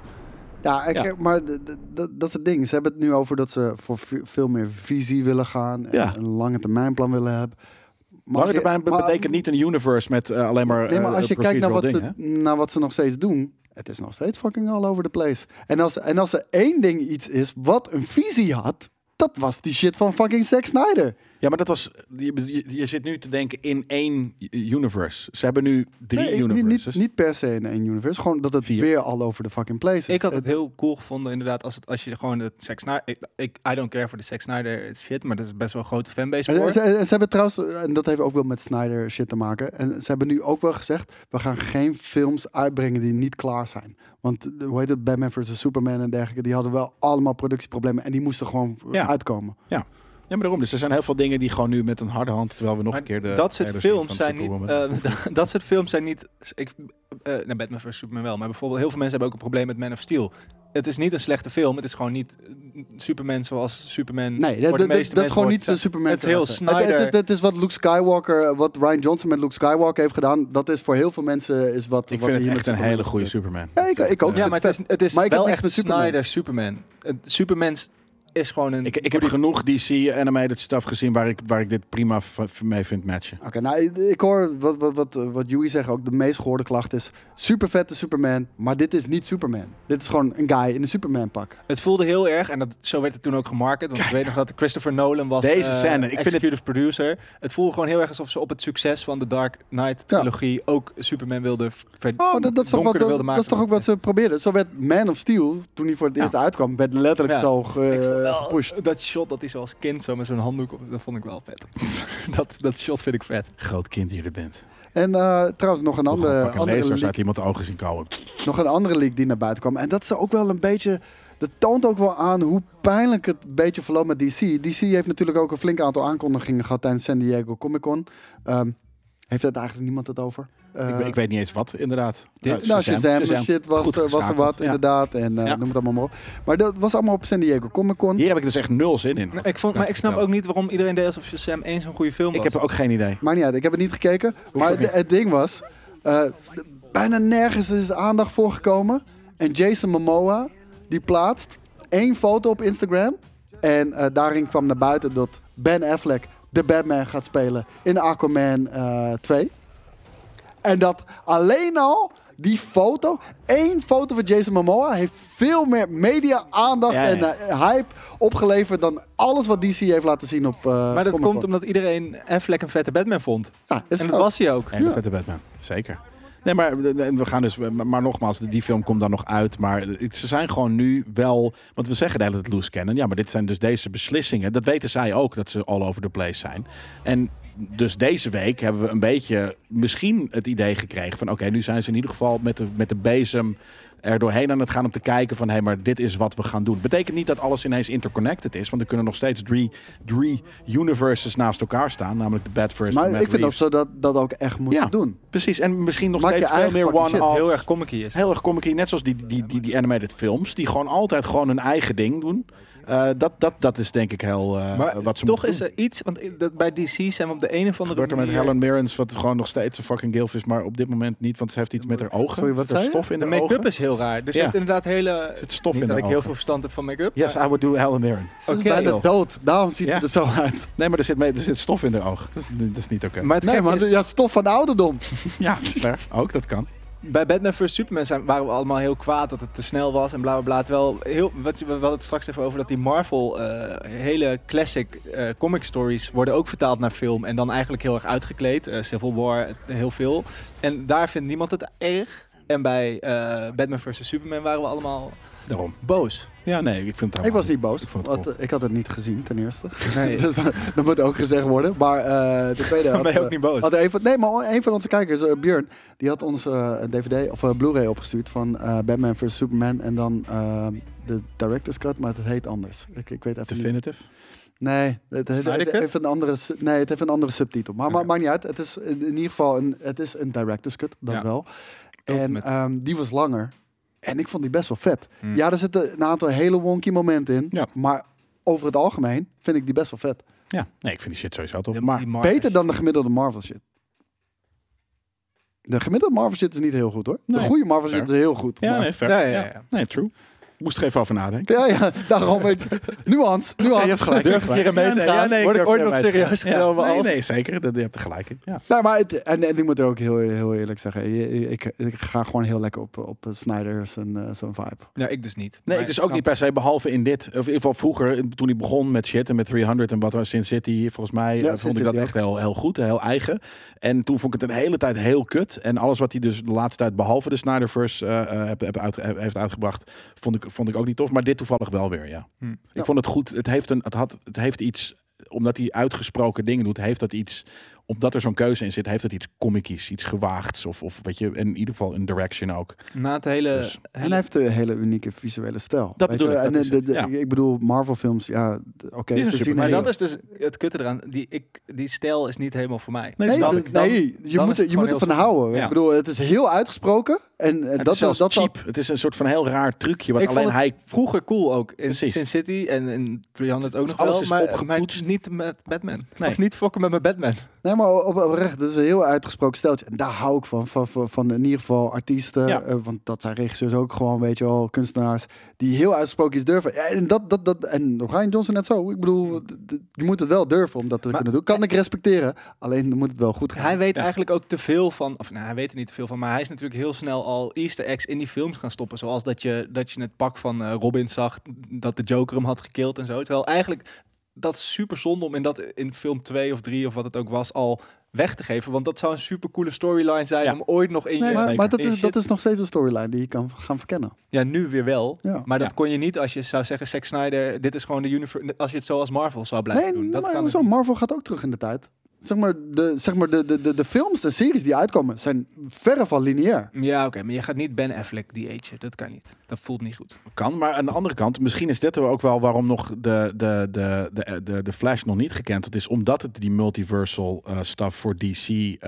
Speaker 3: ja, ik-
Speaker 2: Ja.
Speaker 3: maar d- d- d- dat is het ding. Ze hebben het nu over dat ze voor v- veel meer visie willen gaan. En
Speaker 2: Ja.
Speaker 3: een lange termijn plan willen hebben. Maar
Speaker 2: Lange
Speaker 3: als je-
Speaker 2: termijn be-
Speaker 3: maar-
Speaker 2: betekent niet een universe met eh, alleen maar.
Speaker 3: Nee, maar
Speaker 2: eh,
Speaker 3: als je kijkt naar wat,
Speaker 2: procedural
Speaker 3: ze,
Speaker 2: dingen,
Speaker 3: naar wat ze nog steeds doen, het is nog steeds fucking all over the place. En als, en als er één ding iets is wat een visie had, dat was die shit van fucking Zack Snyder.
Speaker 2: hè? Ja, maar dat was. Je, je, je zit nu te denken in één universe. Ze hebben nu drie
Speaker 3: Nee, ik- niet-
Speaker 2: universes.
Speaker 3: niet, niet per se in één universe. Gewoon dat het
Speaker 2: Vier.
Speaker 3: weer all over the fucking place is.
Speaker 4: Ik had het heel cool gevonden, inderdaad, als, het, als je gewoon het Zack Snyder... Ik, ik- I don't care voor de Zack Snyder shit, maar dat is best wel een grote fanbase
Speaker 3: En
Speaker 4: voor.
Speaker 3: Ze, ze hebben trouwens, eh, en dat heeft ook wel met Snyder shit te maken. En ze hebben nu ook wel gezegd: we gaan geen films uitbrengen die niet klaar zijn. Want de- hoe heet het? Batman vs. Superman en dergelijke, die hadden wel allemaal productieproblemen en die moesten gewoon eh,
Speaker 2: Ja.
Speaker 3: uitkomen.
Speaker 2: Ja, maar daarom. Dus er zijn heel veel dingen die gewoon nu met een harde hand. Terwijl we nog
Speaker 4: Maar
Speaker 2: een keer de.
Speaker 4: dat soort
Speaker 2: trailers
Speaker 4: films
Speaker 2: eh, van
Speaker 4: zijn niet.
Speaker 2: Superwoman-
Speaker 4: eh, dat- dat soort films zijn niet. Ik, eh nou, Batman vs Superman wel, maar bijvoorbeeld heel veel mensen hebben ook een probleem met Man of Steel. Het is niet een slechte film. Het is gewoon niet eh, Superman zoals Superman.
Speaker 3: Nee, dat,
Speaker 4: voor de
Speaker 3: dat-
Speaker 4: meeste
Speaker 3: dat is
Speaker 4: mensen
Speaker 3: gewoon
Speaker 4: wordt
Speaker 3: niet
Speaker 4: zijn.
Speaker 3: zijn Superman.
Speaker 4: Het is heel
Speaker 3: karakter. Het-
Speaker 4: Snyder.
Speaker 3: het- het- het is wat Luke Skywalker, wat Ryan Johnson met Luke Skywalker heeft gedaan. Dat is voor heel veel mensen is wat.
Speaker 2: ik
Speaker 3: wat
Speaker 2: vind het
Speaker 3: hier
Speaker 2: echt
Speaker 3: met
Speaker 2: een
Speaker 3: Superman
Speaker 2: hele
Speaker 3: is
Speaker 2: goede
Speaker 3: gebeurd.
Speaker 2: Superman.
Speaker 3: Ja, ik- ik ook.
Speaker 4: Ja,
Speaker 2: Ja,
Speaker 4: maar het is, het is
Speaker 3: Maar ik heb
Speaker 4: wel
Speaker 3: niks
Speaker 4: echt een
Speaker 3: met Superman.
Speaker 4: Snyder Superman. Een Superman is gewoon een.
Speaker 2: ik, ik heb genoeg DC animated stuff gezien waar ik, waar ik dit prima v- v- mee vind matchen.
Speaker 3: Oké, nou, ik- ik hoor wat, wat, wat, wat Joey zegt ook. De meest gehoorde klacht is: super vette Superman, maar dit is niet Superman. Dit is gewoon een guy in een Superman pak.
Speaker 4: Het voelde heel erg, en dat, zo werd het toen ook gemarket. Want ik weet nog dat Christopher Nolan was
Speaker 2: Deze
Speaker 4: eh,
Speaker 2: scène, ik vind het-
Speaker 4: executive producer. Het voelde gewoon heel erg alsof ze op het succes van de Dark Knight
Speaker 3: Ja.
Speaker 4: trilogie ook Superman wilde ver-
Speaker 3: Oh, dat, dat, is toch wat,
Speaker 4: donkerder
Speaker 3: dat,
Speaker 4: wilde maken.
Speaker 3: is toch ook wat ze probeerden. Zo werd Man of Steel, toen hij voor het eerst uitkwam, werd letterlijk
Speaker 4: Ja.
Speaker 3: zo ge-
Speaker 4: Ik vond wel-
Speaker 3: gepusht.
Speaker 4: dat shot dat hij zo als kind zo met zo'n handdoek op, dat vond ik wel vet. dat, dat shot vind ik vet.
Speaker 2: Groot kind die je er bent.
Speaker 3: En eh, trouwens, nog een,
Speaker 2: Nog een
Speaker 3: andere,
Speaker 2: fucking
Speaker 3: andere
Speaker 2: lasers
Speaker 3: leak,
Speaker 2: uit iemand de ogen zien kauwen.
Speaker 3: nog een andere leak die naar buiten kwam. En dat is ook wel een beetje... Dat toont ook wel aan hoe pijnlijk het een beetje verloopt met DC. DC heeft natuurlijk ook een flink aantal aankondigingen gehad tijdens San Diego Comic Con. Ehm, heeft daar eigenlijk niemand het over?
Speaker 2: Ik,
Speaker 3: Eh,
Speaker 2: weet- ik weet niet eens wat, inderdaad.
Speaker 4: Dit-
Speaker 3: Nou,
Speaker 2: Shazam.
Speaker 3: Shazam,
Speaker 2: Shazam.
Speaker 3: shit was,
Speaker 2: Goed
Speaker 3: er- was er
Speaker 2: geschakeld,
Speaker 3: wat,
Speaker 2: ja.
Speaker 3: inderdaad. En eh,
Speaker 2: Ja.
Speaker 3: noem het allemaal maar op. Maar dat was allemaal op San Diego Comic Con.
Speaker 2: Hier heb ik dus echt nul zin in.
Speaker 4: Nou, Ik vond, maar ik snap
Speaker 2: vertellen.
Speaker 4: ook niet waarom iedereen deed alsof Shazam eens zo'n goede film was.
Speaker 2: Ik heb er ook geen idee.
Speaker 3: Maakt niet uit, ik heb het niet gekeken. maar de- het ding was, eh, d- bijna nergens is aandacht voor gekomen. En Jason Momoa, die plaatst één foto op Instagram. En eh, daarin kwam naar buiten dat Ben Affleck de Batman gaat spelen in Aquaman eh 2. En dat alleen al die foto, één foto van Jason Momoa, heeft veel meer media-aandacht
Speaker 2: Ja, ja.
Speaker 3: en eh, hype opgeleverd dan alles wat DC heeft laten zien op. eh,
Speaker 4: maar dat
Speaker 3: Comic-Con.
Speaker 4: komt omdat iedereen Affleck een vette Batman vond.
Speaker 3: Ja, is
Speaker 4: en
Speaker 3: het
Speaker 4: dat
Speaker 3: ook.
Speaker 4: was hij ook.
Speaker 2: En de
Speaker 3: Ja.
Speaker 2: vette Batman, zeker. Nee, maar eh, we gaan dus. Maar maar nogmaals, die film komt dan nog uit. Maar eh, het- ze zijn gewoon nu wel. Want we zeggen de hele tijd loose cannon. Ja, maar dit zijn dus deze beslissingen. Dat weten zij ook, dat ze all over the place zijn. En dus deze week hebben we een beetje misschien het idee gekregen van... oké, nu zijn ze in ieder geval met de, met de bezem er doorheen aan het gaan om te kijken van... hé, maar dit is wat we gaan doen. Betekent niet dat alles ineens interconnected is. Want er kunnen nog steeds drie, drie universes naast elkaar staan. Namelijk de Batverse,
Speaker 3: Maar
Speaker 2: Matt
Speaker 3: ik vind dat
Speaker 2: Reeves
Speaker 3: ze dat, dat ook echt moeten
Speaker 2: Ja.
Speaker 3: doen.
Speaker 2: Precies, en misschien nog
Speaker 3: Maak je
Speaker 2: steeds veel
Speaker 3: eigen
Speaker 2: meer
Speaker 3: fucking shit.
Speaker 2: one-off.
Speaker 4: Heel erg comic is.
Speaker 2: Heel erg comic net zoals die, die, die, die animated films, die gewoon altijd gewoon hun eigen ding doen. Eh, dat, dat, dat is denk ik heel eh,
Speaker 4: Maar
Speaker 2: wat ze
Speaker 4: toch
Speaker 2: moeten
Speaker 4: is er iets, want i- dat bij DC zijn we op de een of
Speaker 2: doen.
Speaker 4: andere
Speaker 2: Gebeurt er
Speaker 4: manier...
Speaker 2: met Helen Mirrens, wat gewoon nog steeds een fucking gilf is, maar op dit moment niet, want ze heeft iets met haar ogen.
Speaker 3: Sorry, wat
Speaker 2: Ze heeft
Speaker 3: zei je?
Speaker 2: stof in
Speaker 4: de
Speaker 2: haar
Speaker 4: make-up
Speaker 2: ogen.
Speaker 4: is heel raar. Dus
Speaker 2: Ja.
Speaker 4: je hebt inderdaad hele...
Speaker 2: zit stof
Speaker 4: niet
Speaker 2: in
Speaker 4: dat
Speaker 2: haar
Speaker 4: ik heel
Speaker 2: ogen.
Speaker 4: veel verstand heb van make-up.
Speaker 2: Yes, I would do Helen Mirren.
Speaker 3: Ze is
Speaker 4: Oké,
Speaker 3: bijna
Speaker 4: joh.
Speaker 3: dood. Daarom ziet
Speaker 2: Ja.
Speaker 3: het er dus zo uit.
Speaker 2: Nee, maar er zit, mee- er zit stof in haar oog. Dat is, dat is niet oké.
Speaker 4: Maar het
Speaker 3: Nee,
Speaker 4: gekke
Speaker 3: maar
Speaker 4: is,
Speaker 3: ja, stof van de ouderdom.
Speaker 2: Ja, fair. ook dat kan.
Speaker 4: bij Batman vs Superman zijn, waren we allemaal heel kwaad dat het te snel was en bla bla bla. Terwijl, heel, wat, je- we hadden het straks even over dat die Marvel eh, hele classic eh, comic stories worden ook vertaald naar film. En dan eigenlijk heel erg uitgekleed. Eh, Civil War, eh, heel veel. En daar vindt niemand het erg. En bij eh, Batman vs Superman waren we allemaal
Speaker 2: Daarom.
Speaker 4: boos.
Speaker 2: Ja, nee, ik vind het
Speaker 3: Ik was niet boos.
Speaker 2: Ik vond het
Speaker 3: want, eh, ik had het niet gezien, ten eerste.
Speaker 4: Nee.
Speaker 3: dus dat, dat moet ook gezegd worden. Maar eh de tweede...
Speaker 4: Dan
Speaker 3: had,
Speaker 4: ben je
Speaker 3: eh,
Speaker 4: ook niet boos.
Speaker 3: Had een van, nee, maar een van onze kijkers, eh, Björn, die had ons eh, een DVD of eh, Blu-ray opgestuurd van eh, Batman vs. Superman en dan eh, de Director's Cut, maar het heet anders. Ik, ik weet even niet.
Speaker 2: Definitive.
Speaker 3: Nee, het heeft,
Speaker 4: Snyder
Speaker 3: het
Speaker 4: Cut?
Speaker 3: heeft een andere, su- nee, het heeft een andere subtitel. Maar ma- maakt niet uit. Het is in, in ieder geval een, het is een director's cut, dat
Speaker 4: Ja.
Speaker 3: wel. En
Speaker 4: Ultimate.
Speaker 3: ehm, die was langer. En ik vond die best wel vet.
Speaker 4: Hmm.
Speaker 3: Ja, er zitten een aantal hele wonky momenten in.
Speaker 2: Ja.
Speaker 3: Maar over het algemeen vind ik die best wel vet.
Speaker 2: Ja, nee, ik vind die shit sowieso tof.
Speaker 4: Die
Speaker 2: Maar
Speaker 4: Marvels.
Speaker 3: Beter dan de gemiddelde Marvel shit. De gemiddelde Marvel shit is niet heel goed hoor.
Speaker 2: Nee,
Speaker 3: de goede Marvel
Speaker 2: fair.
Speaker 3: shit is heel goed.
Speaker 2: Ja,
Speaker 3: maar-
Speaker 2: nee, fair.
Speaker 4: Ja,
Speaker 2: Ja,
Speaker 4: ja, ja.
Speaker 2: Nee, true. Moest er even over nadenken.
Speaker 3: Ja, ja, daarom. ik- Nuance, nuance.
Speaker 4: Durf ik hier aan mee
Speaker 2: Ja,
Speaker 4: te
Speaker 2: nee,
Speaker 4: gaan?
Speaker 2: ja, nee, ik
Speaker 4: Word ik
Speaker 2: durf
Speaker 4: ooit
Speaker 2: er
Speaker 4: nog
Speaker 2: mee te
Speaker 4: serieus
Speaker 2: gaan. Ja,
Speaker 4: genomen
Speaker 2: Nee,
Speaker 4: als-
Speaker 2: nee, zeker. Dat, je hebt er gelijk in. Ja.
Speaker 3: Nee, Nou, maar het, en, en ik moet er ook heel, heel eerlijk zeggen. je- Ik, ik ga gewoon heel lekker op, op Snyder zijn, eh, zijn vibe.
Speaker 4: Ja, ik dus niet.
Speaker 2: Nee,
Speaker 4: Maar
Speaker 2: dus
Speaker 4: ik
Speaker 2: ook
Speaker 4: snap-
Speaker 2: niet per se, behalve in dit. Of in ieder geval vroeger, toen hij begon met shit en met 300 en wat was Sin City. Volgens mij eh,
Speaker 3: Sin
Speaker 2: vond
Speaker 3: City
Speaker 2: ik dat
Speaker 3: ook.
Speaker 2: echt heel, heel goed, heel eigen. En toen vond ik het een hele tijd heel kut. En alles wat hij dus de laatste tijd, behalve de Snyderverse, eh, eh, heb- heb uitge- heb- heeft uitgebracht, vond ik, vond ik ook niet tof. Maar dit toevallig wel weer, ja.
Speaker 4: Hm.
Speaker 2: Ik
Speaker 3: Ja.
Speaker 2: vond het goed. Het heeft, een, het, had, het heeft iets, omdat hij uitgesproken dingen doet, heeft dat iets omdat er zo'n keuze in zit, heeft het iets comickies, iets gewaagds. Of, of weet je, in ieder geval een direction ook.
Speaker 4: Na het hele...
Speaker 2: Dus-
Speaker 4: hele-
Speaker 3: En hij heeft een hele unieke visuele stijl.
Speaker 2: Dat
Speaker 3: Weet
Speaker 2: bedoel
Speaker 3: je,
Speaker 2: ik,
Speaker 3: En
Speaker 2: dat
Speaker 3: de-
Speaker 2: is het,
Speaker 3: de- de-
Speaker 2: ja.
Speaker 3: Ik bedoel, Marvel films, ja, d-
Speaker 2: Die
Speaker 3: oké.
Speaker 2: is
Speaker 3: ze
Speaker 2: een
Speaker 3: zien
Speaker 4: Maar
Speaker 2: superheld.
Speaker 3: heel-
Speaker 4: dat is dus het kutte eraan. Die, ik, die stijl is niet helemaal voor mij.
Speaker 2: Nee,
Speaker 3: Nee,
Speaker 2: snap
Speaker 3: de-
Speaker 4: ik. Dan-
Speaker 3: nee, je
Speaker 4: dan
Speaker 3: moet,
Speaker 4: is
Speaker 3: er-
Speaker 4: het
Speaker 3: je moet
Speaker 4: gewoon
Speaker 3: ervan
Speaker 4: heel
Speaker 3: houden.
Speaker 2: Ja.
Speaker 3: Ik bedoel, het is heel uitgesproken. En, eh,
Speaker 2: Het
Speaker 3: dat
Speaker 2: is zelfs
Speaker 3: dat
Speaker 2: cheap. Het is een soort van heel raar trucje wat
Speaker 4: Ik vond
Speaker 2: alleen hij...
Speaker 4: Vroeger cool ook. In
Speaker 2: Precies.
Speaker 4: Sin City en in 300 ook nog
Speaker 2: Alles
Speaker 4: wel.
Speaker 2: is
Speaker 4: maar, maar
Speaker 2: opgepoetst.
Speaker 4: niet met Batman.
Speaker 2: Nee.
Speaker 4: Of niet fokken met mijn Batman.
Speaker 3: Nee, maar op, oprecht, dat is een heel uitgesproken steltje. En daar hou ik van. Van, van, van in ieder geval artiesten.
Speaker 2: Ja.
Speaker 3: eh, want dat zijn regisseurs ook gewoon, weet je wel, kunstenaars. Die heel uitgesproken iets durven. Ja, en, dat, dat, dat, en Ryan Johnson net zo. Ik bedoel, d- d- je moet het wel durven om dat te
Speaker 4: Maar-
Speaker 3: kunnen doen. Kan ik respecteren. Alleen dan moet het wel goed gaan.
Speaker 4: Hij weet
Speaker 2: Ja.
Speaker 4: eigenlijk ook te veel van, of nou, hij weet er niet te veel van, maar hij is natuurlijk heel snel al Easter eggs in die films gaan stoppen. Zoals dat je, dat je het pak van eh, Robin zag, dat de Joker hem had gekild en zo. Terwijl eigenlijk, dat is super zonde om in, dat, in film 2 of 3 of wat het ook was al weg te geven. Want dat zou een super coole storyline zijn
Speaker 2: Ja.
Speaker 4: om ooit nog in
Speaker 3: Nee,
Speaker 4: je...
Speaker 3: maar,
Speaker 2: zeker.
Speaker 3: maar dat,
Speaker 4: Nee,
Speaker 3: is,
Speaker 4: shit.
Speaker 3: dat is nog steeds een storyline die je kan v- gaan verkennen.
Speaker 4: Ja, nu weer wel.
Speaker 3: Ja.
Speaker 4: Maar dat
Speaker 2: Ja.
Speaker 4: kon je niet als je zou zeggen, Zack Snyder, dit is gewoon de universe. Als je het zoals Marvel zou blijven
Speaker 3: Nee,
Speaker 4: doen. Dat
Speaker 3: maar
Speaker 4: kan
Speaker 3: hoezo?
Speaker 4: het niet.
Speaker 3: Marvel gaat ook terug in de tijd. Zeg maar, de, zeg maar de, de, de, de films en series die uitkomen zijn verre van lineair.
Speaker 4: Ja, oké, maar je gaat niet Ben Affleck die age. Dat kan niet. Dat voelt niet goed.
Speaker 2: Kan, maar aan de andere kant, misschien is dit er ook wel waarom nog de, de, de, de, de, de Flash nog niet gekend is. Omdat het die multiversal eh stuff voor DC eh, eh,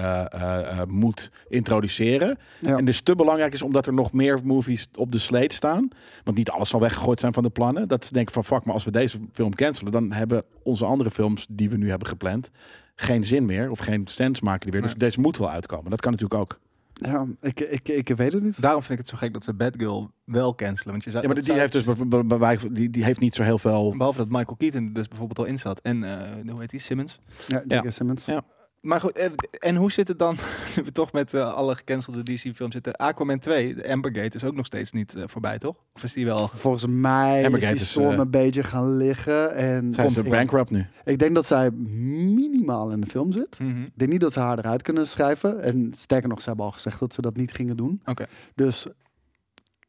Speaker 2: eh, moet introduceren.
Speaker 3: Ja.
Speaker 2: En dus te belangrijk is omdat er nog meer movies op de slate staan. Want niet alles zal weggegooid zijn van de plannen. Dat ze denken van fuck, maar als we deze film cancelen... dan hebben onze andere films die we nu hebben gepland... geen zin meer of geen stands maken die weer. Dus
Speaker 4: Nee.
Speaker 2: deze moet wel uitkomen. Dat kan natuurlijk ook.
Speaker 3: Ja, ik, ik, ik weet het niet.
Speaker 4: Daarom vind ik het zo gek dat ze Batgirl wel cancelen. Want je zou,
Speaker 2: Ja, maar
Speaker 4: dat
Speaker 2: die
Speaker 4: zou-
Speaker 2: heeft dus be- be- be- die, die heeft niet zo heel veel
Speaker 4: Behalve dat Michael Keaton er dus bijvoorbeeld al in zat. En eh, hoe heet die? Simmons.
Speaker 3: Ja,
Speaker 2: Ja.
Speaker 3: J.K. Simmons.
Speaker 2: Ja.
Speaker 4: Maar goed, eh, en hoe zit het dan? nu we toch met eh, alle gecancelde DC-films zitten. Aquaman 2, de Ambergate, is ook nog steeds niet eh, voorbij, toch? Of is die wel...
Speaker 3: Volgens mij is
Speaker 2: Hammergate
Speaker 3: die
Speaker 2: is,
Speaker 3: storm
Speaker 2: eh,
Speaker 3: een beetje gaan liggen. En
Speaker 2: Zijn ze
Speaker 3: ik,
Speaker 2: bankrupt nu? Oh,
Speaker 3: ik denk dat zij minimaal in de film zit.
Speaker 4: Mhm.
Speaker 3: Ik denk niet dat ze haar eruit kunnen schrijven. En sterker nog, ze hebben al gezegd dat ze dat niet gingen doen.
Speaker 4: Oké.
Speaker 3: Dus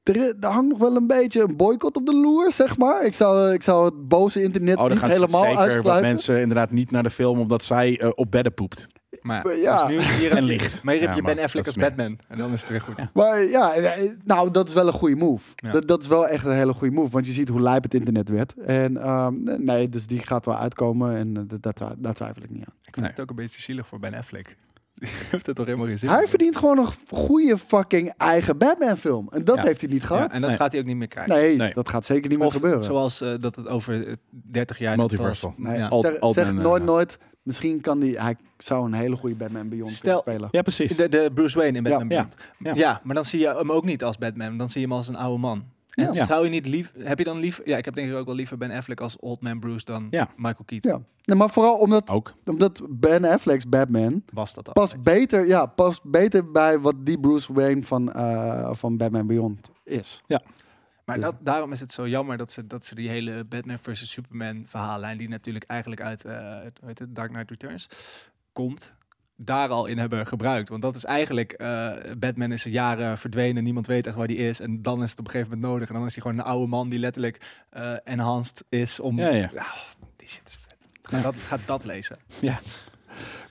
Speaker 3: er, i- er hangt nog wel een beetje een boycott op de loer, zeg maar. Ik zou, ik zou het boze internet
Speaker 2: Oh, dan
Speaker 3: niet
Speaker 2: gaan ze
Speaker 3: helemaal
Speaker 2: zeker wat
Speaker 3: uitsluiten.
Speaker 2: mensen inderdaad niet naar de film omdat zij eh, op bedden poept.
Speaker 4: Maar
Speaker 3: Maar
Speaker 4: ja.
Speaker 3: ja.
Speaker 4: Dus nu hier
Speaker 2: En licht.
Speaker 4: Maar hier
Speaker 2: Ja,
Speaker 4: heb je
Speaker 2: maar
Speaker 4: Ben Affleck
Speaker 2: dat
Speaker 4: als
Speaker 2: is meer.
Speaker 4: Batman. En dan is het weer goed.
Speaker 3: Maar ja, eh, nou, dat is wel een goede move.
Speaker 4: Ja.
Speaker 3: Dat, dat is wel echt een hele goede move. Want je ziet hoe lijp het internet werd. En ehm, nee, dus die gaat wel uitkomen. En eh, dat, dat, daar twijfel ik niet aan.
Speaker 4: Ik vind het ook een beetje zielig voor Ben Affleck. Die heeft het toch helemaal geen zin
Speaker 3: Hij
Speaker 4: meer.
Speaker 3: verdient gewoon een goede fucking eigen Batman-film. En dat
Speaker 2: Ja.
Speaker 3: heeft hij niet
Speaker 4: Ja,
Speaker 3: gehad.
Speaker 4: en dat
Speaker 2: Nee.
Speaker 4: gaat hij ook niet meer krijgen.
Speaker 3: nee,
Speaker 2: Nee.
Speaker 3: dat gaat zeker niet meer
Speaker 4: of
Speaker 3: gebeuren.
Speaker 4: zoals eh, dat het over eh, 30 jaar... net was.
Speaker 2: Multiversal.
Speaker 3: nee,
Speaker 4: Ja.
Speaker 2: Al-
Speaker 3: zeg,
Speaker 2: Altman,
Speaker 3: zeg
Speaker 2: eh,
Speaker 3: nooit,
Speaker 2: ja.
Speaker 3: nooit. Misschien kan die, hij zou een hele goede Batman Beyond
Speaker 4: Stel-
Speaker 3: kunnen spelen.
Speaker 2: Ja, precies.
Speaker 4: De, de Bruce Wayne in Batman.
Speaker 2: Ja.
Speaker 4: Beyond.
Speaker 2: Ja.
Speaker 4: Ja. maar dan zie je hem ook niet als Batman. Dan zie je hem als een oude man. En
Speaker 2: Ja.
Speaker 4: zou je niet lief... Heb je dan lief... Ja, ik heb denk ik ook wel liever Ben Affleck als Old Man Bruce dan
Speaker 2: Ja.
Speaker 4: Michael Keaton.
Speaker 3: Ja. Nee, maar vooral omdat,
Speaker 2: Ook.
Speaker 4: Oh.
Speaker 3: omdat Ben Affleck's Batman
Speaker 4: Was dat al?
Speaker 3: past beter, ja, past beter bij wat die Bruce Wayne van, eh, van Batman Beyond is.
Speaker 4: Maar dat, daarom is het zo jammer dat ze, dat ze die hele Batman versus Superman verhaallijn... die natuurlijk eigenlijk uit eh, hoe heet het, Dark Knight Returns komt... daar al in hebben gebruikt. Want dat is eigenlijk... eh, Batman is er jaren verdwenen. Niemand weet echt waar die is. En dan is het op een gegeven moment nodig. En dan is hij gewoon een oude man die letterlijk eh, enhanced is om...
Speaker 2: Ja, ja.
Speaker 4: Ah, die shit is vet. Ga, dat, ga dat lezen.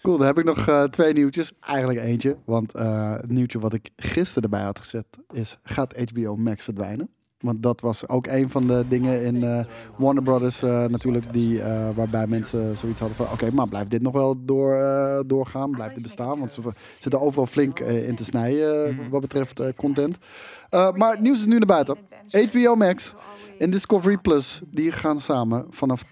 Speaker 3: Cool, dan heb ik nog eh, twee nieuwtjes. Eigenlijk eentje, want eh, het nieuwtje wat ik gisteren erbij had gezet is... gaat HBO Max verdwijnen? Want dat was ook een van de dingen in eh, Warner Brothers eh, natuurlijk... Die, eh, waarbij mensen zoiets hadden van... oké, maar blijft dit nog wel door, eh, doorgaan? Blijft dit bestaan? Want ze zitten overal flink eh, in te snijden eh, wat betreft eh, content. Eh, maar het nieuws is nu naar buiten. HBO Max en Discovery Plus, die gaan samen vanaf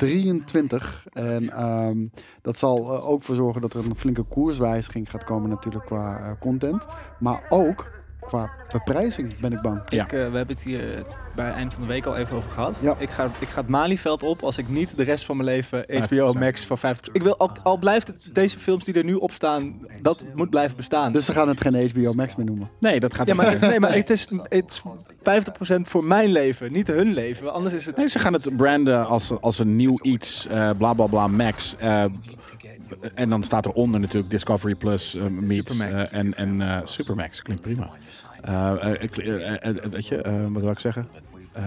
Speaker 3: 2023. En ehm, dat zal eh, ook voor zorgen dat er een flinke koerswijziging gaat komen natuurlijk qua eh, content. Maar ook qua beprijzing, ben ik bang.
Speaker 2: Ja.
Speaker 4: Ik, eh, we hebben het hier eh, bij het eind van de week al even over gehad.
Speaker 3: Ja.
Speaker 4: Ik, ga, ik ga het Malieveld op als ik niet de rest van mijn leven HBO
Speaker 2: 50%.
Speaker 4: Max van 50... Ik wil, al, al blijft het- deze films die er nu op staan, dat moet blijven bestaan.
Speaker 3: Dus ze gaan het geen HBO Max meer noemen.
Speaker 2: Nee, dat gaat
Speaker 4: ja,
Speaker 2: niet
Speaker 4: maar,
Speaker 2: lukken.
Speaker 4: nee, maar het is, het is 50% voor mijn leven, niet hun leven. Anders is het...
Speaker 2: Nee, ze gaan het branden als, als een nieuw iets, eh bla bla bla, Max. eh, en dan staat eronder natuurlijk Discovery Plus, eh, Meets
Speaker 4: Supermax.
Speaker 2: eh, en, en eh, Supermax. Klinkt prima. Eh, eh, kli- eh, eh, weet je, eh, wat wil ik zeggen? Eh,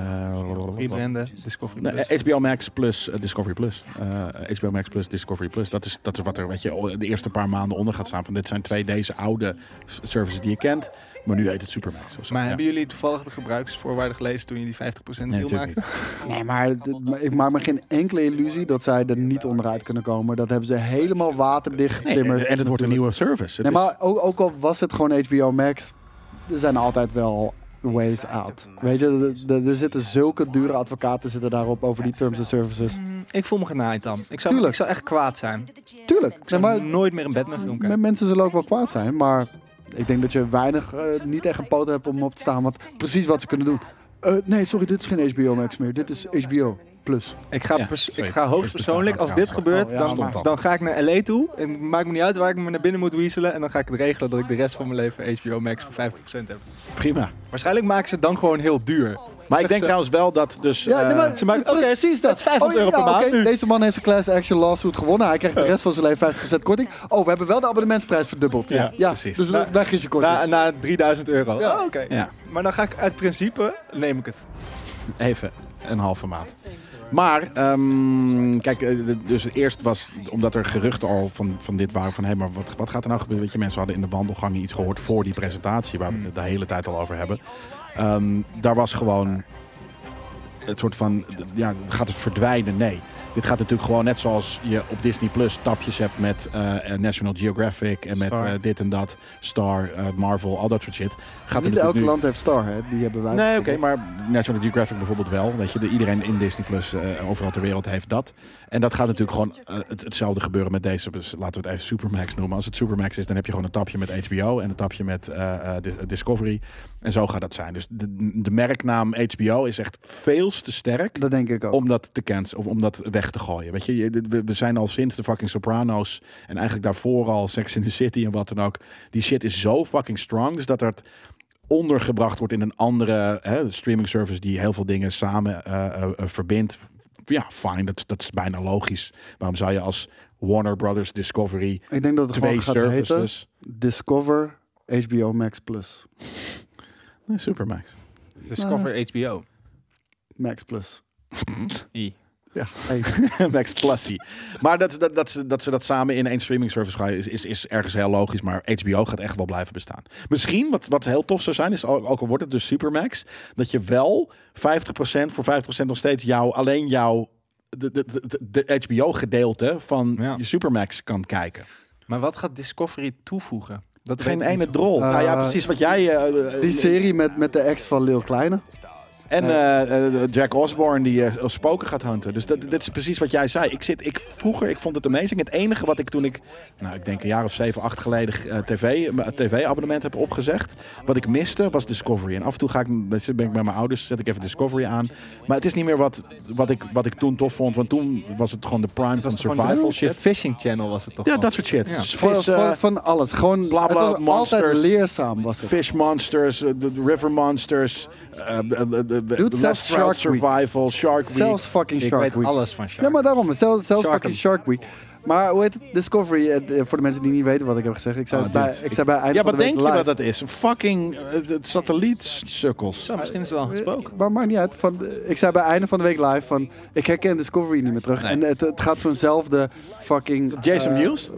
Speaker 4: Rebranden, Discovery
Speaker 2: Nee,
Speaker 4: Plus.
Speaker 3: Dus-
Speaker 2: eh, HBO Max plus eh, Discovery Plus. Eh, HBO Max plus Discovery Plus. Dat is, dat is wat er weet je, de eerste paar maanden onder gaat staan. Van dit zijn twee deze oude s- services die je kent. Maar nu heet het Supermax. of zo.
Speaker 4: Maar
Speaker 2: eh, Ja.
Speaker 4: hebben jullie toevallig de gebruiksvoorwaarden gelezen toen je die 50% deal
Speaker 2: Nee, natuurlijk
Speaker 4: maakte?
Speaker 3: Nee, maar d- maar ik maak me geen enkele illusie dat zij er niet onderuit kunnen komen. Dat hebben ze helemaal waterdicht
Speaker 2: Nee,
Speaker 3: getimmerd.
Speaker 2: en, en het wordt een nieuwe service. Het
Speaker 3: Nee,
Speaker 2: is-
Speaker 3: maar ook, ook al was het gewoon HBO Max, er zijn altijd wel ways out. Weet je, er- er- er zitten zulke dure advocaten zitten daarop over die terms and services.
Speaker 4: Mm, Ik voel me genaaid dan. Ik zou,
Speaker 3: Tuurlijk.
Speaker 4: ik zou echt kwaad zijn.
Speaker 3: Tuurlijk,
Speaker 4: Ik
Speaker 3: zeg
Speaker 4: zou
Speaker 3: maar,
Speaker 4: nooit meer een Batman film
Speaker 3: men-
Speaker 4: kijken.
Speaker 3: mensen zullen ook wel kwaad zijn, maar ik denk dat je weinig, eh, niet echt een poot hebt om op te staan, want precies wat ze kunnen doen. Eh, nee, sorry, dit is geen HBO Max meer, dit is HBO Plus.
Speaker 4: Ik ga,
Speaker 2: Ja,
Speaker 4: pers-
Speaker 2: zeker.
Speaker 4: ik ga hoogstpersoonlijk, als dit gebeurt,
Speaker 3: Oh, ja,
Speaker 4: dan,
Speaker 2: maar-
Speaker 4: dan ga ik naar LA toe. En maakt me niet uit waar ik me naar binnen moet wieselen. En dan ga ik het regelen dat ik de rest van mijn leven HBO Max voor 50% heb.
Speaker 2: Prima.
Speaker 4: Waarschijnlijk maken ze het dan gewoon heel duur.
Speaker 2: Maar ik denk trouwens wel dat dus...
Speaker 3: eh, Ja, nee,
Speaker 2: eh,
Speaker 3: maar,
Speaker 4: ze maken- oké,
Speaker 3: precies dat. Oh,
Speaker 4: het is 500 euro per
Speaker 3: ja,
Speaker 4: maand
Speaker 3: oké,
Speaker 4: nu.
Speaker 3: Deze man heeft zijn class action lawsuit gewonnen. Hij krijgt de rest van zijn leven 50% korting. Oh, we hebben wel de abonnementsprijs verdubbeld.
Speaker 2: Ja, precies.
Speaker 3: precies. Dus
Speaker 4: Nou,
Speaker 3: weg is je korting.
Speaker 4: Na, na 3000 euro.
Speaker 3: Ja.
Speaker 4: Oh, oké.
Speaker 2: Ja.
Speaker 4: Maar dan ga ik uit principe, neem ik het.
Speaker 2: Even een halve maand. Maar, ehm, kijk, eh, d- dus eerst was, omdat er geruchten al van, van dit waren, van hé, maar wat, wat gaat er nou gebeuren? Weet je, mensen hadden in de wandelgangen iets gehoord voor die presentatie, waar we het de hele tijd al over hebben. Ehm, daar was gewoon het soort van, d- ja, gaat het verdwijnen? Nee. Dit gaat natuurlijk gewoon net zoals je op Disney Plus tapjes hebt met eh, eh, National Geographic en met
Speaker 4: Star.
Speaker 2: eh, dit en dat, Star, eh, Marvel, al dat soort shit. Gaat er
Speaker 3: Niet
Speaker 2: natuurlijk
Speaker 3: elk
Speaker 2: nu-
Speaker 3: land heeft Star, hè? Die hebben wij.
Speaker 2: Nee, oké, maar National Geographic bijvoorbeeld wel. Weet je, de, iedereen in Disney Plus eh, overal ter wereld heeft dat. En dat gaat natuurlijk gewoon eh, het, hetzelfde gebeuren met deze. Dus laten we het even Supermax noemen. Als het Supermax is, dan heb je gewoon een tapje met HBO en een tapje met eh, eh, Dis- Discovery. En zo gaat dat zijn. Dus de, de merknaam HBO is echt veel te sterk
Speaker 3: Dat denk ik ook.
Speaker 2: om dat te cancelen, of om dat weg te gooien. Weet je, je- dit- we, we zijn al sinds de fucking Sopranos en eigenlijk daarvoor al Sex in the City en wat dan ook. Die shit is zo fucking strong, dus dat dat ondergebracht wordt in een andere hè, streaming service die heel veel dingen samen eh, eh, eh, verbindt. Ja, fijn, dat, dat is bijna logisch. Waarom zou je als Warner Brothers Discovery
Speaker 3: ik denk dat het
Speaker 2: twee
Speaker 3: gewoon gaat heten
Speaker 2: services...
Speaker 3: Discover HBO Max Plus.
Speaker 2: Nee, Supermax.
Speaker 4: Discover HBO.
Speaker 3: Max Plus.
Speaker 4: I.
Speaker 3: Ja, hey.
Speaker 2: Max Plassie. Maar dat, dat, dat, ze, dat ze dat samen in één streaming service gaan, is, is, is ergens heel logisch. Maar HBO gaat echt wel blijven bestaan. Misschien, wat, wat heel tof zou zijn, is ook, ook al wordt het dus Supermax, dat je wel 50% voor 50% nog steeds jouw, alleen jouw de, de, de, de HBO-gedeelte van
Speaker 4: Ja.
Speaker 2: je Supermax kan kijken.
Speaker 4: Maar wat gaat Discovery toevoegen? Dat
Speaker 2: Geen
Speaker 4: weet ik
Speaker 2: ene
Speaker 4: niet zo
Speaker 2: drol.
Speaker 3: Eh,
Speaker 2: nou ja, precies wat jij... eh, eh,
Speaker 3: Die serie met, met de ex van Lil Kleine.
Speaker 2: En eh, eh, Jack Osborne die eh, spoken gaat hunten. Dus dat, dit is precies wat jij zei. Ik zit, ik, vroeger, ik vond het amazing. Het enige wat ik toen ik, nou ik denk een jaar of zeven, acht geleden eh, tv, mijn tv-abonnement heb opgezegd. Wat ik miste was Discovery. En af en toe ga ik, weet je, ben ik bij mijn ouders, zet ik even Discovery aan. Maar het is niet meer wat, wat, ik, wat ik toen tof vond. Want toen was het gewoon de prime van
Speaker 4: goed. Gewoon
Speaker 2: survival
Speaker 4: de- de
Speaker 2: shit.
Speaker 4: Fishing Channel was het toch?
Speaker 2: Ja,
Speaker 4: wel?
Speaker 2: dat soort shit.
Speaker 4: Ja.
Speaker 2: Dus
Speaker 3: Van,
Speaker 2: vis, eh,
Speaker 3: van, van alles. Gewoon
Speaker 2: bla, bla,
Speaker 3: het was altijd
Speaker 2: monsters.
Speaker 3: leerzaam was het.
Speaker 2: Fish monsters, eh, de de river monsters, eh, de- de- de- de-
Speaker 3: Dude, zelfs
Speaker 2: Last Trout
Speaker 3: Shark Week.
Speaker 2: Survival, Shark Week.
Speaker 3: Zelfs fucking
Speaker 4: Ik
Speaker 3: Shark
Speaker 4: weet
Speaker 3: Week.
Speaker 4: alles van Shark.
Speaker 3: Ja, maar daarom. Zelfs, zelfs
Speaker 4: Shark
Speaker 3: fucking
Speaker 4: hem.
Speaker 3: Shark Week. Maar hoe heet het? Discovery, eh, eh, voor de mensen die niet weten wat ik heb gezegd. Ik zei,
Speaker 4: Ah,
Speaker 2: Oh,
Speaker 3: het bij,
Speaker 2: dude,
Speaker 3: ik zei bij eind
Speaker 2: Ja,
Speaker 3: van
Speaker 2: wat
Speaker 3: de week
Speaker 2: denk je wat
Speaker 3: live.
Speaker 2: dat is? Een fucking eh, satellietsukkels.
Speaker 4: Zo, misschien is het wel gesproken.
Speaker 3: Maar maakt niet uit. Van, eh, ik zei bij einde van de week live van... Ik herken Discovery niet meer terug. En het, het gaat zo'nzelfde fucking...
Speaker 2: Jason
Speaker 3: eh,
Speaker 2: Mewes,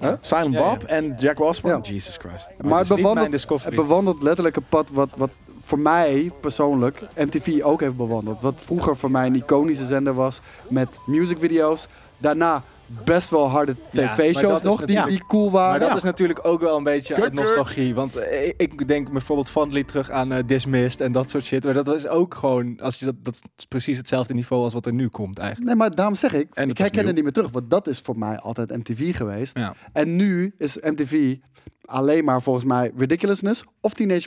Speaker 3: Huh?
Speaker 2: Silent
Speaker 4: Ja, ja.
Speaker 2: Bob en Jack Osborne.
Speaker 3: Ja.
Speaker 2: Jesus Christ.
Speaker 3: Maar het
Speaker 4: het is niet mijn
Speaker 3: bewandelt,
Speaker 4: Discovery.
Speaker 3: het bewandelt letterlijk een pad wat, wat voor mij persoonlijk MTV ook heeft bewandeld. Wat vroeger voor mij een iconische zender was met musicvideo's. Daarna best wel harde
Speaker 4: Ja, maar dat
Speaker 3: tv-shows
Speaker 4: is
Speaker 3: nog die,
Speaker 4: natuurlijk-
Speaker 3: die cool waren.
Speaker 4: Maar dat
Speaker 2: Ah, ja.
Speaker 4: is natuurlijk ook wel een beetje uit
Speaker 2: Kukkert.
Speaker 4: nostalgie. Want eh, ik denk bijvoorbeeld van lied terug aan eh, Dismissed en dat soort shit. Maar dat is ook gewoon, als je dat, dat is precies hetzelfde niveau als wat er nu komt eigenlijk.
Speaker 3: Nee, maar daarom zeg ik,
Speaker 2: En het
Speaker 3: ik
Speaker 2: was
Speaker 3: herken
Speaker 2: nieuw.
Speaker 3: het niet meer terug. Want dat is voor mij altijd MTV geweest.
Speaker 4: Ja.
Speaker 3: En nu is MTV alleen maar volgens mij Ridiculousness of Teenage,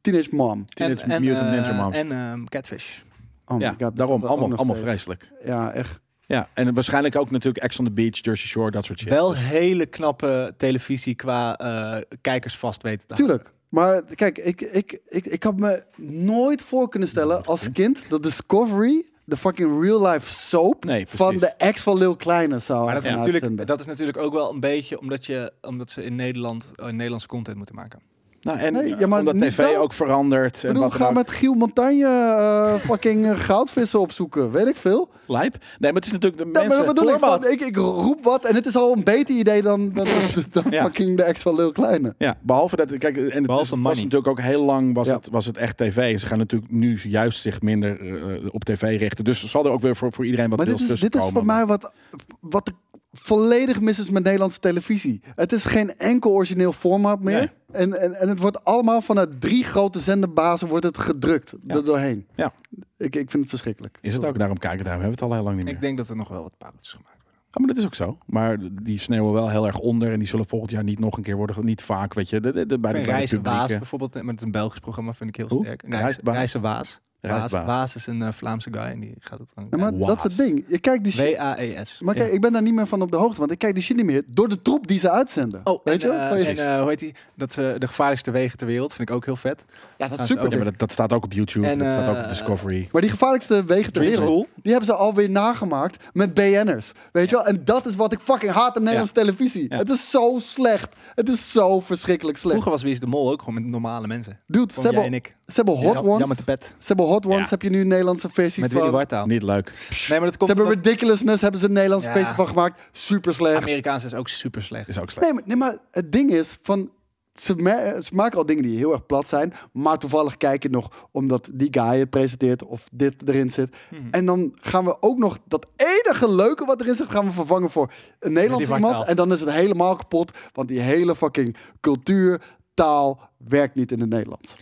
Speaker 3: teenage Mom.
Speaker 2: Teenage Mutant
Speaker 4: eh,
Speaker 2: Ninja Mom.
Speaker 4: En ehm, Catfish.
Speaker 3: Oh my
Speaker 2: ja,
Speaker 3: god. dat
Speaker 2: daarom.
Speaker 3: is
Speaker 2: Allemaal,
Speaker 3: ook nog
Speaker 2: allemaal
Speaker 3: steeds.
Speaker 2: vreselijk.
Speaker 3: Ja, echt.
Speaker 2: Ja, en waarschijnlijk ook natuurlijk Ex on the Beach, Jersey Shore, dat soort shit.
Speaker 4: Wel hele knappe televisie qua eh, kijkers vast weten te houden.
Speaker 3: Tuurlijk. Maar kijk, ik, ik, ik, ik had me nooit voor kunnen stellen als kind dat Discovery de fucking real-life soap
Speaker 2: Nee, precies.
Speaker 3: van de ex van Lil Kleine zou
Speaker 4: Maar dat is,
Speaker 3: gaan
Speaker 4: natuurlijk,
Speaker 3: uitzenden.
Speaker 4: dat is natuurlijk ook wel een beetje omdat, je, omdat ze in Nederland eh, Nederlandse content moeten maken.
Speaker 2: Nou, en
Speaker 3: Nee, ja,
Speaker 2: eh,
Speaker 3: maar
Speaker 2: omdat
Speaker 3: niet
Speaker 2: tv
Speaker 3: wel.
Speaker 2: ook verandert.
Speaker 3: Ik
Speaker 2: En
Speaker 3: bedoel,
Speaker 2: wat dan
Speaker 3: ga
Speaker 2: ook.
Speaker 3: met Giel Montagne eh, fucking eh, goudvissen opzoeken. Weet ik veel.
Speaker 2: Lijp. Nee, maar het is natuurlijk de
Speaker 3: Ja, maar
Speaker 2: mensen...
Speaker 3: dat bedoel ik,
Speaker 2: Format.
Speaker 3: van, ik. Ik roep wat en het is al een beter idee dan, dan, dan
Speaker 2: Ja.
Speaker 3: fucking de ex van Lil Kleine.
Speaker 2: Ja, behalve dat, kijk, en het
Speaker 4: Behalve
Speaker 2: is- het was
Speaker 4: money.
Speaker 2: natuurlijk ook heel lang was,
Speaker 3: Ja.
Speaker 2: het, was het echt tv. Ze gaan natuurlijk nu juist zich minder eh, op tv richten. Dus er zal er ook weer voor, voor iedereen wat
Speaker 3: Maar
Speaker 2: deels
Speaker 3: dit is,
Speaker 2: tussen
Speaker 3: dit is voor
Speaker 2: komen.
Speaker 3: mij wat, wat er volledig mis is met Nederlandse televisie. Het is geen enkel origineel format meer.
Speaker 2: Nee.
Speaker 3: En, en, en het wordt allemaal vanuit drie grote zenderbazen wordt het gedrukt
Speaker 2: Ja.
Speaker 3: er doorheen.
Speaker 2: Ja.
Speaker 3: Ik, ik vind het verschrikkelijk.
Speaker 2: Is het ook? Daarom kijken, daarom hebben we het al heel lang niet meer.
Speaker 4: Ik denk dat er nog wel wat pareltjes gemaakt worden.
Speaker 2: Ja, maar dat is ook zo. Maar die sneeuwen wel heel erg onder en die zullen volgend jaar niet nog een keer worden. ge- Niet vaak, weet je. De, de, de, bij de,
Speaker 4: Ik
Speaker 2: bij
Speaker 4: vind
Speaker 2: de
Speaker 4: Reis en Waas
Speaker 2: publieke-
Speaker 4: bijvoorbeeld, eh, maar het is een Belgisch programma, vind ik heel
Speaker 2: Hoe?
Speaker 4: sterk.
Speaker 2: Reis
Speaker 4: Reis,
Speaker 2: en Waas.
Speaker 4: Reis en Waas.
Speaker 2: Reis en
Speaker 4: Waas.
Speaker 2: Waas.
Speaker 4: Waas is een eh, Vlaamse guy en die gaat het dan.
Speaker 3: Ja, maar
Speaker 2: Waas.
Speaker 3: dat is het ding. Je kijkt die shit.
Speaker 4: W-A-E-S.
Speaker 3: Maar kijk, ik ben daar niet meer van op de hoogte, want ik kijk die shit niet meer door de troep die ze uitzenden.
Speaker 4: Oh,
Speaker 3: Weet je?
Speaker 4: en,
Speaker 3: wel?
Speaker 4: eh,
Speaker 3: Van je-
Speaker 4: en eh, hoe heet die? Dat ze de gevaarlijkste wegen ter wereld, vind ik ook heel vet.
Speaker 3: ja, dat
Speaker 4: gaan
Speaker 3: is
Speaker 4: ze
Speaker 3: super.
Speaker 2: Ja, maar dat, dat staat ook op YouTube.
Speaker 4: En,
Speaker 2: dat staat ook op
Speaker 4: eh,
Speaker 2: Discovery.
Speaker 3: Maar die gevaarlijkste wegen ter
Speaker 4: Dreams
Speaker 3: wereld,
Speaker 4: Rule.
Speaker 3: die hebben ze alweer nagemaakt met BN'ers. Weet je wel? En dat is wat ik fucking haat aan Nederlandse televisie.
Speaker 2: Ja.
Speaker 3: Het is zo slecht. Het is zo verschrikkelijk slecht.
Speaker 4: Vroeger was Wie is de Mol ook gewoon met normale mensen.
Speaker 3: Dude, ze
Speaker 4: Gewoon jij
Speaker 3: hebben,
Speaker 4: en ik.
Speaker 3: ze hebben Hot
Speaker 4: Jam-
Speaker 3: Ones.
Speaker 4: Jan met de pet.
Speaker 3: Ze hebben Hot Ones,
Speaker 2: Ja.
Speaker 3: heb je nu een Nederlandse versie
Speaker 4: Met
Speaker 3: van.
Speaker 4: Willy
Speaker 3: Ze
Speaker 4: Wartaal. Nee,
Speaker 2: Niet leuk.
Speaker 4: maar dat komt
Speaker 3: hebben
Speaker 4: omdat
Speaker 3: Ridiculousness, hebben ze een Nederlandse
Speaker 4: Ja.
Speaker 3: versie van gemaakt. Super slecht.
Speaker 4: Amerikaans is ook super slecht.
Speaker 2: Is ook slecht.
Speaker 3: Nee maar, nee, maar het ding is van. Ze, me- ze maken al dingen die heel erg plat zijn. Maar toevallig kijk je nog omdat die guy het presenteert of dit erin zit. En dan gaan we ook nog dat enige leuke wat erin zit, gaan we vervangen voor een Nederlands
Speaker 4: die
Speaker 3: iemand.
Speaker 4: vaktaal.
Speaker 3: En dan is het helemaal kapot. Want die hele fucking cultuur, taal werkt niet in het Nederlands.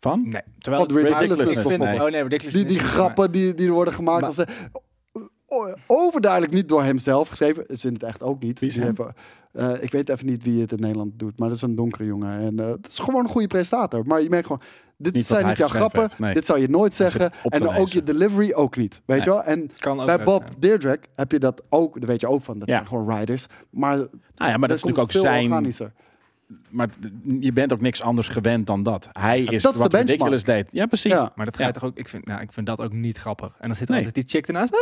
Speaker 2: Van?
Speaker 4: Nee, terwijl
Speaker 3: Wat Ridiculous
Speaker 4: ik
Speaker 2: is
Speaker 4: vind,
Speaker 2: bijvoorbeeld.
Speaker 4: oh nee, Ridiculous
Speaker 3: Die,
Speaker 4: is
Speaker 3: die
Speaker 4: niet-
Speaker 3: grappen die, die er worden gemaakt.
Speaker 4: Maar-
Speaker 3: als de- o- overduidelijk niet door hemzelf geschreven. Is in het echt ook niet.
Speaker 2: Wie is
Speaker 3: Die
Speaker 2: hem?
Speaker 3: hebben- eh, ik weet even niet wie het in Nederland doet. Maar dat is een donkere jongen. En, eh, het is gewoon een goede prestator. Maar je merkt gewoon... Dit
Speaker 2: Niet wat
Speaker 3: zijn
Speaker 2: hij
Speaker 3: niet jouw
Speaker 2: geschreven
Speaker 3: grappen.
Speaker 2: heeft, nee.
Speaker 3: Dit zou je nooit
Speaker 2: zit
Speaker 3: zeggen.
Speaker 2: op te
Speaker 3: En dan ook je
Speaker 2: lezen.
Speaker 3: delivery ook niet. Weet je
Speaker 2: Nee.
Speaker 3: wel? En
Speaker 4: Kan ook
Speaker 3: bij
Speaker 4: leuk
Speaker 3: Bob
Speaker 4: zijn.
Speaker 3: Deirdre heb je dat ook. Dat weet je ook van. Dat
Speaker 2: Ja.
Speaker 3: zijn gewoon riders. Maar,
Speaker 2: Nou ja, maar dat is
Speaker 3: komt
Speaker 2: natuurlijk ook
Speaker 3: veel
Speaker 2: zijn-
Speaker 3: organischer.
Speaker 2: Maar t- je bent ook niks anders gewend dan dat. Hij is
Speaker 3: dat is
Speaker 2: wat
Speaker 3: de benchmark.
Speaker 2: Ridiculous deed. Ja, precies.
Speaker 3: Ja.
Speaker 2: Ja.
Speaker 4: Maar dat
Speaker 2: Ja.
Speaker 4: gaat toch ook, ik vind, nou, ik vind dat ook niet grappig. En dan zit
Speaker 2: Nee.
Speaker 4: altijd die chick ernaast.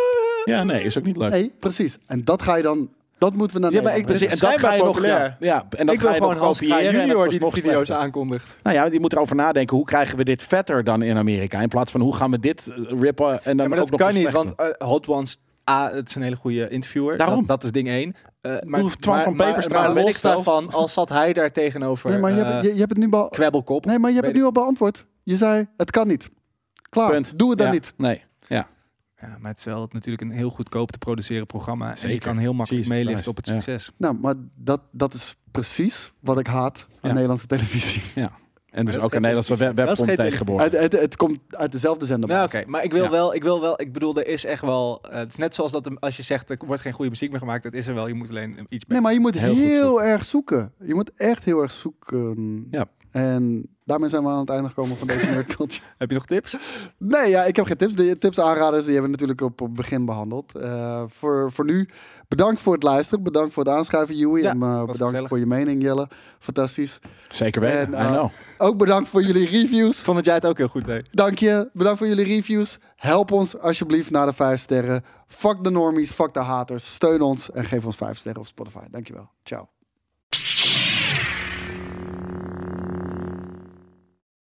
Speaker 4: Ah,
Speaker 2: nee, is ook niet leuk.
Speaker 3: Nee, precies. En dat ga je dan... Dat moeten we naar
Speaker 4: Ja, maar
Speaker 3: Nederland
Speaker 4: ik-
Speaker 3: brengen.
Speaker 2: Precies, en dat
Speaker 4: Schijnbaar
Speaker 2: ga je nog...
Speaker 4: populair.
Speaker 2: Ja, ja, en dat
Speaker 4: ik
Speaker 2: ga
Speaker 4: wil
Speaker 2: je
Speaker 4: gewoon
Speaker 2: nog
Speaker 4: Hans
Speaker 2: kopiëren. en dat
Speaker 4: Junior
Speaker 2: was
Speaker 4: die de
Speaker 2: nog
Speaker 4: video's
Speaker 2: slechter.
Speaker 4: aankondigt.
Speaker 2: Nou ja, je moet erover nadenken. Hoe krijgen we dit vetter dan in Amerika? In plaats van hoe gaan we dit eh, rippen en dan
Speaker 4: Ja, maar
Speaker 2: ook
Speaker 4: dat
Speaker 2: nog
Speaker 4: kan
Speaker 2: eens
Speaker 4: niet,
Speaker 2: slechter?
Speaker 4: want eh, Hot Ones, A, het is een hele goede interviewer.
Speaker 2: Daarom.
Speaker 4: Dat, dat is ding één. Eh, maar
Speaker 2: Doe Twan van Peperstra,
Speaker 4: maar,
Speaker 2: dat weet
Speaker 4: los
Speaker 2: ik zelf.
Speaker 4: daarvan, al zat hij daar tegenover.
Speaker 3: Nee, maar je,
Speaker 4: eh,
Speaker 3: hebt, je, je hebt het nu al...
Speaker 4: kwebbelkop.
Speaker 3: Nee, maar je hebt het nu al beantwoord. Je zei, het kan niet. Klaar,
Speaker 2: Punt.
Speaker 3: doe het dan
Speaker 2: Ja,
Speaker 3: niet.
Speaker 2: Nee. dus
Speaker 4: Ja, maar het is wel natuurlijk een heel goedkoop te produceren programma. En je
Speaker 2: Zeker.
Speaker 4: kan heel makkelijk
Speaker 2: Jesus
Speaker 4: meeliften op
Speaker 2: Christ,
Speaker 4: het
Speaker 2: ja.
Speaker 4: succes.
Speaker 3: Nou, maar dat, dat is precies wat ik haat aan
Speaker 2: Ja.
Speaker 3: Nederlandse televisie.
Speaker 2: En dus ook
Speaker 4: dat is
Speaker 2: een
Speaker 4: geen
Speaker 2: Nederlandse web-
Speaker 4: televisie. Dat is
Speaker 2: webcom
Speaker 4: geen televisie.
Speaker 2: tegenwoordig.
Speaker 3: Het, het, het komt uit dezelfde zender.
Speaker 4: Nou, oké, maar ik wil
Speaker 2: Ja.
Speaker 4: wel, ik wil wel, ik bedoel, er is echt wel, eh, het is net zoals dat er- als je zegt, er wordt geen goede muziek meer gemaakt, het is er wel, je moet alleen eh, iets
Speaker 3: Nee, maar je moet heel,
Speaker 2: Heel goed zoeken.
Speaker 3: erg zoeken. Je moet echt heel erg zoeken.
Speaker 2: Ja.
Speaker 3: En daarmee zijn we aan het einde gekomen van deze nerdculture.
Speaker 4: Heb je nog tips?
Speaker 3: Nee, ja, ik heb geen tips. De tips aanraders die hebben we natuurlijk op op het begin behandeld. Eh, voor, voor nu, bedankt voor het luisteren. Bedankt voor het aanschuiven, Joey.
Speaker 4: Ja,
Speaker 3: en eh, bedankt
Speaker 4: gezellig.
Speaker 3: voor je mening, Jelle. Fantastisch.
Speaker 2: Zeker weten.
Speaker 3: En,
Speaker 2: I
Speaker 3: eh,
Speaker 2: know.
Speaker 3: Ook bedankt voor jullie reviews.
Speaker 4: Vond dat jij het ook heel goed deed?
Speaker 3: Dank je. Bedankt voor jullie reviews. Help ons alsjeblieft naar de 5 sterren. Fuck de normies, fuck de haters. Steun ons en geef ons 5 sterren op Spotify. Dankjewel. Ciao.